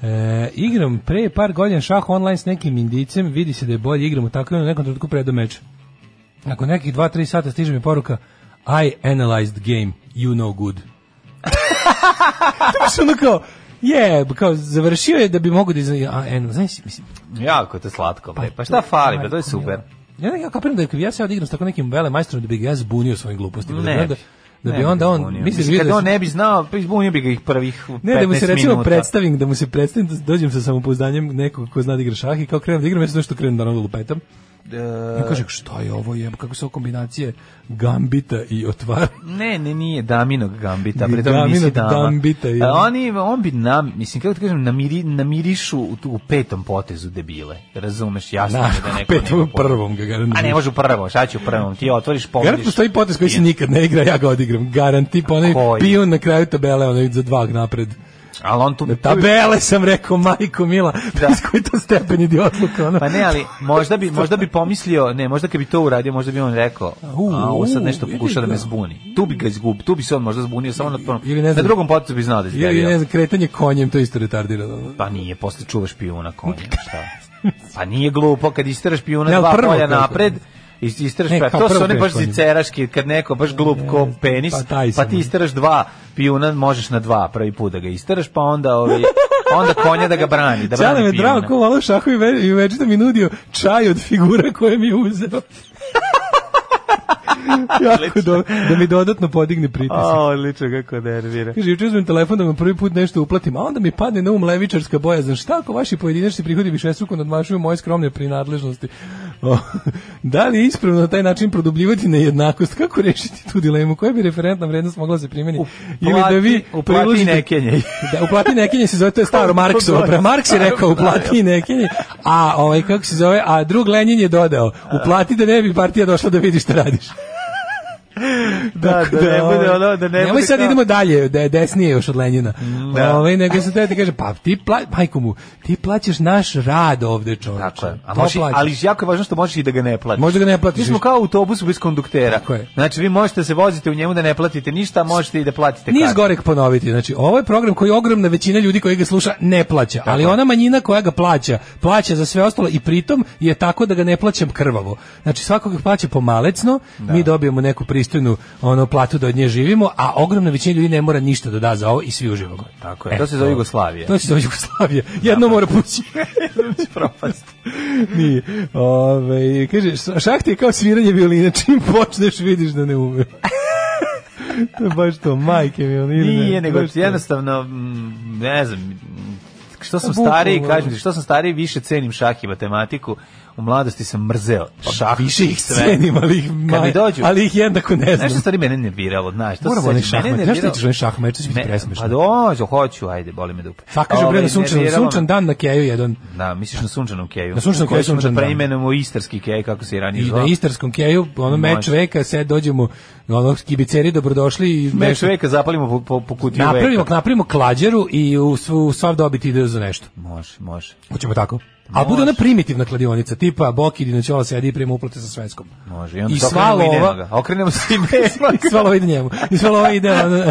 E, igram pre par godina šah online s nekim indicem, vidi se da je bolje igram u takvom u nekom trenutku predo meč. Nakon nekih 2-3 sata stiže mi poruka I analyzed game, you know good. *laughs* to je baš ono kao, je, kao završio je da bi mogu da izna... A, en, znaš, mislim,
Jako je to slatko, bre. Pa šta fali, bre, to je
majko
super.
mila. Ja ne ja kapiram da kad bi ja sad igram s tako nekim vele majstorom da bi ga ja zbunio svojim glupostima.
Ne
da bi onda,
bi.
da
Ne
bi onda
ga
on,
zbunio.
misliš,
Mislim,
vidio
kad
da
on
se-
ne bi znao, pa izbunio bi ga ih prvih 15
ne, da mu se recimo
minuta.
predstavim, da mu se predstavim, da dođem sa samopouzdanjem nekog ko zna da igra šah i kao krenem da igram, ja sam što krenem da ono lupetam.
E,
Ja kažem, šta je ovo, jeb, kako su ovo kombinacije gambita i otvara.
Ne, ne, nije Daminog Gambita, bre, to
Daminog
nisi dama.
Gambita, je.
A oni, on bi nam, mislim, kako ti kažem, namiri, namirišu u, tu, u petom potezu debile. Razumeš, jasno
Na,
je da neko
pet,
nema
u prvom ga garantujem.
A ne može u prvom, šta će u prvom? Ti otvoriš pogodiš.
Garant postoji potez koji se nikad ne igra, ja ga odigram. Garant tip onaj
Koji?
pijun na kraju tabele, onaj za dva napred.
Ali on tu...
Tabele sam rekao, majko mila, da. koji to stepen idi odluka. Ono.
Pa ne, ali možda bi, možda bi pomislio, ne, možda kad bi to uradio, možda bi on rekao, a
u,
ovo sad nešto
u,
pokuša da
vidi
me
ga.
zbuni. Tu bi ga izgub, tu bi se on možda zbunio, samo na, prvom,
Ili ne
na
znam-
drugom potezu bi znao da izgubio.
Ili ne znam, kretanje konjem, to je isto retardirano. ono.
Pa nije, posle čuvaš pijuna konja, šta? Pa nije glupo kad isteraš pijuna
Ne, ali
dva
prvo
polja
kreće.
napred, is- isteraš
Ne,
pa
kao
to su
prvo
one baš
kreće konja.
ziceraški, kad neko baš glup ko penis,
pa
pa,
taj sam,
ti
ne.
isteraš dva pijuna, možeš na dva prvi put da ga isteraš, pa onda ovi, pa onda konja da ga brani, da
Čale
brani
me
pijuna.
drago, ko malo šahu i, ve, i već da mi nudio čaj od figura koje mi je
*laughs*
uzeo. jako do, da mi dodatno podigne pritisak.
A, odlično kako nervira.
Kaže, juče uzmem telefon da vam prvi put nešto uplatim, a onda mi padne na um levičarska bojazan. Šta ako vaši pojedinačni prihodi višestruko nadmašuju moje skromne prinadležnosti? O, *laughs* da li je ispravno na taj način produbljivati nejednakost? Kako rešiti tu dilemu? Koja bi referentna vrednost mogla da se primeni?
Uplati- uplati nekenje.
*laughs* Da, uplati nekenje se zove, to je staro Marksovo. Pre Marks je rekao uplati nekenje, a ovaj, kako se zove, a drug Lenin je dodao, uplati da ne bi partija došla da vidi šta radiš.
Da, da ne bude ono, da ne
ovaj, Nemoj
bude
sad
kao-
idemo dalje, da je desnije još od Lenjina.
da.
Ovaj nego se tete kaže pa ti pla, majku mu, ti plaćaš naš rad ovde, čoveče.
Tako je. A
To
može,
plaćaš.
ali jako je važno što možeš i da ga ne platiš.
Možda ga ne platiš
Mi smo
više.
kao autobus bez konduktera.
Tako je.
Znači vi možete da se voziti u njemu da ne platite ništa, a možete i da platite
Nije
kaznu.
zgorek ponoviti, znači ovo je program koji ogromna većina ljudi koji ga sluša ne plaća, ali ona manjina koja ga plaća, plaća za sve ostalo i pritom je tako da ga ne plaćam krvavo. Znači svako ga plaća pomalecno, mi dobijemo neku pristojnu ono, platu da od nje živimo, a ogromna većina ljudi ne mora ništa da da za ovo i svi uživamo.
Tako je. To se zove Jugoslavija. *laughs*
To se zove Jugoslavija. Jedno mora pući.
propast.
*laughs* Nije. Ove, kaže, šah ti je kao sviranje violina, *laughs* čim počneš vidiš da ne ume. *laughs* to je baš to, majke mi. ono, ili ne,
Nije, nego
baš to.
jednostavno, mm, ne znam, mm, što sam
Bukvalno,
stariji,
ono.
kažem ti, što sam stariji, više cenim šah i matematiku. u mladosti sam mrzeo šah
Pa više ih
sve.
cenim, ali ih,
Kad
ma-
mi dođu,
ali ih jednako ne znam.
Nešto stvari mene nerviralo, znaš, to
Moramo
se
onaj
sećam, mene
šahmat. Znaš što
nerviralo-
ti ćeš onaj šahmat, što će biti
Ne,
presmešno.
Pa dođu, hoću, ajde, boli me dupe.
Pa kaže
Ovaj,
bre na sunčan,
nerviralo me-
sunčan dan na keju jedan.
Da, misliš na sunčanom keju.
Na sunčanom
Koji
keju
ćemo
sunčan
da
dan.
preimenujemo u istarski kej, kako se i ranije
I
zvao.
na istarskom keju, ono meč
Može.
veka, sve dođemo, ono skibiceri dobrodošli. i
Meč
nešto-
veka zapalimo po, po, po kutiju
Napravimo,
veka.
napravimo klađeru i u, svu, u sav dobiti ide za nešto.
Može, može,
Hoćemo tako. A bude ona primitivna kladionica, tipa Boki Dinoćola sedi i prima uplate sa svetskom.
može. I onda
I
se okrenemo
sva
i nema
lova-
ga. Okrenemo se i nema ga.
*laughs* I svalo ide njemu. I svalo ovo ide
*laughs*
ono-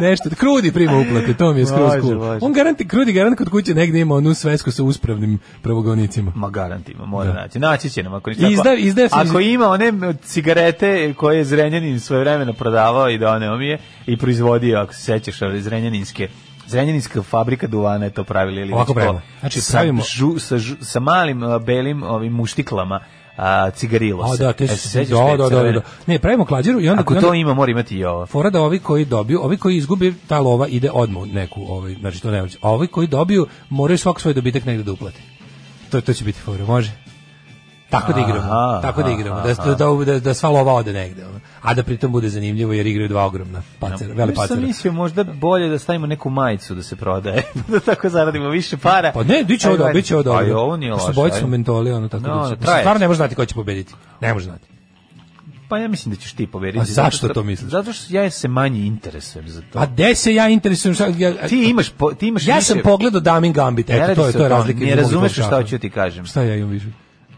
Nešto, Krudi prima uplate, to mi je skroz
Može,
cool.
može.
On garanti, Krudi garant kod kuće negde ima onu svesku sa uspravnim pravogonicima.
Ma garantima, mora
Da.
naći. Naći će nam ako ništa.
I izda- izda se-
ako ima one cigarete koje je Zrenjanin svoje vremena prodavao i doneo mi je i proizvodio, ako se sećaš, ali Zrenjaninske Zrenjaninska fabrika duvana je to pravila ili
Ovako
već ko.
pravimo. Znači,
sa,
pravimo-
žu- sa, žu- sa malim a, belim ovim muštiklama a, cigarilo
A
se.
da, te
E,
su,
se sećaš
da,
te
da, da, da,
crvene?
da. Ne, pravimo klađeru i onda...
Ako
i onda-
to ima, mora imati i ovo.
fora da ovi koji dobiju, ovi koji izgubi ta lova ide odmah u neku, ovaj, znači to ne vrće. A ovi koji dobiju moraju svak svoj dobitak negde da uplate. To, to će biti fora, može? Tako da igramo,
Aha,
tako da
aha,
igramo, da, da, da, da sva lova ode negde, ono. a da pritom bude zanimljivo jer igraju dva ogromna pacera, vele
Znaš šta
pacera.
mislio, možda bolje da stavimo neku majicu da se prodaje, *laughs* da tako zaradimo više para.
Pa ne, bit će ovo
Ajde,
dobro, bit će ovo dobro.
Pa i ovo nije loše.
Sa bojicom
ajde.
mentoli, ono tako.
No,
No,
ono, traje.
Stvarno ne može znati ko će pobediti. Ne može znati.
Pa ja mislim da ćeš ti pobediti.
A zašto
Zato što-
to misliš?
Zato što ja se manje interesujem za to.
A gde se ja interesujem? šta- Ja,
ti imaš po, ti imaš
ja
više-
sam pogledao Daming Gambit,
Ne
eto,
radi
to je,
se
to
o
je
tome,
razlika.
Ne
između
razumeš
mog šaha.
šta ću ti kažem.
Šta ja imam više?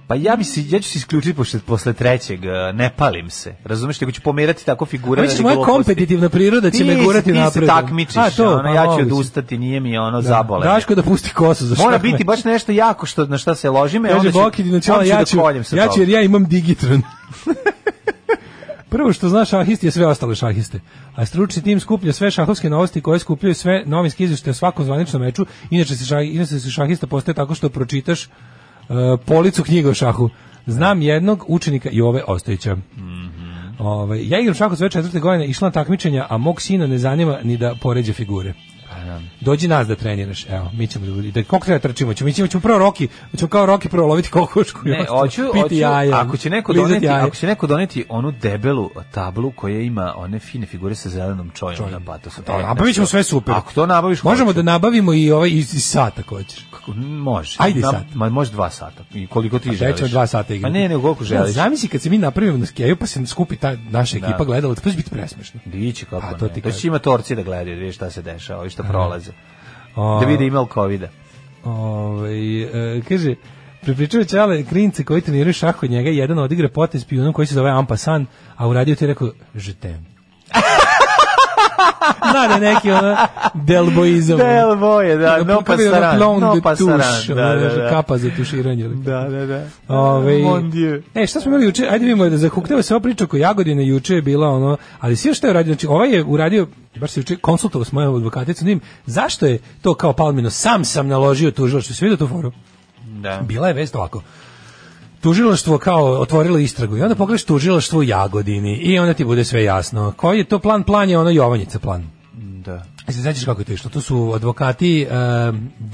Pa ja bi se ja ću se isključiti posle posle trećeg, eh, ne palim se. Razumeš, nego ću pomerati tako figure.
Već moja kompetitivna priroda će me gurati
napred. Ti se
napred.
takmičiš,
A, to,
ono,
pa
ja ću
moguće.
odustati, nije mi ono
Da.
zabole.
Daško da pusti kosu za *laughs*
Mora
šah
biti
meč.
baš nešto jako što na šta se ložim, e onda
Kaže
ću,
Boki Dinoćola,
onda
ja
da
ću,
koljem sa
ja ću
toga.
jer ja imam digitron. *laughs* Prvo što zna šahist je sve ostale šahiste. A stručni tim skuplja sve šahovske novosti koje skupljaju sve novinske izvještaje o svakom zvaničnom meču. Inače se, šah, inače se šahista postaje tako što pročitaš e, policu knjiga o šahu. Znam jednog učenika Jove Ostojića. Ove, ja igram šah od sve četvrte godine, išla na takmičenja, a mog sina ne zanima ni da poređe figure.
Pa
Dođi nas da treniraš. Evo, mi ćemo da i da koliko treba trčimo, ćemo mi ćemo, ćemo prvo Roki, ćemo kao Roki prvo loviti kokošku i
Ne,
ostalo,
hoću,
piti
hoću,
jaja,
ako će neko
lizati
doneti,
jaja.
ako će neko doneti onu debelu tablu koja ima one fine figure sa zelenom čojom na patosu. E, znači,
Da, nabavit ćemo sve super.
Ako to nabaviš,
Možemo
hoću.
da nabavimo i ovaj iz, iz sata ako hoćeš.
Kako- može.
Ajde
Na-
sat.
Ma, može dva sata. I koliko ti želiš.
Već ćemo Dakle, dva sata igrati.
Pa ne, ne, koliko
Ja,
želiš.
zamisli kad se mi napravimo na skeju pa se skupi ta naša ekipa gledala, to će biti presmešno.
Biće
A,
kako ne.
Pa to
to
ti
ti
kažem.
će ima torci da gledaju, da vidi šta se dešava i šta prolaze. Da vide ima li covida.
Ovaj e, kaže, prepričava Čale klince koji treniraju šah kod njega, jedan odigra potez pijunom koji se zove Ampasan, a uradio ti je rekao, žetem. *laughs* Zna da je neki ono delboizam.
Del boje, da,
Ono,
no
kako bi ono,
pasaran,
plomb
no
de
pasaran,
tuš,
da,
ono,
da, da.
Kapa za tuširanje. ono. ili kako.
da, da.
Ove,
Mon Dieu.
e, šta smo imali juče? Ajde vidimo da zahuktava se ova priča oko Jagodine, juče je bila ono, ali sve što je uradio, znači ovaj je uradio, baš se juče konsultovao s mojom advokaticom, njim, zašto je to kao Palmino, sam sam naložio tužilaštvo, sve vidio tu foru?
Da.
Bila je vest ovako, tužilaštvo kao otvorilo istragu i onda pogledaš tužilaštvo u Jagodini i onda ti bude sve jasno. Koji je to plan? Plan je ono Jovanjica plan.
Da.
Jel Se E, sećaš kako je to išlo? To su advokati e,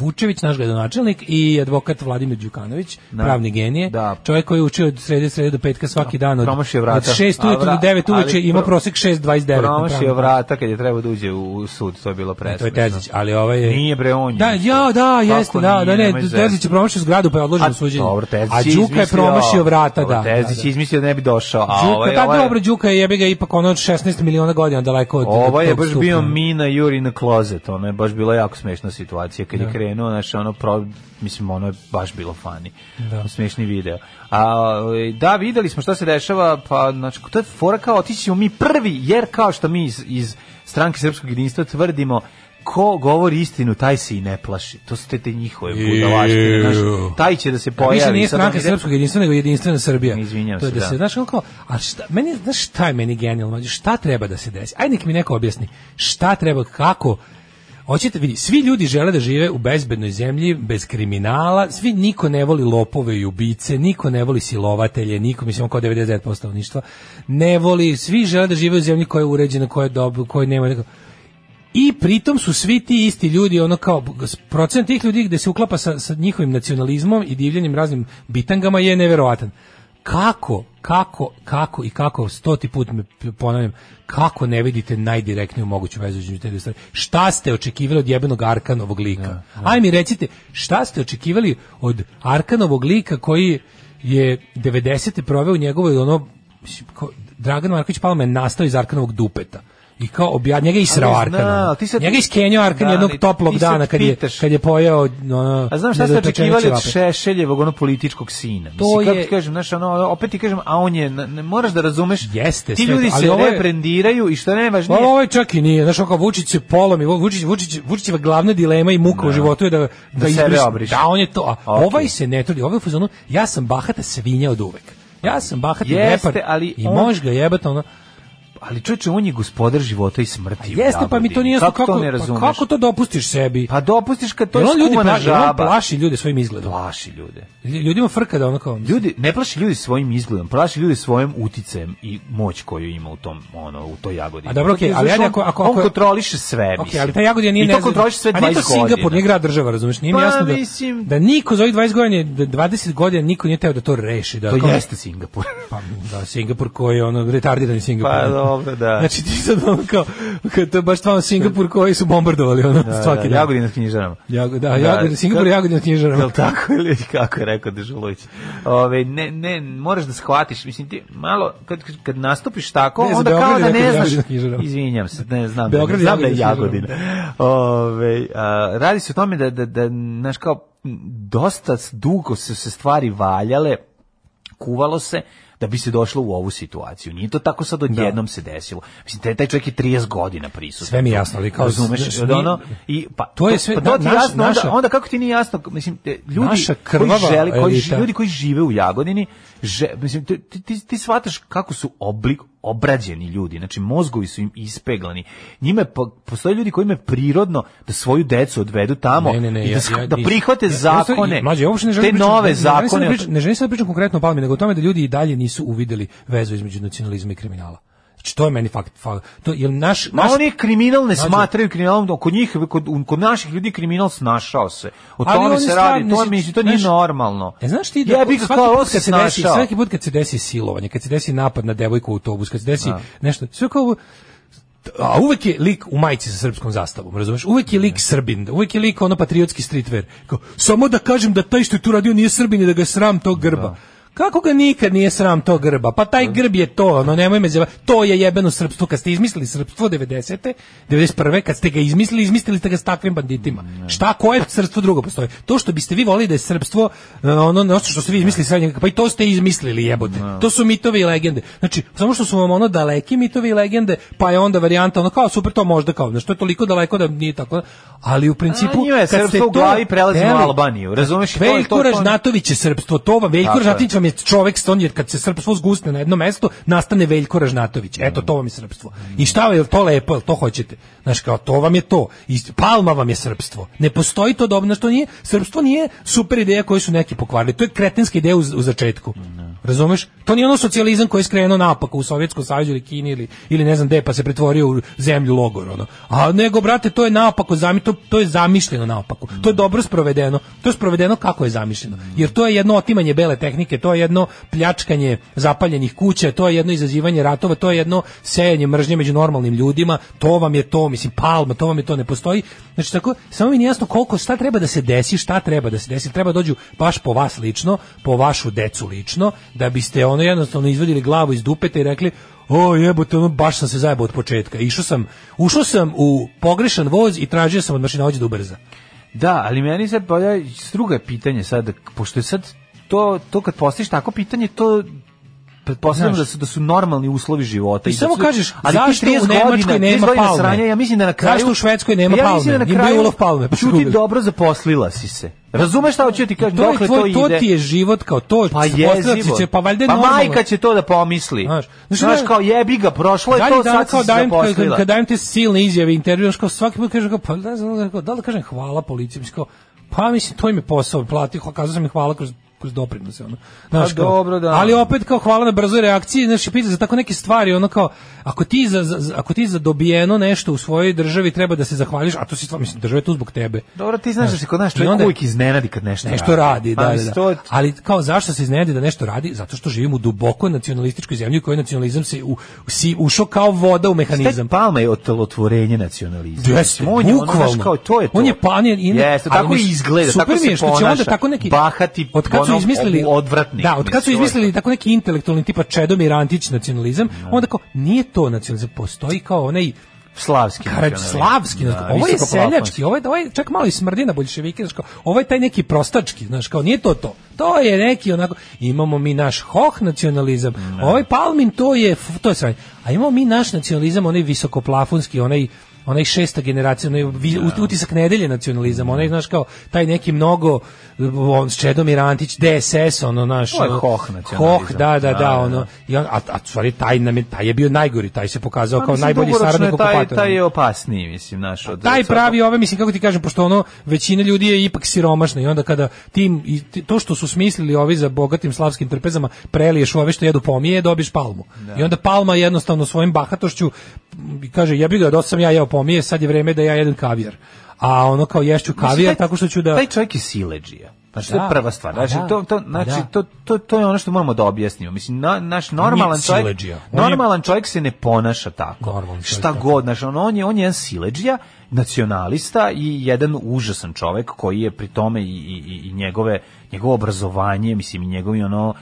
Vučević, naš gradonačelnik, i advokat Vladimir Đukanović, pravni genije.
Da.
Čovjek koji je učio od srede, srede do petka svaki dan. Od,
Promašio vrata.
Od 6
A
ujutru do
vra-
9
ali
uveče ima
pro-
prosek 6.29. na
Promašio
pravnom.
vrata kad je trebao da uđe u u sud, to je bilo presmešno.
E, To je Terzić, ali ovaj je...
Nije bre, on je
Da,
isto.
ja, da,
Kako
jeste, da, da,
nije,
ne,
nemoj zezati.
Terzić je promašio zgradu pa je odloženo suđenje.
Dobro, Terzić
A Đuka je
izmislio-
promašio vrata,
Dobro,
da. da,
Terzić
da.
je izmislio da ne bi došao, a
Đuka,
ovaj,
da,
ovaj,
dobro, Đuka je jebi ga ipak ono od 16 miliona godina daleko od
Ovaj je
od tog
baš bio
stupnja.
Mina Juri na klozet, ono je baš bila jako smešna situacija kad je krenuo, znači ono pro, mislim ono je baš bilo funny.
Da.
Smešni video. A ovaj, da videli smo šta se dešava, pa znači to je fora kao otići ćemo mi prvi jer kao što mi iz, iz stranke srpskog jedinstva tvrdimo ko govori istinu, taj se i ne plaši. To su te, te njihove budalaštine. znaš.
Iu.
Taj će da se
A
pojavi.
Više nije
sad on
stranka
ide-
srpskog jedinstva, nego jedinstvena Srbija.
Izvinjavam
to je
se,
da.
da.
se, znaš, ono kao, a šta, meni, znaš, šta je meni genijalno, mlađe, šta treba da se desi? Ajde nek mi neko objasni, šta treba, kako, Hoćete vidi, svi ljudi žele da žive u bezbednoj zemlji, bez kriminala, svi niko ne voli lopove i ubice, niko ne voli silovatelje, niko, mislim, on kao 99% stanovništva, ne voli, svi žele da žive u zemlji koja je uređena, koja je dobra, koja nema neko I pritom su svi ti isti ljudi, ono kao, procent tih ljudi gde se uklapa sa, sa njihovim nacionalizmom i divljenjem raznim bitangama je neverovatan. Kako, kako, kako i kako, stoti put me ponavljam, kako ne vidite najdirektniju moguću vezu između te dvije stvari? Šta ste očekivali od jebenog Arkanovog lika? Ja, Aj mi recite, šta ste očekivali od Arkanovog lika koji je 90. proveo u njegovoj ono, mislim, kao, Dragan Marković Palma je nastao iz Arkanovog dupeta i kao obja njega i srao Arkan. ono. Njega iskenio Arkan jednog toplog dana kad je kad je pojeo ono, no,
A Pa znaš šta ste očekivali od Šešeljevog onog političkog sina? To Mislim, kako je... ti kažem, znaš, ono, opet ti kažem, a on je, ne, moraš da razumeš,
Jeste,
ti
sve
ljudi
to, ali
se
ovo je-
reprendiraju i što najvažnije,
Pa ovo je čak i nije, znaš, kao Vučić je polom i Vučić, Vučić, Vučićeva glavna dilema i muka u životu je da, da,
Da sebe
izbriše-
obriše.
Da, on je to. A ovaj se ne trudi, ovaj je u fazonu, ja sam bahata svinja od uvek. Ja sam bahati
Jeste,
repar
ali
i
on-
možeš ga jebati ono.
ali čovječe, on je gospodar života i smrti. u
Jeste, pa mi to
Jagodini.
nije jasno
kako,
kako,
to ne razumeš.
pa kako to dopustiš sebi?
Pa dopustiš kad to
Jel
je
on ljudi
skuvana
plaši, jel on
žaba.
plaši ljude svojim izgledom.
Plaši ljude.
Ljudima frka da ono kao...
Ljudi, ne plaši ljudi svojim izgledom, plaši ljudi svojim uticajem i moć koju ima u tom ono u toj Jagodini.
A dobro, okej,
Zato,
ali
znaš,
ajde
on-
ako- ako-
on
ako-
kontroliše sve,
Ok,
mislim.
ali ta Jagodina nije
I to
nezavisna.
kontroliše sve 20
A
godina.
nije to Singapur, nije grad država, razumiješ? Nije mi
Pa,
jasno da,
mislim-
da niko za ovih 20 godina, je- da 20 godina niko nije teo da to reši. Da,
To
kao-
jeste Singapur.
*laughs* Pa, da, Singapur koji je ono retardirani Singapur.
Pa, dobro, da.
Znači ti sad ono kao, kao to je baš stvarno Singapur koji su bombardovali ono
Da,
svaki
da,
dan.
Jagodina s knjižarama.
Jago- da, Jagodina- Singapur je Jagodina s knjižarama.
Jel tako ili *laughs* kako je rekao Dežulović? Ove, ne, ne, moraš da shvatiš, mislim ti malo, kad, kad nastupiš tako,
Ne, za
onda kao
Beograd je
da
rekao
ne
Jagodina
znaš.
s knjižarama.
Izvinjam se, ne znam.
Beograd je
znam da je
Jagodina s
Jagodina. Ove, a, radi se o tome da, da, da, znaš kao, dosta dugo su se stvari valjale, kuvalo se, da bi se došlo u ovu situaciju. Nije to tako sad odjednom se desilo. Mislim, taj, taj čovjek je 30 godina prisutan.
Sve mi je jasno, ali kao-
Razumeš,
znaš,
od
mi-
ono, i, pa,
To je sve-
pa to ti je
naš-
jasno,
naša-
onda, onda kako ti nije jasno, mislim, te ljudi,
Naša
koji
krvava
žele, koji,
elita.
ži- ljudi koji žive u Jagodini, že, mislim, ti, ti, ti, ti shvataš kako su oblik obrađeni ljudi, znači mozgovi su im ispeglani. Njime po- postoje ljudi koji imaju prirodno da svoju decu odvedu tamo
Ne, ne, ne,
i da,
ja-
sh-
ja-
da prihvate
ja- ja-
zakone,
ja- mlađe, ja uopšte ne želim
te
pričati-
nove
ne- ne želim sad
zakone.
pričati- Ne želim sad da pričam konkretno o Palmi, nego o tome da ljudi i dalje nisu uvideli vezu između nacionalizma i kriminala. Znači, to je meni fakt. fakt to, jer naš,
Ma
naš
oni kriminal ne
Znači-
smatraju kriminalom, kod njih, kod, kod naših ljudi kriminal snašao se. O
Ali
tome
oni
se
stvarno-
radi, to,
mislim,
mi, to nije
znaš-
normalno.
E znaš ti da
Ja bih
svaki
kao
put
on
kad
se
se desi,
snašao.
svaki put kad se desi silovanje, kad se desi napad na devojku u autobus, kad se desi nešto, sve kao ovo- a uvek je lik u majici sa srpskom zastavom, razumeš? Uvek je lik Srbin, uvek je lik ono patriotski streetwear. Kao, samo da kažem da taj što je tu radio nije Srbin i da ga je sram tog grba. Kako ga nikad nije sram tog grba? Pa taj grb je to, ono, nemoj me zjeva. To je jebeno srpstvo. Kad ste izmislili srpstvo 90. 91. kad ste ga izmislili, izmislili ste ga s takvim banditima. Šta, koje srpstvo drugo postoji? To što biste vi volili da je srpstvo, e, ono, nešto što ste vi izmislili srednjeg veka, pa i to ste izmislili, jebote. To su mitovi i legende. Znači, samo što su vam ono daleki mitovi i legende, pa je onda varijanta ono kao super to možda kao, znači to je toliko daleko da nije tako. Ali u principu
njima je
kad
srpstvo
ste
u
to
glavi, prelazimo
hteli-
u Albaniju, razumeš? To je to-
Veljko
to-
Ražnatović je srpstvo, to vam Veljko
Tako je.
Ražnatović vam je čovek, on je kad se srpstvo zgusne na jedno mesto, nastane Veljko Ražnatović. Eto, to vam je srpstvo. I šta je to lepo, jel to hoćete? Znaš, kao, to vam je to. I Palma vam je srpstvo. Ne postoji to dobro, znaš, to nije, srpstvo nije super ideja koju su neki pokvarili. To je kretenska ideja u, u začetku. Razumeš? To nije ono socijalizam koji je skrenuo napako u Sovjetskom savjezu ili Kini ili, ili ne znam gde, pa se pretvorio u zemlju logor. Ono. A nego, brate, to je napako, zami- to, to je zamišljeno napako. To je dobro sprovedeno. To je sprovedeno kako je zamišljeno. Jer to je jedno otimanje bele tehnike, to je jedno pljačkanje zapaljenih kuća, to je jedno izazivanje ratova, to je jedno sejanje mržnje među normalnim ljudima, to vam je to, mislim, palma, to vam je to, ne postoji. Znači, tako, samo mi nije jasno koliko, šta treba da se desi, šta treba da se desi, treba da dođu baš po vas lično, po vašu decu lično, da biste ono jednostavno izvadili glavu iz dupeta i rekli, o jebote, ono baš sam se zajebao od početka. Išao sam, ušao sam u pogrešan voz i tražio sam od mašinovođa da ubrza.
Da, ali meni sad bolja druga je pitanje sad, pošto je sad to, to kad postaviš tako pitanje, to pretpostavljam
Znaš.
da su, da su normalni uslovi života.
Ti
da
samo
su-
kažeš,
ali ti
zašto
30
u Nemačkoj
godina- 30
nema
godina
palme?
sranja, ja mislim da na kraju...
Zašto u Švedskoj nema
Ja mislim
palme?
da na
Nije bio
kraju
ulov palme, pa su
Ćuti
ubili.
dobro zaposlila si se. Razumeš šta hoću ti kažem?
To, je
Dokle
tvoj,
to
to,
ide?
ti je život kao to,
Pa
postavljat
jezivo.
će, pa valjda je
pa
normalno.
majka će to da pomisli.
Znaš,
Znaš,
znaš, da-
kao jebi ga, prošlo je
Dalje
to,
dana
sad si
kao
se
dajem, kad,
zaposlila.
kad dajem te silne izjave, intervju, znaš, kao svaki put kažem, kao, pa ne znam, kao, da li da kažem hvala policiji, mislim, kao, pa mislim, to im je posao, plati, kazao sam im hvala kroz kroz doprinose ono. Znaš,
Pa
kao,
dobro, da.
Ali opet kao hvala na brzoj reakciji, znači pita za tako neke stvari, ono kao ako ti za, za- ako ti za dobijeno nešto u svojoj državi treba da se zahvališ, a to si stvarno mislim država je tu zbog tebe.
Dobro, ti znaš da se kod nas
i
čovjek
onda-
uvijek iznenadi kad nešto
nešto
radi.
radi,
Pa
da, da,
mislim,
da.
to je-
Ali kao zašto se iznenadi da nešto radi? Zato što živimo u duboko nacionalističkoj zemlji u kojoj nacionalizam se u, si- ušao kao voda u mehanizam.
Ted Palma je otelotvorenje nacionalizma.
Jeste,
on je, ono,
bukvalno.
znaš, kao, to je to.
On je pan, je- in-
Jeste,
ali
tako i
mislim,
izgleda,
super
tako
mi je
se
što će
ponaša.
onda tako neki-
bahati,
od kad su
ono,
izmislili
odvratnik.
da od kad su
mislim, to je
izmislili tako neki intelektualni tipa Čedomir Antić nacionalizam onda kao nije to nacionalizam postoji kao onaj
Slavski.
Karad, slavski, znaš, ovo je seljački, ovo je, ovo je čak malo i smrdi na boljševike, znaš, kao, ovo je taj neki prostački, znaš, kao, nije to to. To je neki onako, imamo mi naš hoh nacionalizam, ovaj palmin, to je, f- to je sranje. A imamo mi naš nacionalizam, onaj visokoplafonski, onaj onaj šesta generacija, onaj vi- ut- utisak nedelje nacionalizam, onaj, znaš, kao, taj neki mnogo, on, Čedomir Antić, DSS, ono, naš,
To je
ono,
hoh nacionalizam.
hoh, da, da,
Da,
da,
da, da.
ono, i on, a, a, u stvari, taj, nam je, taj je bio najgori, taj se pokazao
Pa,
kao
mislim,
najbolji
dugoročno
saradnik
je taj,
okupatora.
taj je opasniji, mislim, naš. Od,
Taj
sad-
pravi ove, mislim, kako ti kažem, pošto ono, većina ljudi je ipak siromašna i onda kada tim, i ti- to što su smislili ovi za bogatim slavskim trpezama, preliješ u ove što jedu pomije, dobiš palmu. I onda palma jednostavno svojim bahatošću m, kaže, jebi ga, dosta sam ja jeo pomije, sad je vreme da ja jedem kavijar. A ono kao ješću
Mislim,
kavijar
taj-
tako što ću da...
Taj čovjek je sileđija. Znači, to je
Da.
prva stvar.
Pa
Znači,
da.
to, to,
Pa
znači,
da.
to, to, to je ono što moramo da objasnimo. Mislim, na, naš normalan čovjek,
siledžija. On je-
normalan čovjek se ne ponaša tako.
Normalan čovjek,
Šta
da.
god, znači, on, on je, on je jedan sileđija, nacionalista i jedan užasan čovjek koji je pri tome i, i, i- i njegove, njegovo obrazovanje, mislim, i njegovi ono,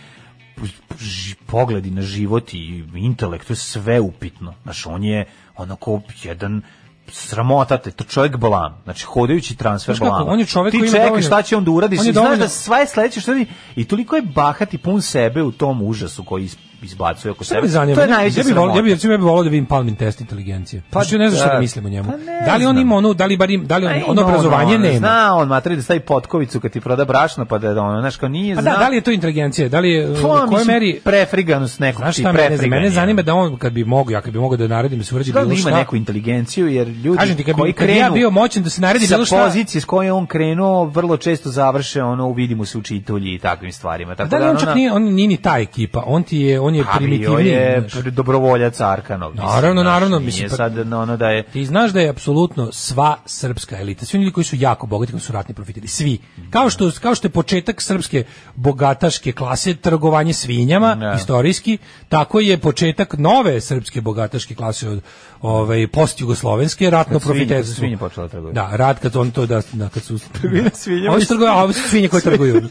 ži- pogledi na život i intelekt, to je sve upitno. Znaš, on je onako jedan sramota te, to čovjek blam. Znači, hodajući transfer
Znaš kako,
blama.
on je čovjek
Ti
koji ima
čekaš
dovoljno-
šta će on da uradi,
on je
i znaš
dovoljno-
da sve sledeće što radi i toliko je bahat i pun sebe u tom užasu koji is- izbacuje oko
Sve
sebe.
me zanima.
To je najveća
ja bih volio,
sramota.
ja bih recimo ja bih volio da vidim Palmin test inteligencije.
Pa
Pa znači, ja ne znam šta
da.
da mislim o njemu.
Pa ne
da li on
znam.
ima ono, da li bar im- da li on,
Ej,
ono
no,
obrazovanje
no,
nema?
Zna on, materi da stavi potkovicu kad ti proda brašno, pa da, da ono, znaš, kao nije
Pa
zna.
da, da li je to inteligencija? Da li je u
Pa,
kojoj
mislim,
meri
Prefriganost nekog
Znaš
ti,
šta mene, zanima?
prefrigan
mene
je.
zanima da on kad bi mogao, ja kad bi mogao da naredim da se uradi
Da
bilo
li ima
šta.
neku inteligenciju, jer ljudi
Kažem ti, kad bi-
koji
kad bi ja
krenu
bio moćan da se naredi
sa
bilo šta-
pozicije s koje je on krenuo, vrlo često završe ono, uvidimo se učitelji i takvim stvarima. Tako
Da,
da, ono,
da, on čak
ona-
nije, on nije ni ta ekipa, on ti je, on je
A Pa bio
primitivni.
je
znaš.
dobrovoljac Arkanov. mislim,
Naravno,
znaš,
naravno,
nije
mislim, pa-
sad na ono da je...
Ti znaš da je apsolutno sva srpska elita, svi oni ljudi koji su jako bogati, koji su ratni profiteri, svi. Kao što, kao što je početak srpske bogataške klase trgovanje svinjama,
Da.
istorijski, tako je početak nove srpske bogataške klase od ovaj, post-jugoslovenske ratno
Kad svinje-
profiterstvo.
kad svinje počela trgovati.
Da, rat kad on to da, da kad
*laughs*
su...
Trgovina svinjama
Ovi
i-
su trgovi- a ovi su svinje
*laughs*
koje trguju.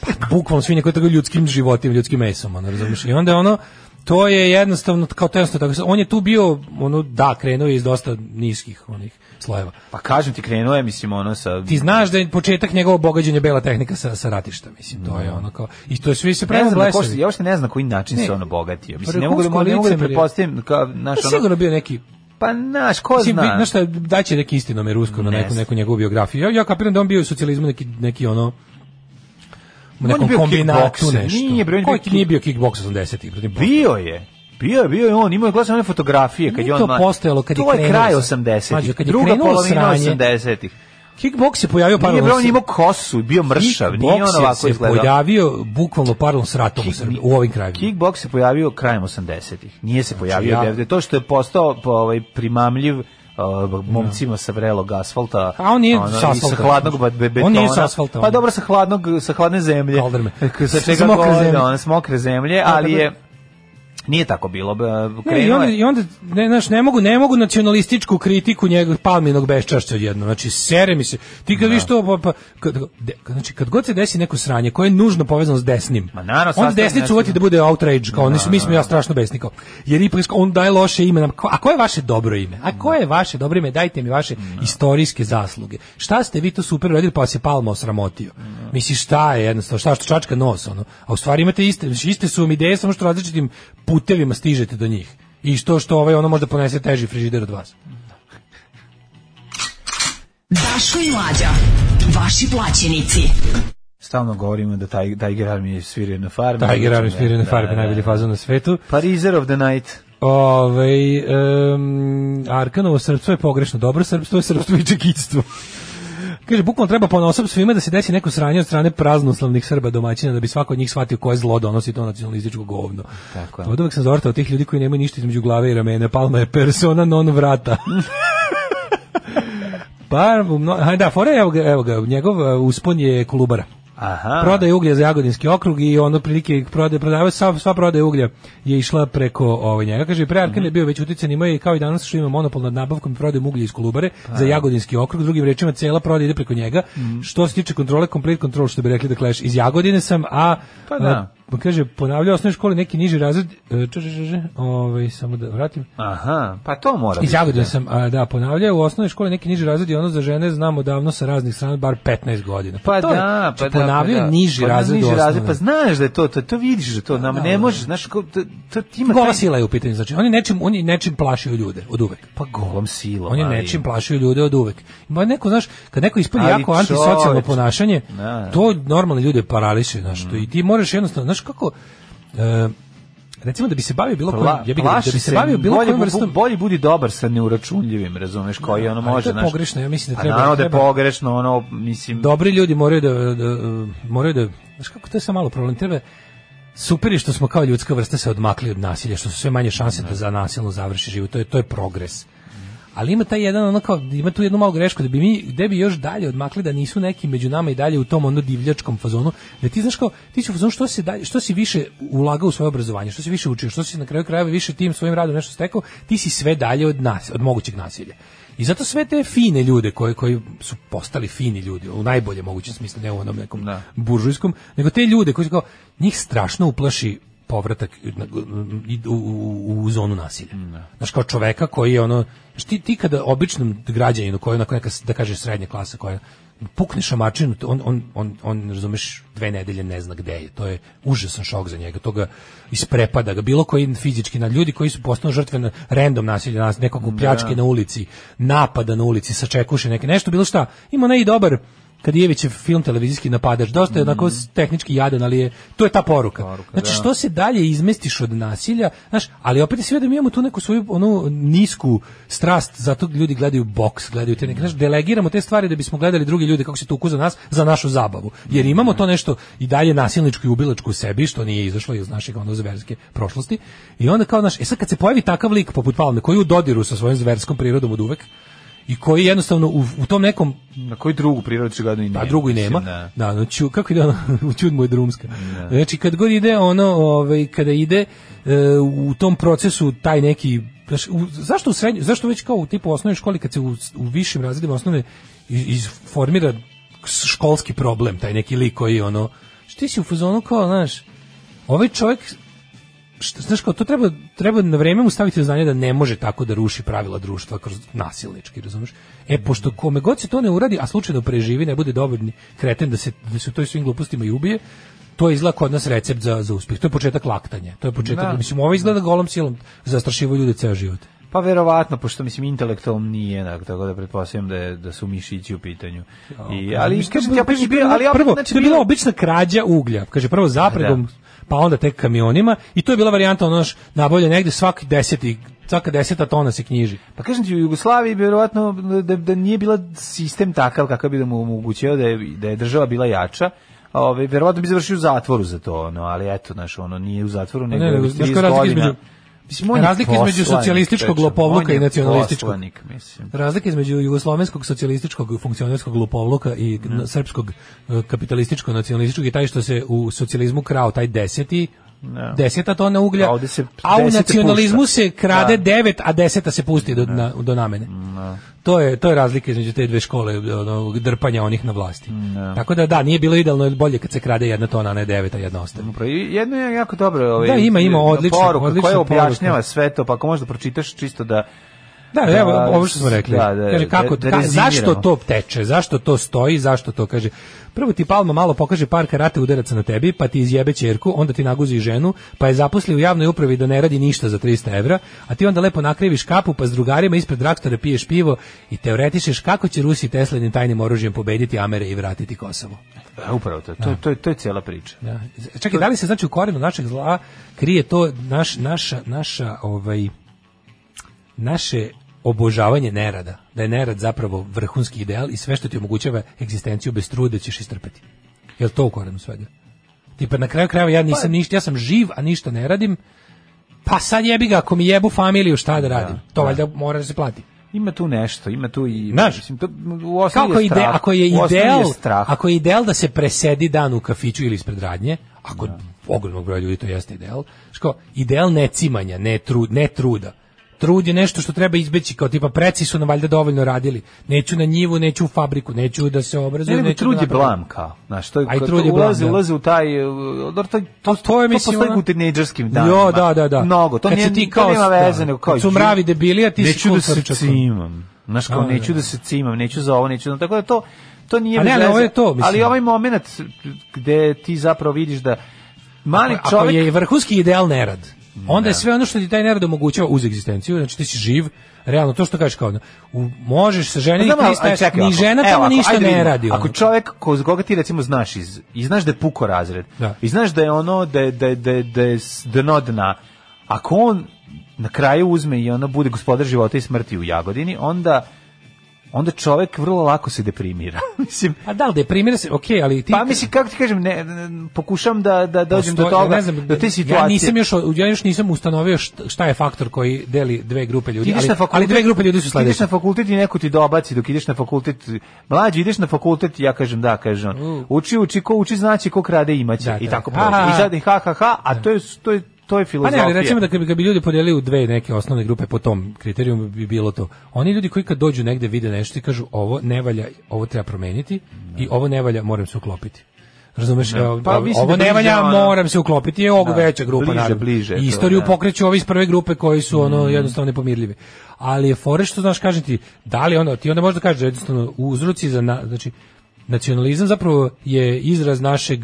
Pa, bukvalno svinje koje trguju ljudskim životima, ljudskim mesom, ono, razumiješ? I onda je ono, to je jednostavno, kao to je jednostavno, tako, on je tu bio, ono, da, krenuo je iz dosta niskih onih slojeva.
Pa kažem ti, krenuo je, mislim, ono sa...
Ti znaš da je početak njegovog bogađenja bela tehnika sa, sa ratišta, mislim, to je ono kao, i to je svi se
Ne
pravimo
znam na ko
blesavi.
se- ja uopšte ne znam na koji način
Ne.
se ono bogatio. Mislim, ne mogu
Vrhunsko
da, mo- ne mogu da
licemerje.
pretpostavim, kao, naš,
Pa
ono,
sigurno bio neki
pa naš, ko
Mislim,
zna?
znaš šta, daće neki istinome rusko na
Ne
neku,
znam.
neku njegovu biografiju. Ja, ja kapiram da on bio u socijalizmu neki, neki ono u
On
nekom
je bio
kombinatu
kickbokser,
nešto.
nije bre, on je
Koji
bio
nije bio kickboks 80-ih? protiv Boga?
Bio je. Bio je, bio je on, imao je glasne one fotografije kad
Nije
je on
to
ma-
postojalo kad je
To je
krenuo
kraj
sa-
80-ih.
Mađo, kad je
Druga
krenulo
polovina
sranje,
80-ih.
Kickboks se pojavio
Nije
paralelno.
bre, on imao kosu, bio mršav, nije on ovako
se
izgledao.
pojavio bukvalno paralelno s ratom u, Srbiji, u ovim krajevima.
Kickbox se pojavio krajem 80-ih. Nije se pojavio
Znači, ja-
devde. To što je postao po, ovaj, primamljiv uh, momcima sa vrelog asfalta.
A on nije
ono,
s
i
asfalta.
Sa hladnog ba- be- betona.
On nije s asfalta,
Pa
on.
dobro, sa, hladnog, sa hladne zemlje.
Kaldrme.
K- Sa
S
čega
mokre
god,
zemlje.
ono, s mokre zemlje, ali
tako
je... Nije tako bilo. b-
Ne, i
krenuo
onda,
je-
i onda ne, znaš, ne mogu, ne mogu nacionalističku kritiku njegovog palminog beščašća odjedno. Znači, sere mi se. Ti kad viš to, pa, pa, kad, de- kad- znači, kad god se desi neko sranje koje je nužno povezano s desnim,
Ma naravno,
on
sastavlja
desnicu
nešto-
uvati da bude outrage, kao oni su, mi smo ja strašno besni, kao, jer ipak on daje loše ime. nam. Ko- A koje je vaše dobro ime? A koje je vaše dobro ime? Dajte mi vaše istorijske zasluge. Šta ste vi to super radili pa vas je Palma osramotio? Misli, šta je jednostavno, šta što čačka nos, ono. A u stvari imate iste, znači, iste su vam ideje, samo što različitim putevima stižete do njih. I što što ovaj ono možda ponese teži frižider od vas.
Daško i Mlađa. Vaši plaćenici.
Stalno govorimo da taj, Tiger Army je svirio na farmi. znači,
Tiger Army sviraju na
Da,
farbi,
da, da.
najbolji fazon na svetu.
Pariser of the night.
Ove, um, Arkanovo srpstvo je pogrešno. Dobro srpstvo je srpstvo i čekitstvo. Kaže, bukvalno treba ponosom svima da se desi neko sranje od strane praznoslavnih Srba domaćina da bi svako od njih shvatio koje zlo donosi to nacionalističko govno.
Tako je.
Od uvek sam zavrtao tih ljudi koji nemaju ništa između glave i ramena. Palma je persona non
*laughs*
vrata. Par, no, aj Pa, da, fora je, evo ga, evo ga, njegov e, uspon je kolubara.
Aha.
Prodaje uglja za Jagodinski okrug i ono prilike prodaje, prodava, sva, sva prodaje uglja je išla preko ovaj, njega. Kaže, pre Arkan
Mhm.
je bio već uticen, imao je kao i danas što ima monopol nad nabavkom i prodajom uglja iz Kolubare
Pa.
za Jagodinski okrug, drugim rečima cela prodaja ide preko njega.
Mhm.
Što se tiče kontrole, complete control, što bi rekli da Clash, iz Jagodine sam, a...
Pa da.
a, kaže, ponavljao u osnovnoj školi neki niži razred, e, če, če, če, če, ovaj, samo da vratim.
Aha, pa to
Iz
mora biti.
Jagodine sam, a, da, ponavljao u osnovnoj školi neki niži razred i ono za žene znamo davno sa raznih strana, bar 15 godina.
Pa
to
da,
je-
pa
znači,
da, pa
ponavljaju
da.
niži
Pa da,
razred
niži
osnovne.
razred, pa znaš da je to, to, to vidiš da to nam ne možeš, znaš, ko- to, to ti ima...
Gola
taj-
sila je u pitanju, znači oni nečim, oni nečim plašaju ljude od uvek.
Pa golom silom.
Oni
ali-
nečim plašaju ljude od uvek. Ima neko, znaš, kad neko ispadi
Ali
jako antisocijalno
čoveče.
ponašanje,
Da, da.
to normalne ljude parališe, znaš, to i ti moraš jednostavno, znaš kako... e, recimo da bi se bavio bilo kojim,
Pla,
ja bih da
plaši
bi se
se,
bavio bilo
bolje
kojim
bu-
vrstom
Bolje budi dobar sa neuračunljivim, razumeš, koji ono
Ali
može,
to je
znaš.
pogrešno, ja mislim da
A
treba-
naravno da je
treba-
pogrešno, ono, mislim...
dobri ljudi moraju da, da, da, moraju da znaš kako to je sam malo problem treba super je što smo kao ljudska vrsta se odmakli od nasilja što su sve manje šanse da za nasilno završi život to je to je progres ali ima taj jedan ono kao ima tu jednu malu grešku da bi mi gde bi još dalje odmakli da nisu neki među nama i dalje u tom ono divljačkom fazonu da ti znaš kao ti si u fazonu što se dalje što si više ulagao u svoje obrazovanje što si više učio što si na kraju krajeva više tim svojim radom nešto stekao ti si sve dalje od nas od mogućeg nasilja i zato sve te fine ljude koji koji su postali fini ljudi u najboljem mogućem smislu ne u onom nekom
Da.
buržujskom nego te ljude koji su kao njih strašno uplaši povratak na- i- u, u, u zonu nasilja. Znaš, kao čoveka koji je ono, znaš, ti, ti kada običnom građaninu koji je onako neka, da kažeš, srednja klasa koja pukne šamačinu, to on, on, on, on, razumeš, dve nedelje ne zna gde je. To je užasan šok za njega. To ga isprepada ga. Bilo koji fizički na ljudi koji su postali žrtve na random nasilja, nas, nekog pljačke na ulici, napada na ulici, sačekuše neke, nešto, bilo šta. Ima onaj i dobar, kad Jevićev film televizijski napadaš, dosta je onako s- tehnički jadan, ali je, to je ta poruka. znači, što se dalje izmestiš od nasilja, znaš, ali opet je sve da mi imamo tu neku svoju onu nisku strast, zato ljudi gledaju boks, gledaju te neke, znaš, delegiramo te stvari da bismo gledali drugi ljude kako se tuku za nas, za našu zabavu. Jer imamo to nešto i dalje nasilničko i ubilačko u sebi, što nije izašlo iz našeg ono zverske prošlosti. I onda kao, znaš, e sad kad se pojavi takav lik poput Palme, koji je u dodiru sa svojom zverskom prirodom od uvek, i koji jednostavno u, u tom nekom
Na koju drugu prirodu će gledati?
pa drugo i nema. Da, no, ću- kako ide ono, *laughs* u čud mu je drumska. Znači, kad god ide ono, ovaj, kada ide e, u tom procesu taj neki, znaš, u- zašto, u srednjoj- zašto već kao u tipu osnovnoj školi, kad se u, u višim razredima osnovne iz- izformira školski problem, taj neki lik koji ono, što ti si u fazonu kao, znaš, ovaj čovjek šta, znaš kao, to treba, treba na vreme mu staviti do znanja da ne može tako da ruši pravila društva kroz nasilnički, razumiješ? E, pošto kome god se to ne uradi, a slučajno preživi, ne bude dobar ni kreten da se, da se u toj svim glupostima i ubije, to je izgleda kod nas recept za, za uspjeh. To je početak laktanja. To je početak,
Da.
mislim, ovo izgleda golom silom zastrašivo ljude ceo život.
Pa verovatno, pošto mislim intelektualno nije jednak, tako da pretpostavljam da, je, da su mišići u pitanju. I, ali,
Mislim,
kažem
to
ti,
je
opet je
bilo-
bio, ali opet,
prvo,
znači,
to je bila
bio-
obična krađa uglja. Kaže prvo zapregom, pa onda tek kamionima i to je bila varijanta ono naš nabavlja negde svaki 10 svaka deseta tona se knjiži.
Pa kažem ti, u Jugoslaviji bi verovatno da, da nije bila sistem takav kakav bi da mu omogućio da je, da je država bila jača. Ove, verovatno bi završio u zatvoru za to, ono, ali eto, znaš, ono, nije u zatvoru, nego
ne,
je
nego,
već
znaš
30
koja je razlika
godina.
između-
Mislim, on je
Razlika između
poslanik,
socijalističkog
čoveče,
lopovluka
on je
i nacionalističkog.
poslanik, mislim.
Razlika između jugoslovenskog socijalističkog funkcionerskog lopovluka i n- srpskog kapitalističko nacionalističkog je taj što se u socijalizmu krao taj deseti deseta tona uglja,
A ovde se
a u
desete
nacionalizmu
pušta.
se krade
Da.
devet, a deseta se pusti do, na, do namene. To je, to je razlika između te dve škole, ono, drpanja onih na vlasti. Tako da, da, nije bilo idealno, jer bolje kad se krade jedna tona, a ne devet, a jedna ostaje.
Upravo, i Jedno je jako dobro ovaj,
Da, ima, ima, odlična-
poruka
odlična
koja
poruka.
objašnjava sve to, pa ako možda pročitaš čisto da
Da,
Da,
evo ovo što smo rekli.
da, da,
kaže kako
da
ka-
rezimiramo.
zašto to teče? Zašto to stoji? Zašto to kaže? Prvo ti Palma malo pokaže par karate udaraca na tebi, pa ti izjebe ćerku, onda ti naguzi ženu, pa je zaposli u javnoj upravi da ne radi ništa za 300 evra, a ti onda lepo nakriviš kapu, pa s drugarima ispred raktora piješ pivo i teoretišeš kako će Rusi Teslinim tajnim oružjem pobediti Amere i vratiti Kosovo.
E, upravo to, to, to, to je cijela priča.
Da. Čekaj, da li se znači u korenu našeg zla krije to naš, naša, naša, ovaj, naše obožavanje nerada, da je nerad zapravo vrhunski ideal i sve što ti omogućava egzistenciju bez truda ćeš istrpeti. Je li to u korenu svega? Tipa na kraju krajeva ja nisam ništa, ja sam živ, a ništa ne radim, pa sad jebi ga, ako mi jebu familiju, šta da radim? to valjda mora da se plati.
Ima tu nešto, ima tu i
Znaš,
mislim to u osnovi
Kako
je
je ide,
strah.
ako je
U osnovi
ideal,
strah.
ako je ideal da se presedi dan u kafiću ili ispred radnje, a kod ogromnog broja ljudi to jeste ideal. znaš kao, ideal ne cimanja, ne trud, ne truda. Trud je nešto što treba izbeći, kao tipa preci su nam valjda dovoljno radili. Neću na njivu, neću u fabriku, neću da se
Ne,
obrazujem,
nego
neću
trud
da
je
napravim.
blam kao. Znaš, to je,
A i
to
trud je blam,
ulazi,
da.
ulazi u taj... uh, To, to, to, to,
je, mislim,
postoji
ono-
u tinejdžerskim danima.
Jo, da, da, da.
Mnogo, to,
Kad
nije,
si ti
to
kao-
nema veze,
da.
nego kao...
Kad su
ju-
mravi debili, a ti si
Neću da se
kulturčak.
cimam. Znaš, kao,
Da, da,
neću
da.
da se cimam, neću za ovo, neću za Tako da to, to nije
A ne,
bez
ali
veze.
ovo je to, mislim.
Ali ovaj moment gde ti zapravo vidiš da mali
Ako- Ako
čovjek...
je vrhunski ideal nerad, onda je sve ono što ti taj nerad omogućava uz egzistenciju, znači ti si živ, realno to što kažeš kao ono, u, možeš se ženiti,
Pa Znam, ali- ali
pristaješ,
čekaj
ni
ovako.
žena
Evo,
tamo
ako-
ništa
ajde
ne
vidimo.
radi.
Ako
ono.
čovjek ko- koga ti recimo znaš iz, i znaš da je puko razred,
Da.
i znaš da je ono, da je, da je, da je, da je s- dno dna, ako on na kraju uzme i ono bude gospodar života i smrti u Jagodini, onda onda čovjek vrlo lako se deprimira. *laughs* mislim,
A Pa da li deprimira se, ok, ali ti...
pa mislim, kako ti kažem, ne, ne, pokušam da, da dođem do
Postoje-
toga,
ne znam,
do te situacije.
Ja nisam još, ja još nisam ustanovio šta, šta je faktor koji deli dve grupe
Ti
ljudi,
ideš
ali,
na fakultet,
ali dve grupe ljudi su
Ti ideš
sledeće.
na fakultet i neko ti dobaci dok ideš na fakultet. Mlađi, ideš na fakultet i ja kažem da, kaže on. Uči, uči, ko uči znaće, ko krade imaće.
Mm. Da,
I
da.
tako prođe. I
Aha.
sad i ha, ha, ha, a to je, to je, to je
Pa ne,
filozofija.
ali recimo da kad bi, kad bi ljudi podelili u dve neke osnovne grupe po tom kriterijumu bi bilo to. Oni ljudi koji kad dođu negde vide nešto i kažu ovo ne valja, ovo treba promeniti i ovo ne valja, moram se uklopiti. Razumeš? Evo,
Pa mislim
ovo
da
ne
bliže
valja,
ono-
moram se uklopiti, je ovo
Da,
veća grupa.
bliže,
naravno.
bliže je to,
Istoriju
da. Mm.
pokreću ovi iz prve grupe koji su ono jednostavno nepomirljivi. Ali je fore što znaš, kažem ti, da li ono, ti onda možda kažeš da jednostavno uzroci za, na, znači, nacionalizam zapravo je izraz našeg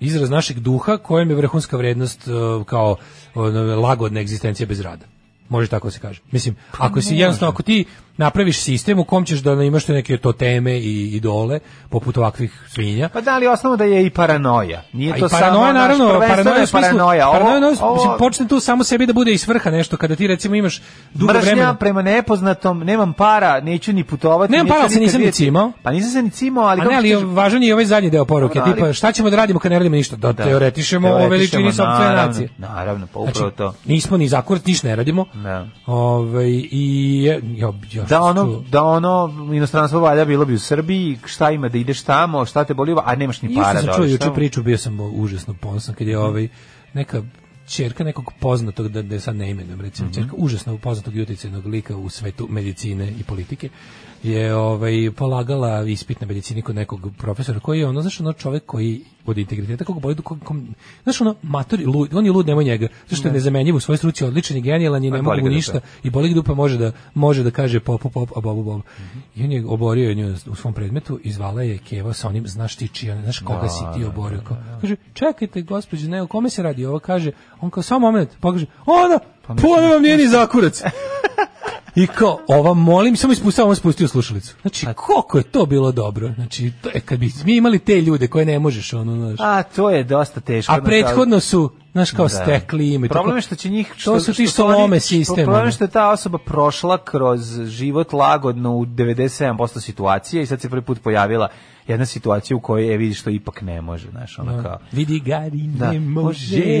izraz našeg duha kojem je vrhunska vrednost e, kao ono, lagodna egzistencija bez rada. Može tako da se kaže. Mislim,
Pa
ako si jednostavno, ako ti napraviš sistem u kom ćeš da imaš te neke toteme i idole, poput ovakvih svinja,
Pa da, ali osnovno da je i paranoja. Nije
a i
to samo,
paranoja,
naš,
naravno,
prvenstveno
paranoja
je
u smislu,
paranoja. Ovo-
paranoja, ono,
ovo-
mislim, počne tu samo sebi da bude i svrha nešto, kada ti recimo imaš dugo
Mržnja
vremena.
prema nepoznatom, nemam para, neću ni putovati.
Nemam
neću
para, ali se
nikad
nisam ni
vidjeti.
cimao.
Pa nisam se ni cimao, ali
A
kako
ne, ali
ti kažem,
važan je i ovaj zadnji deo poruke,
Dobro, ali-
tipa šta ćemo da radimo kad ne radimo ništa? Da,
da.
teoretišemo o
Teoretišemo,
veličini sopstvene
naravno,
nacije.
Naravno, pa
Znači,
upravo to.
nismo ni zakurat, ništa ne radimo.
Da.
Ovaj, i, je- jo, jo,
Da ono,
što-
da ono inostranstvo valja bilo bi u Srbiji, šta ima da ideš tamo, šta te boli, a nemaš ni
Isto
para
sam
da
čuo
odeš
juče
tamo.
priču, bio sam užasno ponosan kad je
Mhm.
ovaj neka čerka nekog poznatog, da, da je sad ne imenujem, recimo,
Mhm.
ćerka užasno poznatog i uticajnog lika u svetu medicine i politike, je ovaj, polagala ispit na medicini kod nekog profesora koji je ono, znaš, ono čovek koji od integriteta, kog boli, do kog, kom- znaš, ono, matori, lud, on je lud, nemoj njega, zašto je nezamenjiv u svojoj struci, odličan je genijalan i
Pa
ne mogu
boli ga
mu
dupe.
ništa, i boli ga dupa može da može da kaže pop pop pop a bobu bob. I on je oborio je nju u svom predmetu i zvala je Keva sa onim znaš ti čija, znaš koga si ti oborio. Kao, Kaže čekajte gospođo, ne, o kome se radi? Ovo kaže, on kao samo moment, pa kaže, ona, pa ona vam nije ni zakurac. I kao, ova molim, samo ispustio, on spustio slušalicu. Znači, koliko je to bilo dobro. Znači, to je, kad bi mi imali te ljude koje ne možeš, ono, znaš.
A to je dosta teško.
A
znaš,
prethodno su, znaš, kao
ali-
stekli ime. i
Problem
tako.
je što će njih...
to su ti što
oni-
lome sistem.
Problem
ono.
je što je ta osoba prošla kroz život lagodno u 97% situacije i sad se prvi put pojavila jedna situacija u kojoj je vidiš što ipak ne može, znaš, ono kao...
Vidi ga i
Da.
ne može. *laughs*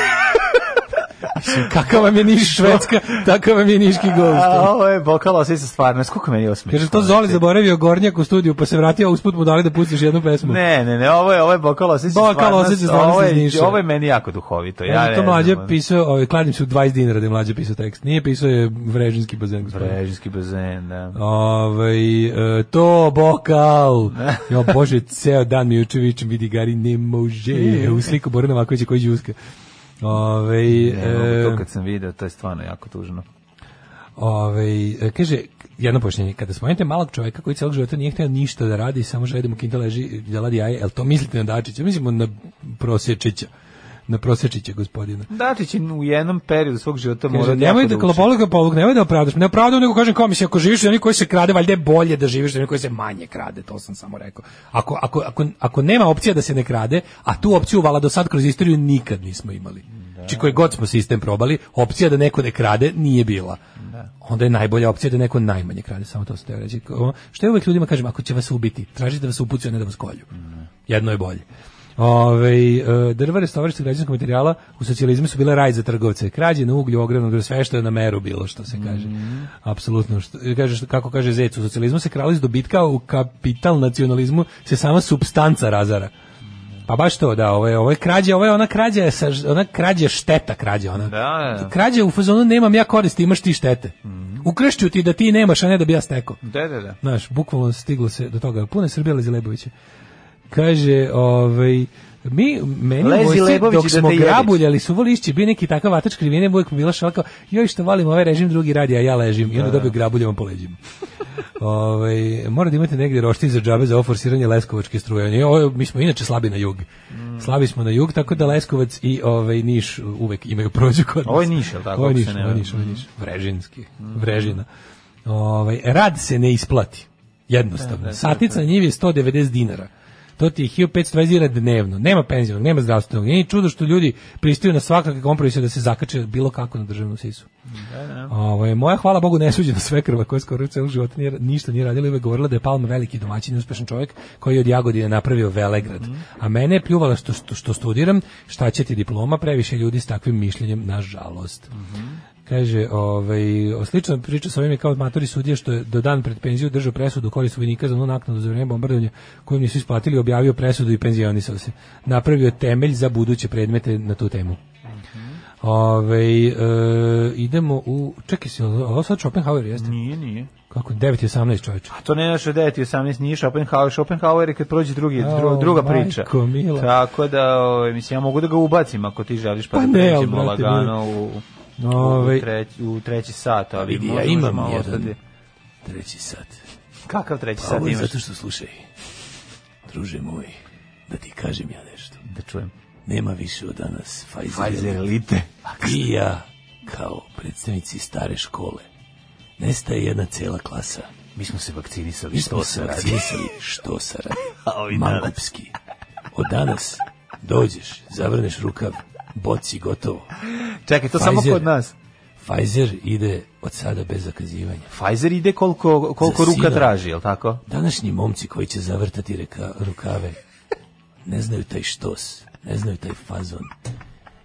Kakav vam je niš švedska, takav vam je niški
A,
gost.
*laughs* ovo je bokal osjeća stvarno. Koliko je meni ono, znači, osmešno?
Kaže, to Zoli zaboravio gornjak u studiju, pa se vratio, a usput mu dali da pustiš jednu pesmu.
Ne, ne, ne, ovo je, ovo je bokal osjeća
Bokal
stvarnost,
osjeća stvarnost
ovo je-
iz Niša.
Ovo je meni jako duhovito. Ja
Ja
ne
to
znam,
mlađe
ono.
pisao, ovaj, kladim se u 20 dinara da je mlađe pisao tekst. Nije pisao je vrežinski bazen, gospodin.
Brežinski bazen, da.
Ovaj, e, to
*laughs*
bokal. Jo, bože, ceo dan mi juče vičem, vidi Gari, ne može. U sliku Borana Makovića koji džuska. Ove,
Ne,
e,
mogu to kad sam video, to je stvarno jako tužno.
Ove, Ovaj, e, kaže, jedno pojašnjenje, kada spomenete malog čovjeka koji celog života nije htio ništa da radi, samo želi da mu kinta leži, da ladi jaje, jel to mislite na Dačića? Mislimo na Prosječića. na prosečića gospodina.
Dačić je u jednom periodu svog života mora
Kaže, nemoj da kalopoluga polog, nemoj da opravdaš. Ne opravdam, nego kažem kao mislim, ako živiš od onih koji se krade, valjda je bolje da živiš od onih koji se manje krade, to sam samo rekao. Ako, ako, ako, ako nema opcija da se ne krade, a tu opciju vala do sad kroz istoriju nikad nismo imali. Znači koji god smo sistem probali, opcija da neko ne krade nije bila. Onda je najbolja opcija da neko najmanje krade, samo to sam teo reći. Ono, Što ja uvijek ljudima kažem, ako će vas ubiti, tražite da vas upucaju, a ne da vas kolju. Jedno je bolje. Ove, e, drva restovarstva građanskog materijala u socijalizmu su bile raj za trgovce. Krađe na uglju, ogromno, sve što je na meru bilo, što se kaže.
Mhm.
Apsolutno. Što, kaže, što- kako kaže Zec, u socijalizmu se krali iz dobitka, a u kapital nacionalizmu se sama substanca razara. Pa baš to, da, ovo je, ovo je krađa, ovo je ona krađa, sa, ona krađa šteta krađa, ona.
Da, Mhm. da.
Krađa u fazonu nemam ja koristi, imaš ti štete. Ukrešću ti da ti nemaš, a ne da bi ja stekao.
Da, da, da.
Znaš, bukvalno stiglo se do toga. Puno je Srbija Lezi Lebovića. Kaže, ovaj, mi, meni
Lezi
u vojsci,
Lebović i
dok
da
smo
te jediš.
grabuljali su volišći, bio neki takav vatač krivine, uvijek mi bila šalka, joj što volim ovaj režim, drugi radi, a ja ležim. I onda dobio grabuljama po leđima. Ovaj, mora da imate negdje roštilj za džabe za ovo forsiranje leskovačke struje. Oni, ovo, mi smo inače slabi na jug. Slabi smo na jug, tako da Leskovac i ovaj, Niš uvek imaju prođu kod nas.
Ovo je Niš, jel tako,
Ovo je
ako
Niš,
se ne Mm.
ovo je Niš, ovo je Niš. Vrežinski, Vrežina. Ovaj, rad se ne isplati. Jednostavno. Satnica na njivi je 190 dinara. To ti je 1520 dinara dnevno. Nema penzionog, nema zdravstvenog. Nije ni čudo što ljudi pristaju na svakakve kompromise da se zakače bilo kako na državnu sisu. Ovaj, moja, hvala Bogu, nesuđena svekrva koja skoro celog života nije, ništa nije radila i uvek govorila da je Palma veliki domaćin i uspešan čovjek koji je od Jagodine napravio Velegrad. A mene je pljuvala što, što, što studiram, šta će ti diploma, previše ljudi s takvim mišljenjem, nažalost. Kaže, ovaj, o slično priča sa ovim je kao matori sudija što je do dan pred penziju držao presudu u korist vojnika za onu naknadu za vrijeme bombardovanja koju nisu isplatili, objavio presudu i penzionisao se. Napravio temelj za buduće predmete na tu temu. Ove, idemo u... Čekaj si, ovo sad Schopenhauer jeste?
Nije, nije.
Kako? 9.18 čovječe.
To ne naš od 9 i 18 nije Schopenhauer. Schopenhauer je kad prođe drugi, dru- druga
Au,
priča.
majko mila.
Tako da, ovaj, mislim, ja mogu da ga ubacim ako ti želiš, pa,
Pa
da
ne, ali,
pređemo
brate,
lagano ono u,
Ovaj. Pa
u, treći, u treći sat. Ali
Vidi, ja
možda
imam
malo
jedan.
ostati.
Treći sat. Pa
Kakav treći sat imaš?
što slušaj, druže moj, da ti kažem ja nešto.
Da čujem.
Nema više od danas
Pfizer elite.
I ja, kao predstavnici stare škole, nestaje jedna cela klasa.
Mi smo se vakcinisali.
Mi smo se
radi.
vakcinisali, što se
*laughs*
radi.
Ovi
Mangupski. Od danas dođeš, zavrneš rukav, boci gotovo.
Čekaj, to samo
Pfizer.
kod nas.
Pfizer ide od sada bez zakazivanja.
Pfizer ide koliko, koliko
Za
ruka
sina.
traži, je tako?
Današnji momci koji će zavrtati reka, rukave ne znaju taj štos, ne znaju taj fazon.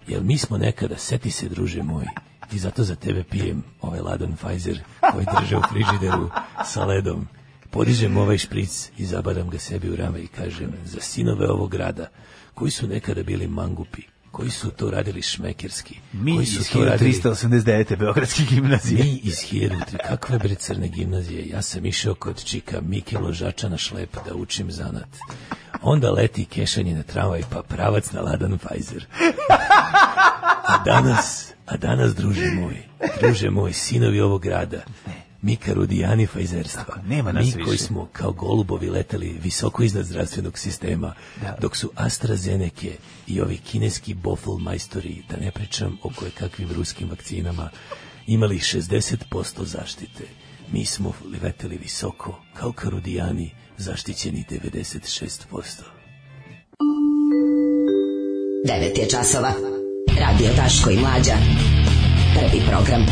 Jer mi smo nekada, seti se druže moj, i zato za tebe pijem ovaj ladan Pfizer koji drže u frižideru sa ledom. Podižem ovaj špric i zabadam ga sebi u rame i kažem za sinove ovog grada koji su nekada bili mangupi, koji su to radili šmekerski,
Mi
koji
iz 1389. Beogradske gimnazije.
mi iz Hijerutri, kakve bre crne gimnazije, ja sam išao kod čika Mike Ložača na šlep da učim zanat. Onda leti kešanje na tramvaj, pa pravac na ladan Pfizer. A danas, a danas, druže moj, druže moj, sinovi ovog grada, mi karudijani fajzerstva,
nema nas
mi
više.
koji smo kao golubovi letali visoko iznad zdravstvenog sistema, dok su AstraZeneca i ovi kineski boful majstori, da ne pričam o koje kakvim ruskim vakcinama, imali 60% zaštite. Mi smo leteli visoko, kao karudijani, zaštićeni 96%.
9 je časova. Radio Daško i Mlađa. Prvi program.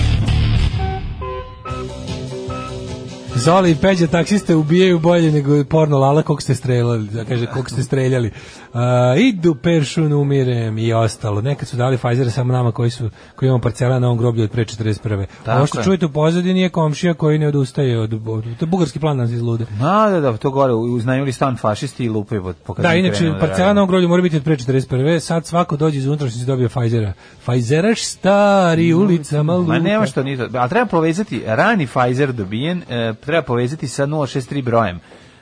Zoli i Peđa taksiste ubijaju bolje nego porno lala kog ste streljali, da kaže kog ste streljali. Uh, idu peršun umirem i ostalo. Nekad su dali Pfizer samo nama koji su koji imamo parcela na ovom groblju od pre 41.
Tako
Ovo što
je.
čujete u pozadini je komšija koji ne odustaje od, od to je bugarski plan nas izlude.
Ma, da, da, to gore, uznajmili stan fašisti i lupaju po
Da, inače parcela na ovom groblju mora biti od pre 41. Sad svako dođe iz unutrašnjosti dobije Pfizera. Pfizeraš stari ulicama luka.
Ma nema što ni to. Ali treba povezati, rani Pfizer dobijen, e, treba povezati sa 063 brojem.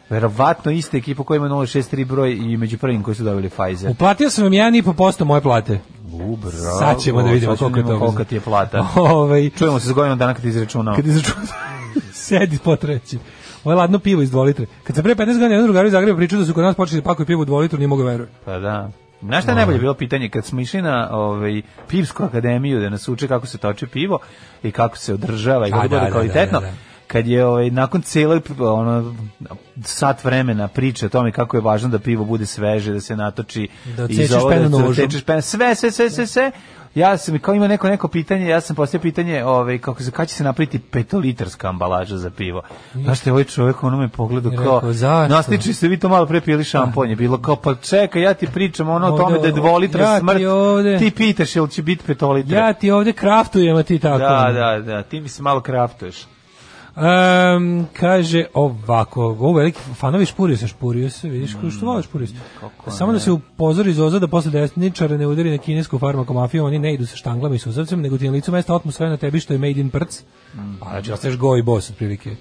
Verovatno iste ekipa koja ima 063 broj i među prvim koji su dobili Pfizer.
Uplatio sam vam 1,5% moje plate.
U, bravo.
Sad ćemo da vidimo
Sad ćemo
koliko je
vidimo
to.
kolika ti je plata.
*laughs* Ovaj,
*laughs* Čujemo se za godinu dana kad izračunao.
kad izračuna *laughs* sedi po treći. Ovo je ladno pivo iz 2 litre. Kad sam pre 15 godina jedan drugar iz Zagreba pričao da su kod nas počeli da pakuju pivo u 2 litru, nije mogu verovati.
Pa da. Znaš šta je
Ovaj.
najbolje bilo pitanje? Kad smo išli na ovaj, pivsku akademiju da nas uče kako se toči pivo i kako se održava i
A,
kako
da,
bude
da,
kvalitetno,
da, da, da.
kad je ovaj, nakon cijelog ono, sat vremena priče o tome kako je važno da pivo bude sveže, da se natoči
Da
iz
odsečeš
ovo,
penu
da
nožem.
odsečeš penu, sve, sve, sve, sve, sve. Ja sam, kao ima neko neko pitanje, ja sam postavio pitanje ovaj, kako se, kada će se napraviti petolitarska ambalaža za pivo. Znaš te, ovaj čovjek ono me pogledao
I
kao,
rekao, zašto?
nasliči se, vi to malo pre pili šamponje, bilo kao, pa čekaj, ja ti pričam ono o
Ovde,
tome da je
o-
dvolitra
ja ti
smrt,
ovde-
ti pitaš jel će biti petolitra.
Ja ti ovdje kraftujem, a ti tako. ono.
da, da, da, ti mi se malo kraftuješ.
Ehm, kaže ovako, ovo veliki fanovi špurio se, špurio se, vidiš
Mm,
ko što voliš špurio se. Samo da se upozori Zoza da posle desničara ne udari na kinesku farmakomafiju, oni ne idu sa štanglama i suzavcem, nego ti na licu mesta otmu sve na tebi što je made in prc.
Mm.
A znači, ostaješ go i boss otprilike.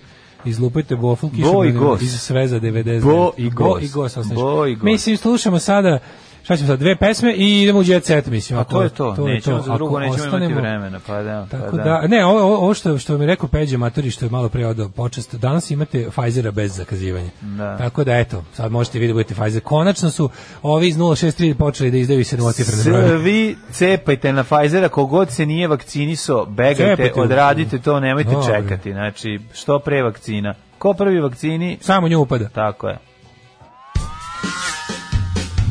Izlupajte bofl kišom
Bo i
na-
gos.
iz sveza 90.
Bo i gos.
i gos. ostaneš.
Bo i gos.
Mislim, slušamo sada Šta ćemo sad, dve pesme i idemo u jet set, mislim.
A Pa to je to,
je
nećemo za
Ako
drugo, nećemo imati
ostanemo-
vremena, pa da. pa
Tako da, ne, ovo, ovo- ovo što, što mi je rekao Peđa Maturi, što je malo pre odao počest, danas imate Pfizera bez zakazivanja.
Da.
Tako da, eto, sad možete vidjeti da budete Pfizer. Konačno su ovi iz 063 počeli da izdaju se novocifrene brojeve.
Svi cepajte na Pfizera, kogod se nije vakciniso, begajte,
Cepajte.
odradite to, nemojte
Dobro.
čekati. Znači, što pre vakcina. Ko prvi vakcini,
Samo nju upada.
tako je.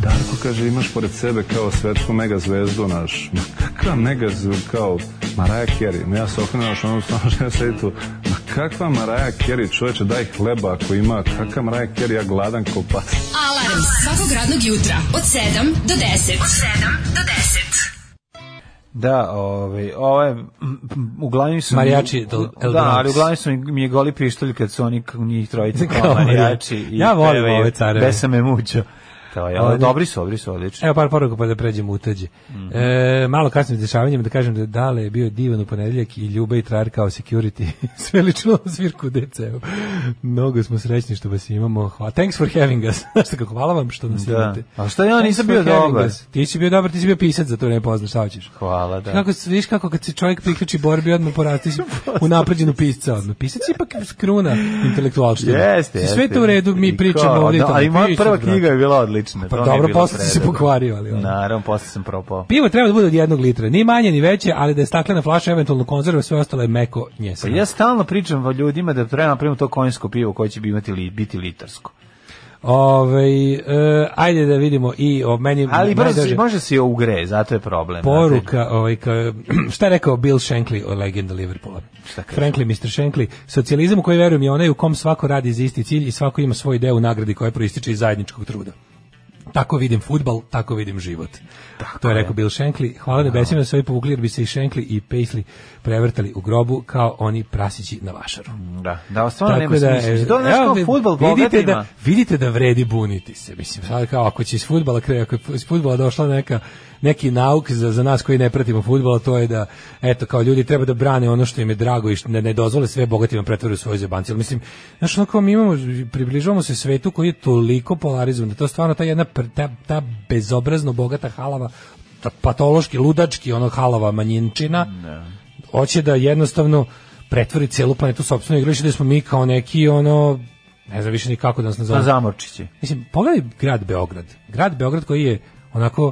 Darko kaže, imaš pored sebe kao svetsku mega zvezdu naš. Ma kakva mega zv- kao Maraja Kerry. Ma ja se okrenem ono naš onom stano što ja *laughs* sedi tu. Ma kakva Maraja Kerry, čoveče, daj hleba ako ima. Kakva Maraja Kerry, ja gladan ko pas.
Alarm svakog radnog jutra od 7 do 10. Od 7 do 10.
Da, ovaj, ove, uglavnom su...
Marijači del- El
Da,
Dorado.
ali uglavnom su mi- mi je goli pištolj kad su oni, k- njih *laughs* trojice kao
Kao
marijači. i
Ja volim
pevaju
ove careve.
Besame muđo. To je, ali
Ovdje-
dobri su, dobri su, odlični.
Evo par poruka pa da pređemo u tuđe.
Mhm.
e, malo kasnim dešavanjem da kažem da Dale je bio divan u ponedeljak i Ljube i Trar kao security. *laughs* Sve lično na svirku DCU. Mnogo smo srećni što vas imamo. Hvala. Thanks for having us. *laughs* Znaš šta kako, hvala vam što nas
Da.
imate.
A šta ja
Thanks
nisam
for
bio
having
dobar?
us. Ti si bio dobar, ti si bio pisac za to ne poznaš, šta hoćeš.
Hvala, da.
Kako se vidiš kako kad se čovjek priključi borbi odmah
*laughs*
porasti si u napređenu pisca odmah. Pisac je ipak skruna intelektualština.
Jeste, jeste.
Znači, Sve to u redu, mi
I
pričamo
kao,
ovdje. i
da,
tamo.
Ali moja
Pisac,
prva
brate.
knjiga je bila odlična.
Pa
to mi je
dobro,
bilo
posle si se
predobro.
pokvario, ali ono.
Naravno, posle sam propao.
Pivo treba da bude od jednog litra, ni manje ni veće, ali da je staklena flaša, eventualno konzerva, sve ostalo je meko
Pa
njesno.
ja stalno pričam o ljudima da treba napravimo to konjsko pivo koje će bi imati li, biti litarsko.
Ovaj, e, ajde da vidimo i o meni...
Ali brzo,
najdraže
može se i ugre, zato je problem. znate.
Poruka, ovaj, ka- *clears throat* šta je rekao Bill Shankly o legenda Liverpoola? Frankly, Mr. Shankly, socijalizam u koji verujem je onaj u kom svako radi za isti cilj i svako ima svoj deo u nagradi koja proističe iz zajedničkog truda. Tako vidim futbal, tako vidim život. to je rekao Bill Shankly. Hvala nebesima da su ovi povukli jer bi se i Shankly i Paisley prevrtali u grobu kao oni prasići na vašaru.
Da, da, stvarno nema smisla.
e,
To je nešto
evo,
kao futbol
vidite
bogatima.
da, vidite da vredi buniti se. Mislim, sad kao ako će iz futbala, kre- ako je iz futbala došla neka neki nauk za, za nas koji ne pratimo futbala, to je da, eto, kao ljudi treba da brane ono što im je drago i što ne, ne dozvole sve bogatima pretvaraju u svoje zebanci. Ali mislim, znaš, ono kao mi imamo, približavamo se svetu koji je toliko polarizovan, da to stvarno ta jedna, pr- ta, ta bezobrazno bogata halava, ta patološki, ludački, ono halava manjinčina, hoće da jednostavno pretvori celu planetu u sopstveno igralište da smo mi kao neki ono ne znam više ni kako da nas
Na
nazovemo.
zamorčići.
Mislim, pogledaj grad Beograd. Grad Beograd koji je onako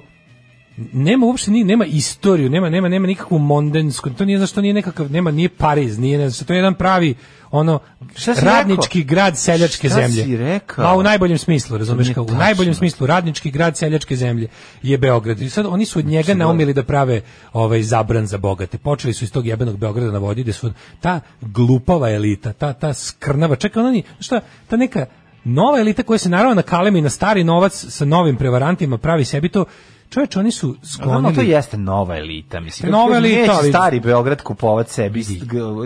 nema uopšte ni nema istoriju, nema nema nema nikakvu mondensku. To nije zašto nije nekakav nema nije Pariz, nije ne znam, šta, to je jedan pravi ono
Šta si
radnički
rekao?
grad seljačke
Šta
zemlje.
si rekao?
Ma, u najboljem smislu, razumeš
nije
kao, u
tačno.
najboljem smislu radnički grad seljačke zemlje je Beograd. I sad oni su od njega naumili da prave ovaj zabran za bogate. Počeli su iz tog jebenog Beograda na vodi gde su ta glupava elita, ta ta skrnava, čekaj, ona ni šta, ta neka nova elita koja se naravno nakalemi na stari novac sa novim prevarantima pravi sebi to Čovječ, oni su
Ono,
sklonili...
to jeste nova elita, mislim.
Nova
Kako-
elita,
Neće
ali-
stari Beograd kupovat sebi, g-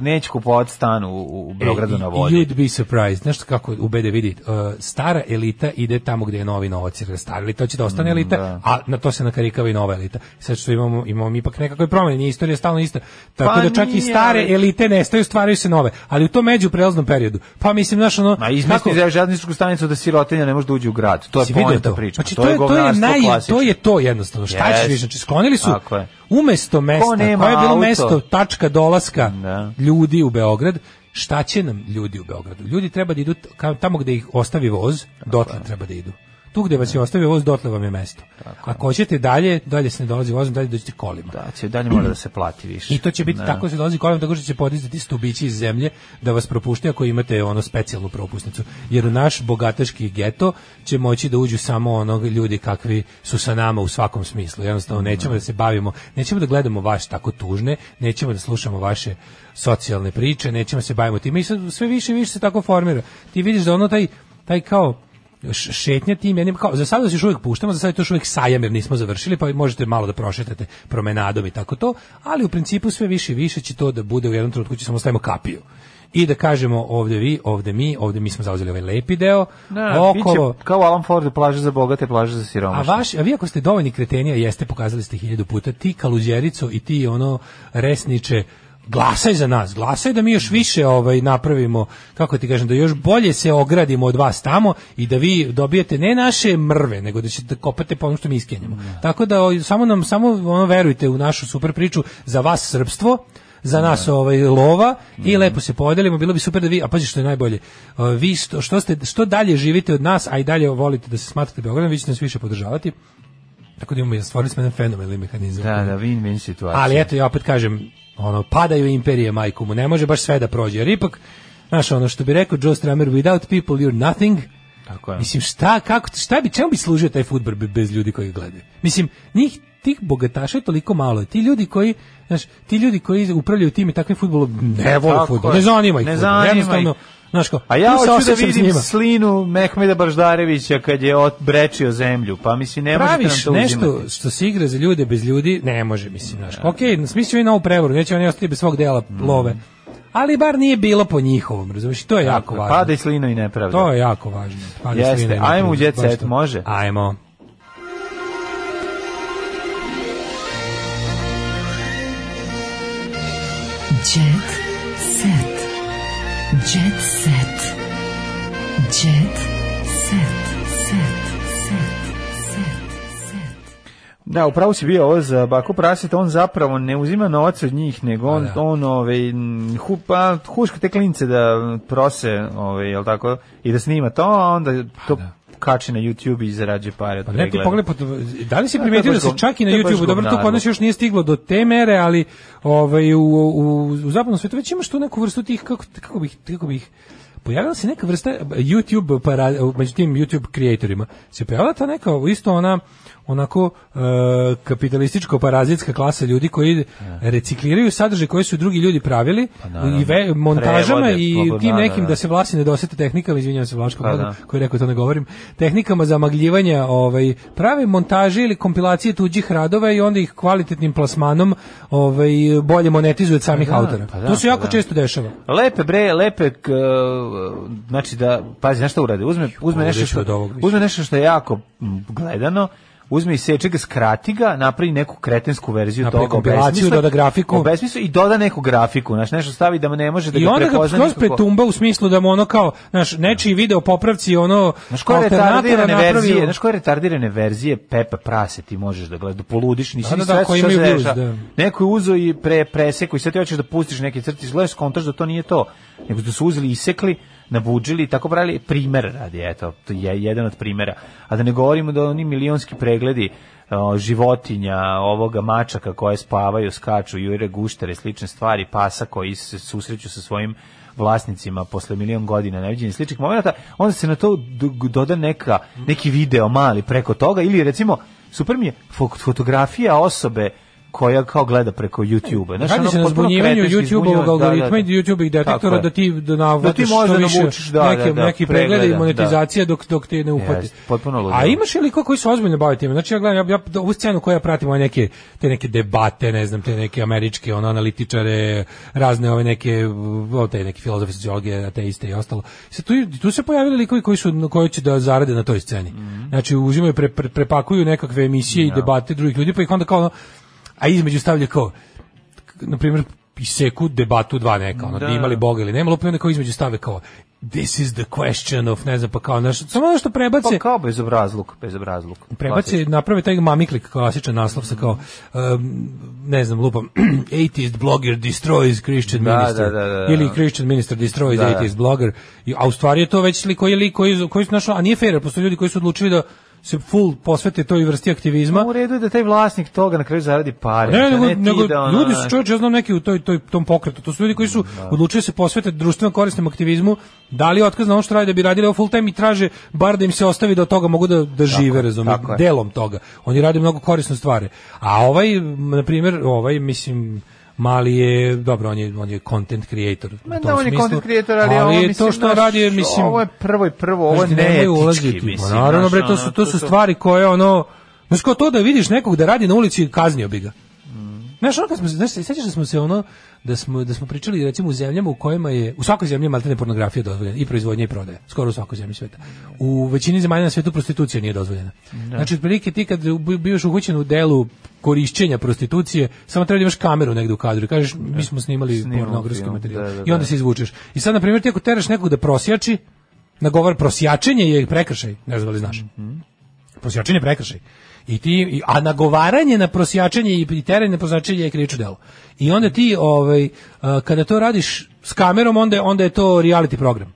neće kupovat stan u, u Beogradu
E,
na
i-
vodi.
You'd be surprised. Nešto kako u BD vidi, uh, stara elita ide tamo gdje je novi novac, jer stara elita hoće da ostane
Mm,
elita, a na to se nakarikava i nova elita. Sad što imamo, imamo mi ipak nekakve promjene, nije istorija stalno ista. Tako
Pa
da čak
nije,
i stare
ali-
elite nestaju, stvaraju se nove. Ali u tom međuprelaznom periodu, pa mislim, znaš, ono...
Ma izmisliti
kako-
za žadničku stanicu da sirotinja ne može da uđe u grad. To je
Si vidio
poenta priča.
Znači, to je, to je,
govnarstvo
naj,
klasično.
to je to jednostavno. Šta
Jest.
ćeš više? Znači, sklonili su
Tako je.
umesto mesta, koje je
nema
bilo
auto?
mesto tačka dolaska
Da.
ljudi u Beograd, šta će nam ljudi u Beogradu? Ljudi treba da idu t- ka- tamo gde ih ostavi voz, dotle treba da idu. Tu gde vas je ostavio voz, dotle vam je mesto. Ako hoćete dalje, dalje se ne dolazi vozom, dalje dođete kolima.
Da, će dalje mora da se plati više.
I to će biti
Da.
tako se dolazi kolima, tako što će podizati stubići iz zemlje da vas propušte ako imate ono specijalnu propusnicu. Jer u naš bogataški geto će moći da uđu samo onog ljudi kakvi su sa nama u svakom smislu. Jednostavno nećemo da se bavimo, nećemo da gledamo vaš tako tužne, nećemo da slušamo vaše socijalne priče, nećemo se bavimo time i sad sve više i više se tako formira. Ti vidiš da ono taj, taj kao š- šetnja tim jednim, kao, za sada se još uvijek puštamo, za sada je to još uvijek sajam jer nismo završili, pa možete malo da prošetate promenadom i tako to, ali u principu sve više i više će to da bude u jednom trenutku će samo stavimo kapiju. I da kažemo ovdje vi, ovdje mi, ovdje mi smo zauzeli ovaj lepi deo,
Da,
okolo...
bit će kao Alan Ford, plaže za bogate, plaže za
A,
siromašne.
vaš, a vi ako ste dovoljni kretenija, jeste, pokazali ste hiljadu puta, ti kaluđerico i ti ono resniče, glasaj za nas, glasaj da mi još više ovaj napravimo, kako ti kažem, da još bolje se ogradimo od vas tamo i da vi dobijete ne naše mrve, nego da ćete kopate po onom što mi iskenjamo. Tako da o, samo nam samo ono verujte u našu super priču za vas srpstvo, za nas ovaj lova
Mhm.
i lepo se podelimo bilo bi super da vi a pazi što je najbolje e, vi što, što ste što dalje živite od nas a i dalje volite da se smatrate Beogradom vi ćete nas više podržavati tako da imamo stvorili smo jedan fenomenalni mehanizam
Da, da, win-win situacija.
ali eto ja opet kažem ono padaju imperije majku mu ne može baš sve da prođe jer ipak znaš ono što bi rekao Joe Stramer without people you're nothing
Tako je.
Mislim, šta, kako, šta bi, čemu bi služio taj futbol bez ljudi koji ga gledaju? Mislim, njih, tih bogataša je toliko malo. Ti ljudi koji, znaš, ti ljudi koji upravljaju tim i takvim futbolom, ne vole
Tako
futbol,
je.
ne zanima ih
Ne
fudbal,
zanima
jednostavno,
ih.
znaš kao,
A
tu
ja
se
hoću da
osjećam s
vidim
njima.
slinu Mehmeda Baždarevića kad je odbrečio zemlju, pa mislim ne možete nam
praviš
to
nešto
uzimati.
što se igra za ljude bez ljudi, ne može, mislim, znaš. Ok, smislio i novu prevoru, neće oni ostati bez svog dela
Mm.
love. Ali bar nije bilo po njihovom, razumiješ, i to je jako važno.
Pada i slino i nepravda.
To je jako važno. Pada
Jeste,
slina i
ajmo
napravda,
u Jet
baš
Set,
to.
može?
Ajmo.
Jet set. Jet set. Jet set. Set. Set.
Da, upravo si bio ovo za Baku Praset, on zapravo ne uzima novac od njih, nego on,
Pa da.
on ovaj, m, hu, pa, huška te klince da prose, ovaj, jel tako, i da snima to, a onda to kači na YouTube i zarađuje pare od
Pa ne, ti
pregleda.
pogledaj, pod- da li si primetio
baš
da se
gov-
čak i na
to je baš
YouTubeu, dobro, tu
govnarno.
kod nas još nije stiglo do te mere, ali ovaj, u, u, u zapadnom svetu već imaš tu neku vrstu tih, kako, kako bih, kako bih, pojavila se neka vrsta YouTube, para, među tim YouTube kreatorima, se pojavila ta neka, isto ona, onako e, kapitalističko-parazitska klasa ljudi
E.
koji recikliraju sadržaj koji su drugi ljudi pravili
Pa naravno.
i ve- montažama
Prevode,
i
pobo-
tim
da, da,
nekim
da.
da se vlasi ne dosete tehnikama, izvinjavam se Vlaško,
Pa
Boga,
da.
koji je rekao to ne govorim, tehnikama za magljivanja ovaj, prave montaže ili kompilacije tuđih radova i onda ih kvalitetnim plasmanom ovaj, bolje monetizuju od samih
da,
autora.
pa da,
to se
pa
jako
da.
često dešava.
Lepe bre, lepe k, e, znači da pazi znaš šta uradi, uzme uzme
ovo
nešto
već
što
od ovog više.
uzme nešto što je jako m, gledano, uzme i seče ga, skrati ga, napravi neku kretensku verziju
Napravi
toga,
kompilaciju,
obesmisli-
doda grafiku.
obesmisli i doda neku grafiku, znači nešto stavi da mu ne može da
I
ga
onda ga
prepozna
skroz
nikako.
pretumba u smislu da mu ono kao, znaš, nečiji video popravci ono
Znaš koje
alternatora
retardirane verzije,
napravio.
znaš koje retardirane verzije Pepa Prase ti možeš da gledaš, da poludiš, nisi
Da, da,
ni
da,
svestan
koji
šta
imaju
se
blues,
dešava.
da.
Neko je uzeo i pre preseku i sad ti hoćeš da pustiš neke crtiš, gledaš skontaš da to nije to, nego da su uzeli i isekli, nabuđili i tako pravili primer radi, eto, to je jedan od primera. A da ne govorimo da oni milionski pregledi o, životinja, ovoga mačaka koje spavaju, skaču, jure guštere, slične stvari, pasa koji se susreću sa svojim vlasnicima posle milion godina neviđenih sličnih momenata, onda se na to d- doda neka, neki video mali preko toga ili recimo, super mi je fo- fotografija osobe koja kao gleda preko YouTube-a. Znaš,
Radi
ono,
se na
potpuno
zbunjivanju
kretenski
YouTube-ovog
zbunjivanje,
algoritma i
Tako
YouTube-ih
je.
detektora da ti da navatiš
možda
što više
navučiš, da,
neke,
da, da,
neki pregleda i
pregleda,
monetizacija dok, dok te ne uhvati.
Jeste, potpuno ludilo.
A imaš ili ko koji se ozbiljno bavi time? Znači ja gledam, ja, ja ovu scenu koju ja pratim, ove neke, te neke debate, ne znam, te neke američke ono, analitičare, razne ove neke, o, te neke filozofe, sociologije, ateiste i ostalo. Sad, tu, tu se pojavili likovi koji, su, koji će da zarade na toj sceni.
Mhm.
Znači uzimaju, pre, pre- prepakuju nekakve emisije i debate drugih ljudi, pa ih onda kao ono, a između stavlja kao, na primjer iseku debatu dva neka, ono,
Da.
da. imali Boga ili nema, lupio neko između stave kao this is the question of, ne znam, pa kao, naš, samo ono što prebace,
Pa kao bezobrazluk, bezobrazluk.
prebace, naprave taj mamiklik klasičan naslov sa kao, um, ne znam, lupam, *clears throat* atheist blogger destroys Christian
Da,
minister.
da, da, da, da.
Ili Christian minister destroys
Da, da.
atheist blogger. I, a u stvari je to već lik koji je lik koji, koji su našao, a nije fair, jer postoje ljudi koji su odlučili da se full posvete toj vrsti aktivizma.
Ma u redu je da taj vlasnik toga na kraju zaradi pare.
Pa Ne,
da
nego,
Pa ne ti
nego
da ono-
ljudi su čovječe, ja znam neki u toj, toj, tom pokretu, to su ljudi koji su odlučili se posvetiti društveno korisnom aktivizmu, dali otkaz na ono što rade da bi radili ovo full time i traže bar da im se ostavi da od toga mogu da, da žive, razumije,
tako je.
delom toga. Oni rade mnogo korisne stvari. A ovaj, m, na primjer, ovaj, mislim, Mali je, dobro, on je, on je content creator. u
Ma
tom
da, on je
smislu,
content creator, ali, ovo,
je
mislim,
to što
naš,
radi, je, mislim...
Ovo je prvo i prvo, ovo
Znaš ti,
ne
nemoj
etički,
ulaziti, pa
mislim.
Naravno,
znaš,
bre, to
ono,
su, to su stvari koje, ono, znaš kao to da vidiš nekog da radi na ulici, kaznio bi ga. Znaš, ono kad smo, se- znaš, se sećaš da smo se ono, da smo, da smo pričali recimo u zemljama u kojima je, u svakoj zemlji je maltene pornografija dozvoljena, i proizvodnja i prodaja, skoro u svakoj zemlji sveta. U većini zemalja na svetu prostitucija nije dozvoljena. Znači, otprilike ti kad bi- bivaš uhoćen u delu korišćenja prostitucije, samo treba da imaš kameru negde u kadru i kažeš, mi smo snimali
Snimamo
pornografski
film,
materijal.
da, da,
I onda
da.
se izvučeš. I sad, na primjer, ti ako teraš nekog da prosjači, nagovar prosjačenje je prekršaj, ne znam da li znaš. Prosjačenje je prekršaj. I ti, i- a nagovaranje na prosjačenje i teranje na prosjačenje je krivično delo. I onda ti, ovaj, a, kada to radiš s kamerom, onda, je- onda je to reality program.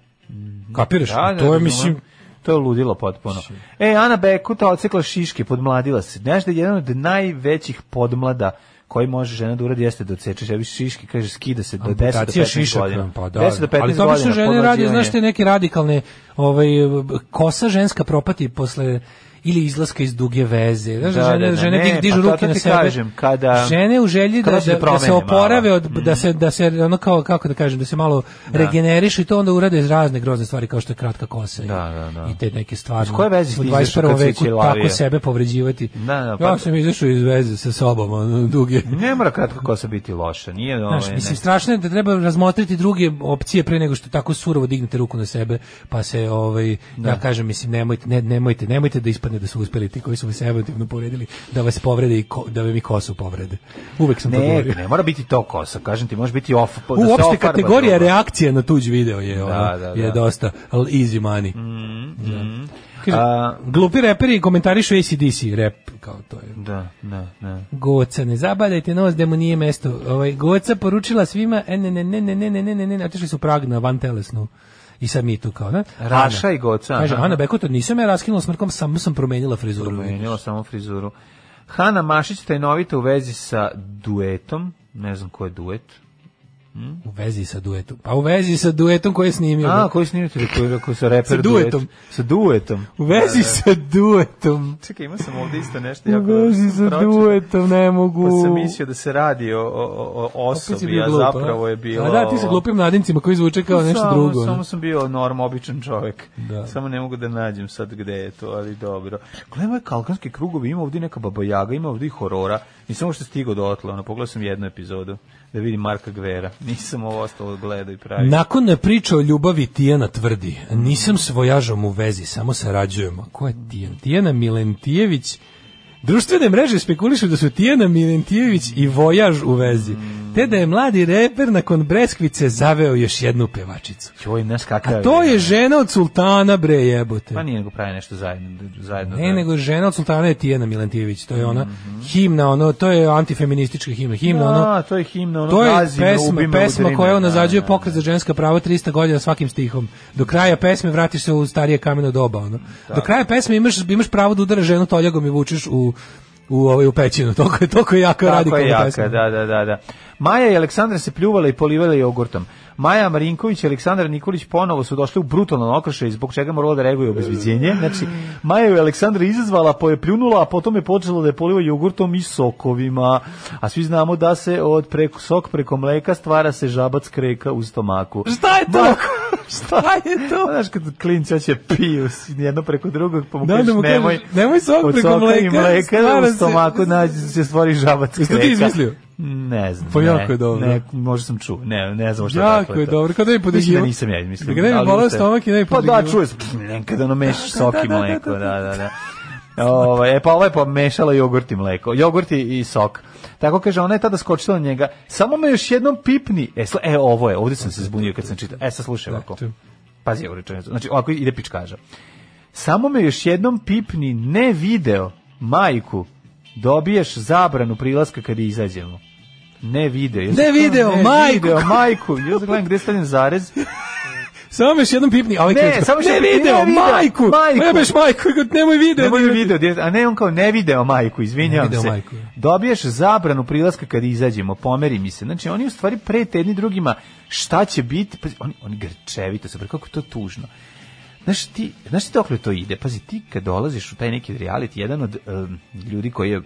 Kapiraš?
Mhm. Da, da,
to je,
razumem.
mislim,
to je ludilo potpuno. E, Ana Bekuta odsekla šiške, podmladila se. Znaš da je jedan od najvećih podmlada koji može žena da uradi jeste da odseče sebi šiške, kaže skida se do 10 do 15
amputacija šišaka,
godina.
pa da.
10 do 15
ali to obično
godina
žene radi,
podmlađivanje.
znaš te neke radikalne, ovaj kosa ženska propati posle ili izlaska iz duge veze. Znaš,
Da,
žene,
da, da,
žene
ne,
dig- dižu
pa to
ruke
ti
na sebe.
kažem, kada- ono.
žene u želji
kada
da,
se
da, da se
promene
oporave,
malo.
od, da se da se ono kao kako da kažem, da se malo regenerišu i to onda urade razne grozne stvari kao što je kratka kosa i,
Da, da, da.
i te neke stvari.
Iz koje veze
u
ti izašao
21.
kad si
veku
ćelavija?
tako sebe povređivati.
Da, da, pa-
ja sam izašao iz veze sa sobom, ono, duge.
Ne mora kratko kosa biti loša, nije ono...
Znaš, mislim, strašno je da treba razmotriti druge opcije pre nego što tako surovo dignete ruku na sebe, pa se, ovaj, ja kažem, mislim, nemojte, ne, nemojte, nemojte da ispadne da su uspeli ti koji su vas emotivno povredili, da vas povrede i ko, da vam i kosu povrede. Uvek sam to
ne,
govorio.
ne mora biti to kosa, kažem ti, može biti off, da se
Uopšte
ofarba
kategorija
drugo.
reakcije na tuđ video je, ono,
Da, da, Mm. da.
je dosta al- easy money. Da. Kaže,
A-
glupi reperi komentarišu ACDC rap, kao to je.
Da, da, da.
Goca, ne zabadajte nos da mu nije mesto. Ovaj, Goca poručila svima, e, ne, ne, ne, ne, ne, ne, ne, ne, ne, otišli su prag na van telesnu. I sad mi tu kao, ne?
Raša i Goca,
Kaže,
aha.
Ana Bekuta, nisam ja raskinula smrkom, samo sam promenila frizuru.
Promenila samo frizuru. Hana Mašić tajnovita u vezi sa duetom, ne znam ko je duet.
U vezi sa duetom. Pa u vezi sa duetom koji je snimio.
A,
da.
koji snimite koji, koji sa reper
Sa duetom.
duet? Sa duetom.
U vezi sa duetom.
Čekaj, imao sam ovde isto nešto
U
jako dobro
vezi
što
sa
sam pročitao,
duetom, ne
Pa
mogu.
sam mislio da se radi o, o, o- o
Opet si
osobi,
bio
a
glup, a?
zapravo je bilo...
A da, ti sa glupim nadincima koji zvuče kao nešto
samo,
drugo.
Samo
ono.
sam bio norm, običan čovek.
Da.
Samo ne mogu da nađem sad gde je to, ali dobro. Gledamo je kalkanske krugovi, ima ovdje neka babajaga, ima ovdje i horora. Nisam uopšte stigao do otla, ono, pogledao sam jednu epizodu da vidim Marka Gvera. *laughs* Nisam ovo ostalo gledao i pravio.
Nakon priče o ljubavi Tijana tvrdi, nisam s vojažom u vezi, samo sarađujemo. Ko je Tijan? Tijana Milentijević. Društvene mreže spekulišu da su Tijana Milentijević i vojaž u vezi. Te da je mladi reper nakon Breskvice zaveo još jednu pevačicu.
Joj, znaš kakav
A to je žena od sultana, bre jebote.
Pa nije nego pravi nešto zajedno. zajedno
Ne, nego žena od sultana je Tijana Milentijević, to je ona himna, ono, to je antifeministička himna, himna,
Mhm. Da,
ono,
to je himna, ono,
To je
gazi me,
pesma,
ubi me, udri
pesma
me.
koja
Da,
unazađuje
da,
pokret za ženska prava 300 godina svakim stihom. Do kraja pesme vratiš se u starije kameno doba. Ono. Do kraja pesme imaš, imaš pravo da udara ženu toljagom i vučeš u, u, ovaj, u pećinu. *laughs* Toliko je, toliko je jaka
Tako je
radikalna
jaka,
pesma.
da, da, da, da. Maja i Aleksandra se pljuvala i polivala jogurtom. Maja Marinković i Aleksandar Nikolić ponovo su došli u brutalan okršaj zbog čega moralo da reaguje obezbeđenje. Znači, Maja je Aleksandra izazvala, pa je pljunula, a potom je počela da je poliva jogurtom i sokovima. A svi znamo da se od preko, sok preko mleka stvara se žabac kreka u stomaku.
Šta je to?
Ma-
Šta je E to?
*laughs* Znaš kad klinci hoće piju s- jedno preko drugog, pa mu
Da,
kažeš
da mu kažeš,
nemoj,
nemoj sok
od
preko
soka i
mleka, stvara
mleka u
se-
stomaku nađe se stvori žabac kreka.
Jesi to ti izmislio?
Ne znam.
Pa
ne,
jako je dobro.
Ne, možda sam čuo. Ne, ne znam šta
Jako je dobro, kao da bi
Mislim da
podjegivo.
nisam ja izmislio.
Da ga ne bi
ali
boleo
usta-
stomak i ne bi
Pa da,
podjegivo. *laughs*
čuje se, pff, nekad ono mešaš sok i mleko, da, da, da. Ovo, e pa ovo je pomešala jogurt i mleko. Jogurt i, i sok. Tako kaže, ona je tada skočila na njega. Samo me još jednom pipni. E, sl- e ovo je, ovdje sam se zbunio kad sam čitao. E, sad slušaj ovako. Pazi ovu rečenicu. Znači, ovako ide pičkaža. Samo me još jednom pipni, ne video, majku, dobiješ zabranu prilaska kad izađemo. Ne video. Ja sam-
Ne video,
ne
majku.
video, majku. Ja sam gledam gdje stavljam zarez.
*laughs* Samo me još jednom pipni, a ovaj
Ne,
kreće.
samo što
ne
pipni,
video,
ne video,
majku,
majku.
jebeš majku, nemoj video.
Nemoj
direkt.
video, direkt- a ne on kao ne video majku, izvinjavam
Ne video
se.
majku.
Dobiješ zabranu prilaska kad izađemo, pomeri mi se. Znači oni u stvari prete jedni drugima šta će biti, pazi, oni, oni grčevito se, bre, kako je to tužno. Znaš ti, znaš ti dokle to ide? Pazi, ti kad dolaziš u taj neki reality, jedan od em, ljudi koji je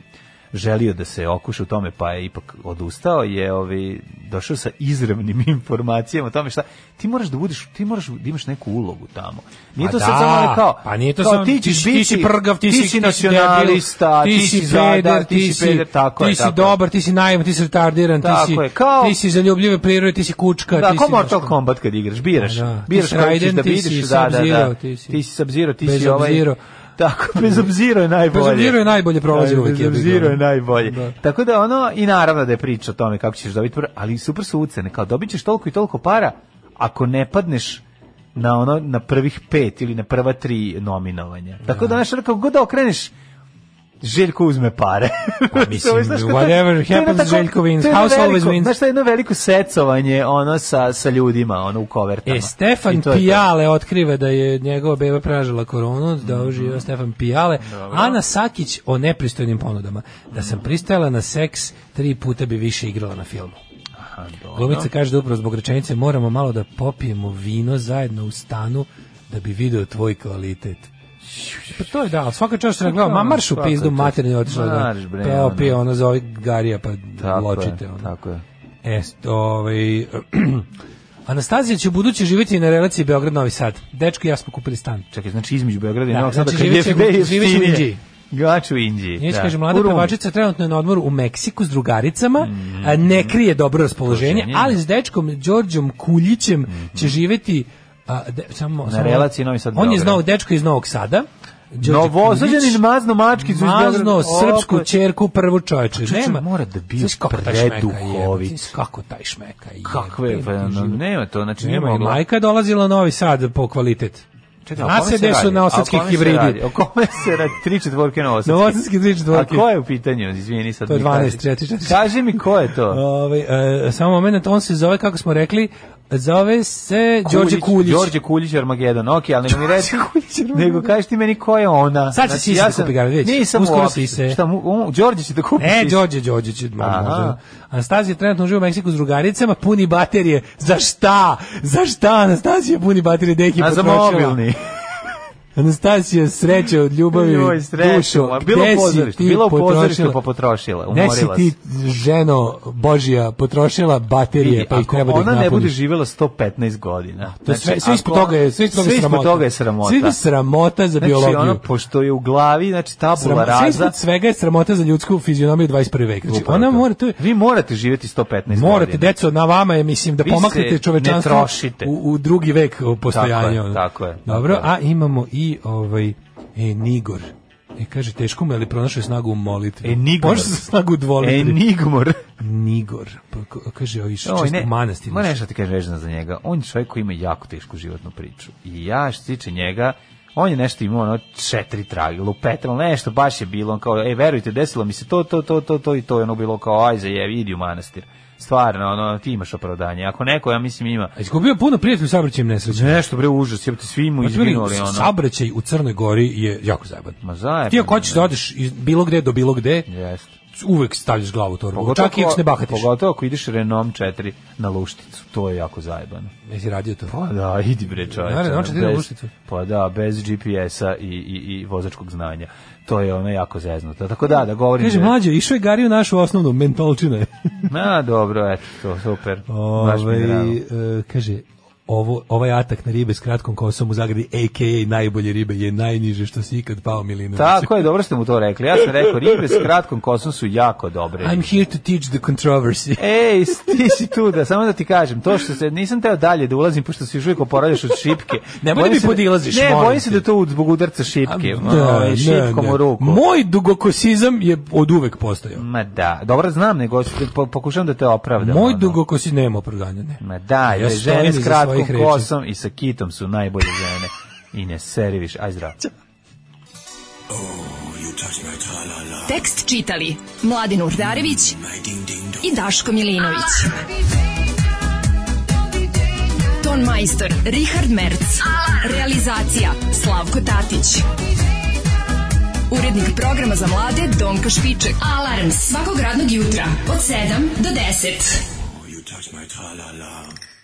želio da se okuša u tome, pa je ipak odustao, je ovaj, došao sa izravnim *laughs* informacijama o tome šta, ti moraš da budeš, ti moraš da imaš neku ulogu tamo. Nije
Pa
to
da,
sad samo ono kao,
pa nije to
kao,
samo-
ti ćeš
ti si- ti
biti,
si prgav, ti si- ti si
nacionalista,
debil,
ti si zadar, ti si peder, tako je,
ti si
tako je.
dobar, ti si naivan, ti si retardiran, ti
Tako
si,
je, kao-
ti si za ljubljive prirode, ti si kučka,
Da,
ti
ko
si...
Mortal Kombat kad igraš, biraš,
Da, da.
biraš
Ti si
koji ćeš
Raiden,
da
ti
vidiš,
si
da, da, da,
Sub-Zero, ti
ti si,
si-
Sub-Zero, ti si ovaj,
Bezobziro.
*laughs* tako, bez obzira je najbolje.
Bez obzira je najbolje prolazi uvek,
Bez
jebi ga.
obzira je najbolje.
Da.
Tako da ono, i naravno da je priča o tome kako ćeš dobiti, pr- ali super su ucene, kao dobit ćeš toliko i toliko para, ako ne padneš na ono na prvih pet ili na prva tri nominovanja. Tako da, znaš, ono, kako god da okreneš, Željko uzme pare.
Pa mislim,
*laughs* Znaš, kao to-
whatever
to je jedno
happens, Željko wins.
to je jedno
House always
veliko-
wins.
Znaš, to je jedno veliko secovanje ono sa, sa ljudima, ono u kovertama.
E, Stefan
I to je to.
Pijale otkriva da je njegova beba pražila koronu, da je uživao
Mhm.
Stefan Pijale. Ana Sakić o nepristojnim ponudama. Da sam pristajala na seks, tri puta bi više igrala na filmu. Pa
Aha, dobro.
Glumica kaže da upravo zbog rečenice moramo malo da popijemo vino zajedno u stanu da bi video tvoj kvalitet. Pa to je da, ali svaka čast što ne gledam, ma marš u
Svaka
pizdu,
čast.
materine otišla. da.
Marš, bre,
Peo
ono.
pije, ono zove Garija, pa
Tako
ločite.
je,
Ono.
Tako je.
E, st- ovaj, *clears throat* Anastazija će u budući živjeti na relaciji Beograd-Novi Sad. Dečko i ja smo kupili stan.
Čekaj, znači između Beograda i
Da,
Novog Sada
znači
kad je
živit će-
FB
živit će u
jeftinije.
Inđiji.
Gač u Inđiji.
Njeć
da.
kaže,
U
mlada
Rumi.
pevačica trenutno je na odmoru u Meksiku s drugaricama, a ne krije dobro raspoloženje,
Mm. Raspoloženje, Mhm.
ali s dečkom Đorđom Kuljićem će živjeti a, de- samo,
Na
samo-
relaciji Novi Sad
On je
Beograd.
znao dečko iz Novog Sada. Đorđe Kuljić,
Novosađanin mazno mačkicu iz Beograda.
Mazno srpsku
Oko-
čerku prvu čoveče.
čovječe,
Nema.
mora da bio
Znaš kako taj šmeka
preduhovit.
jebote, znaš Kako taj šmeka je.
Kakve,
jebote,
pa, no,
život.
nema to, znači nije
Nema, i
mogla.
majka je dolazila u Novi Sad po kvalitet.
Čekaj, a o kome se
Nasede su
radi?
na
A
osadski
o kome se radi?
hibridi.
O kome se radi? Tri četvorke novosadske.
Novosadski tri četvorke.
A ko je u pitanju? Izvini sad.
To je
mi kaži.
12, 4, 4.
Kaži mi ko
*laughs*
je to?
Ovaj, e, samo moment, on se zove, kako smo rekli, zove se Đorđe Kuljić.
Đorđe Kuljić Armagedon, ok, ali nego mi reći,
Kuljić Armagedon.
nego kaži ti meni ko je ona. Znači,
Sad će sise da kupi Garabet, vidjet ćeš.
Nisam
Uskoro
uopšte.
sise.
Šta mu, on, Đorđe će da kupi
Ne,
sise.
E, Đorđe, Đorđe će mo-
Aha.
možda. Anastasija trenutno živi u Meksiku s drugaricama, puni baterije. Za šta? Za šta Anastasija puni baterije? Deki
A za
potrošila. *laughs*
mobilni.
Anastasija sreće od ljubavi,
Joj, srećo
dušo.
moja. Bilo
Gde si
u pozorištu,
ti
bilo u pozorištu
potrošila?
pa potrošila,
Ne si
umorila
ti
se.
ženo Božija potrošila baterije,
Vidi,
pa ih
ako
treba da ih
ona ne bude
napuniš.
živjela 115 godina. znači,
To je sve, sve ispod
ako-
toga je, sve ispod toga je
ispod
sramota.
toga je sramota.
Sve ispod sramota za biologiju.
Znači, ono, pošto je u glavi, znači, tabula
Sram, sve
raza,
ispod svega je sramota za ljudsku fizionomiju 21. veka. Znači,
Upravo
ona
to.
mora, to je,
vi morate živjeti 115
morate,
godina.
deco, na vama je, mislim, da
Vi se
pomaknete
ne
čovečanstvo
trošite.
u, u drugi vek o, postojanja.
Tako je,
ono.
tako je, tako
Dobro,
je.
a imamo i ovaj, e, Nigor. E, kaže, teško mu je, ali pronašao je snagu u molitvi.
E, Nigor.
Može se snagu u dvolitvi.
Enigmor. *laughs*
Nigor. Pa, ko- kaže, ovi što
Oj,
čist
ne,
u manastiru.
Moram nešto ti kažem vezano za njega. On je čovjek koji ima jako tešku životnu priču. I ja što se tiče njega, on je nešto imao ono četiri trage, lupetal, nešto baš je bilo, on kao, ej, verujte, desilo mi se to, to, to, to, to i to, i ono bilo kao, aj, zajevi, idi u manastir. Stvarno, ono, ti imaš opravdanje. Ako neko, ja mislim, ima
A Izgubio je puno prijatelja u saobraćajnim nesrećama.
nešto, bre, užas, jebate, svi mu
Pa, ljudi,
izginuli, ono.
Saobraćaj u Crnoj Gori je jako zajeban.
Ma zajeban,
Ti ako hoćeš da odeš iz bilo gde do bilo gde,
Jeste.
uvek stavljaš glavu u torbu. Čak i ako se ne bahatiš.
Pogotovo ako ideš Renom 4 na lušticu, to je jako zajebano.
Jesi radio to?
Pa da, *laughs* idi bre čoveče. ono,
Naravno, on će znači ti ide na
bez-
lušticu.
Pa da, bez GPS-a i, i, i vozačkog znanja. To je ono jako zeznuto. Tako da, da govorim...
Kaže,
da-
mlađe, išao je Gari u našu osnovnu, mentalčina je.
Ma, dobro, eto, to, super. *laughs* Baš mi je
Ovaj,
drago.
e, kaže, ovo, ovaj atak na ribe s kratkom kosom u zagradi, a.k.a. najbolje ribe je najniže što si ikad pao Milinović.
Tako je, dobro ste mu to rekli. Ja sam rekao, ribe s kratkom kosom su jako dobre.
I'm here to teach the controversy.
Ej, ti si tu da, samo da ti kažem, to što se, nisam teo dalje da ulazim, pošto se još uvijek oporavljaš od šipke.
Nemoj da
Bojim
mi
se
podilaziš,
Ne,
molim
bojim se
te.
da to u- zbog udarca šipke,
A, da,
ovaj,
ne,
šipkom
ne.
u ruku.
Moj dugokosizam je od uvek postojao.
Ma da, dobro znam, nego s- po- pokušavam da te opravdam.
Moj
ono.
dugokosizam nema opravdanja, ne.
Ma da,
Ja
ja žene
stojim
s
iza
kratkom
svojih reči.
kosom i sa kitom su najbolje žene. I ne seri više, aj zdravo.
Tekst čitali Mladin Urdarević i Daško Milinović. Ton majstor Richard Merc. Realizacija Slavko Tatić. Urednik programa za mlade Donka Špiček. Alarms svakog radnog jutra od 7 do 10.
You touch my tra-la-la.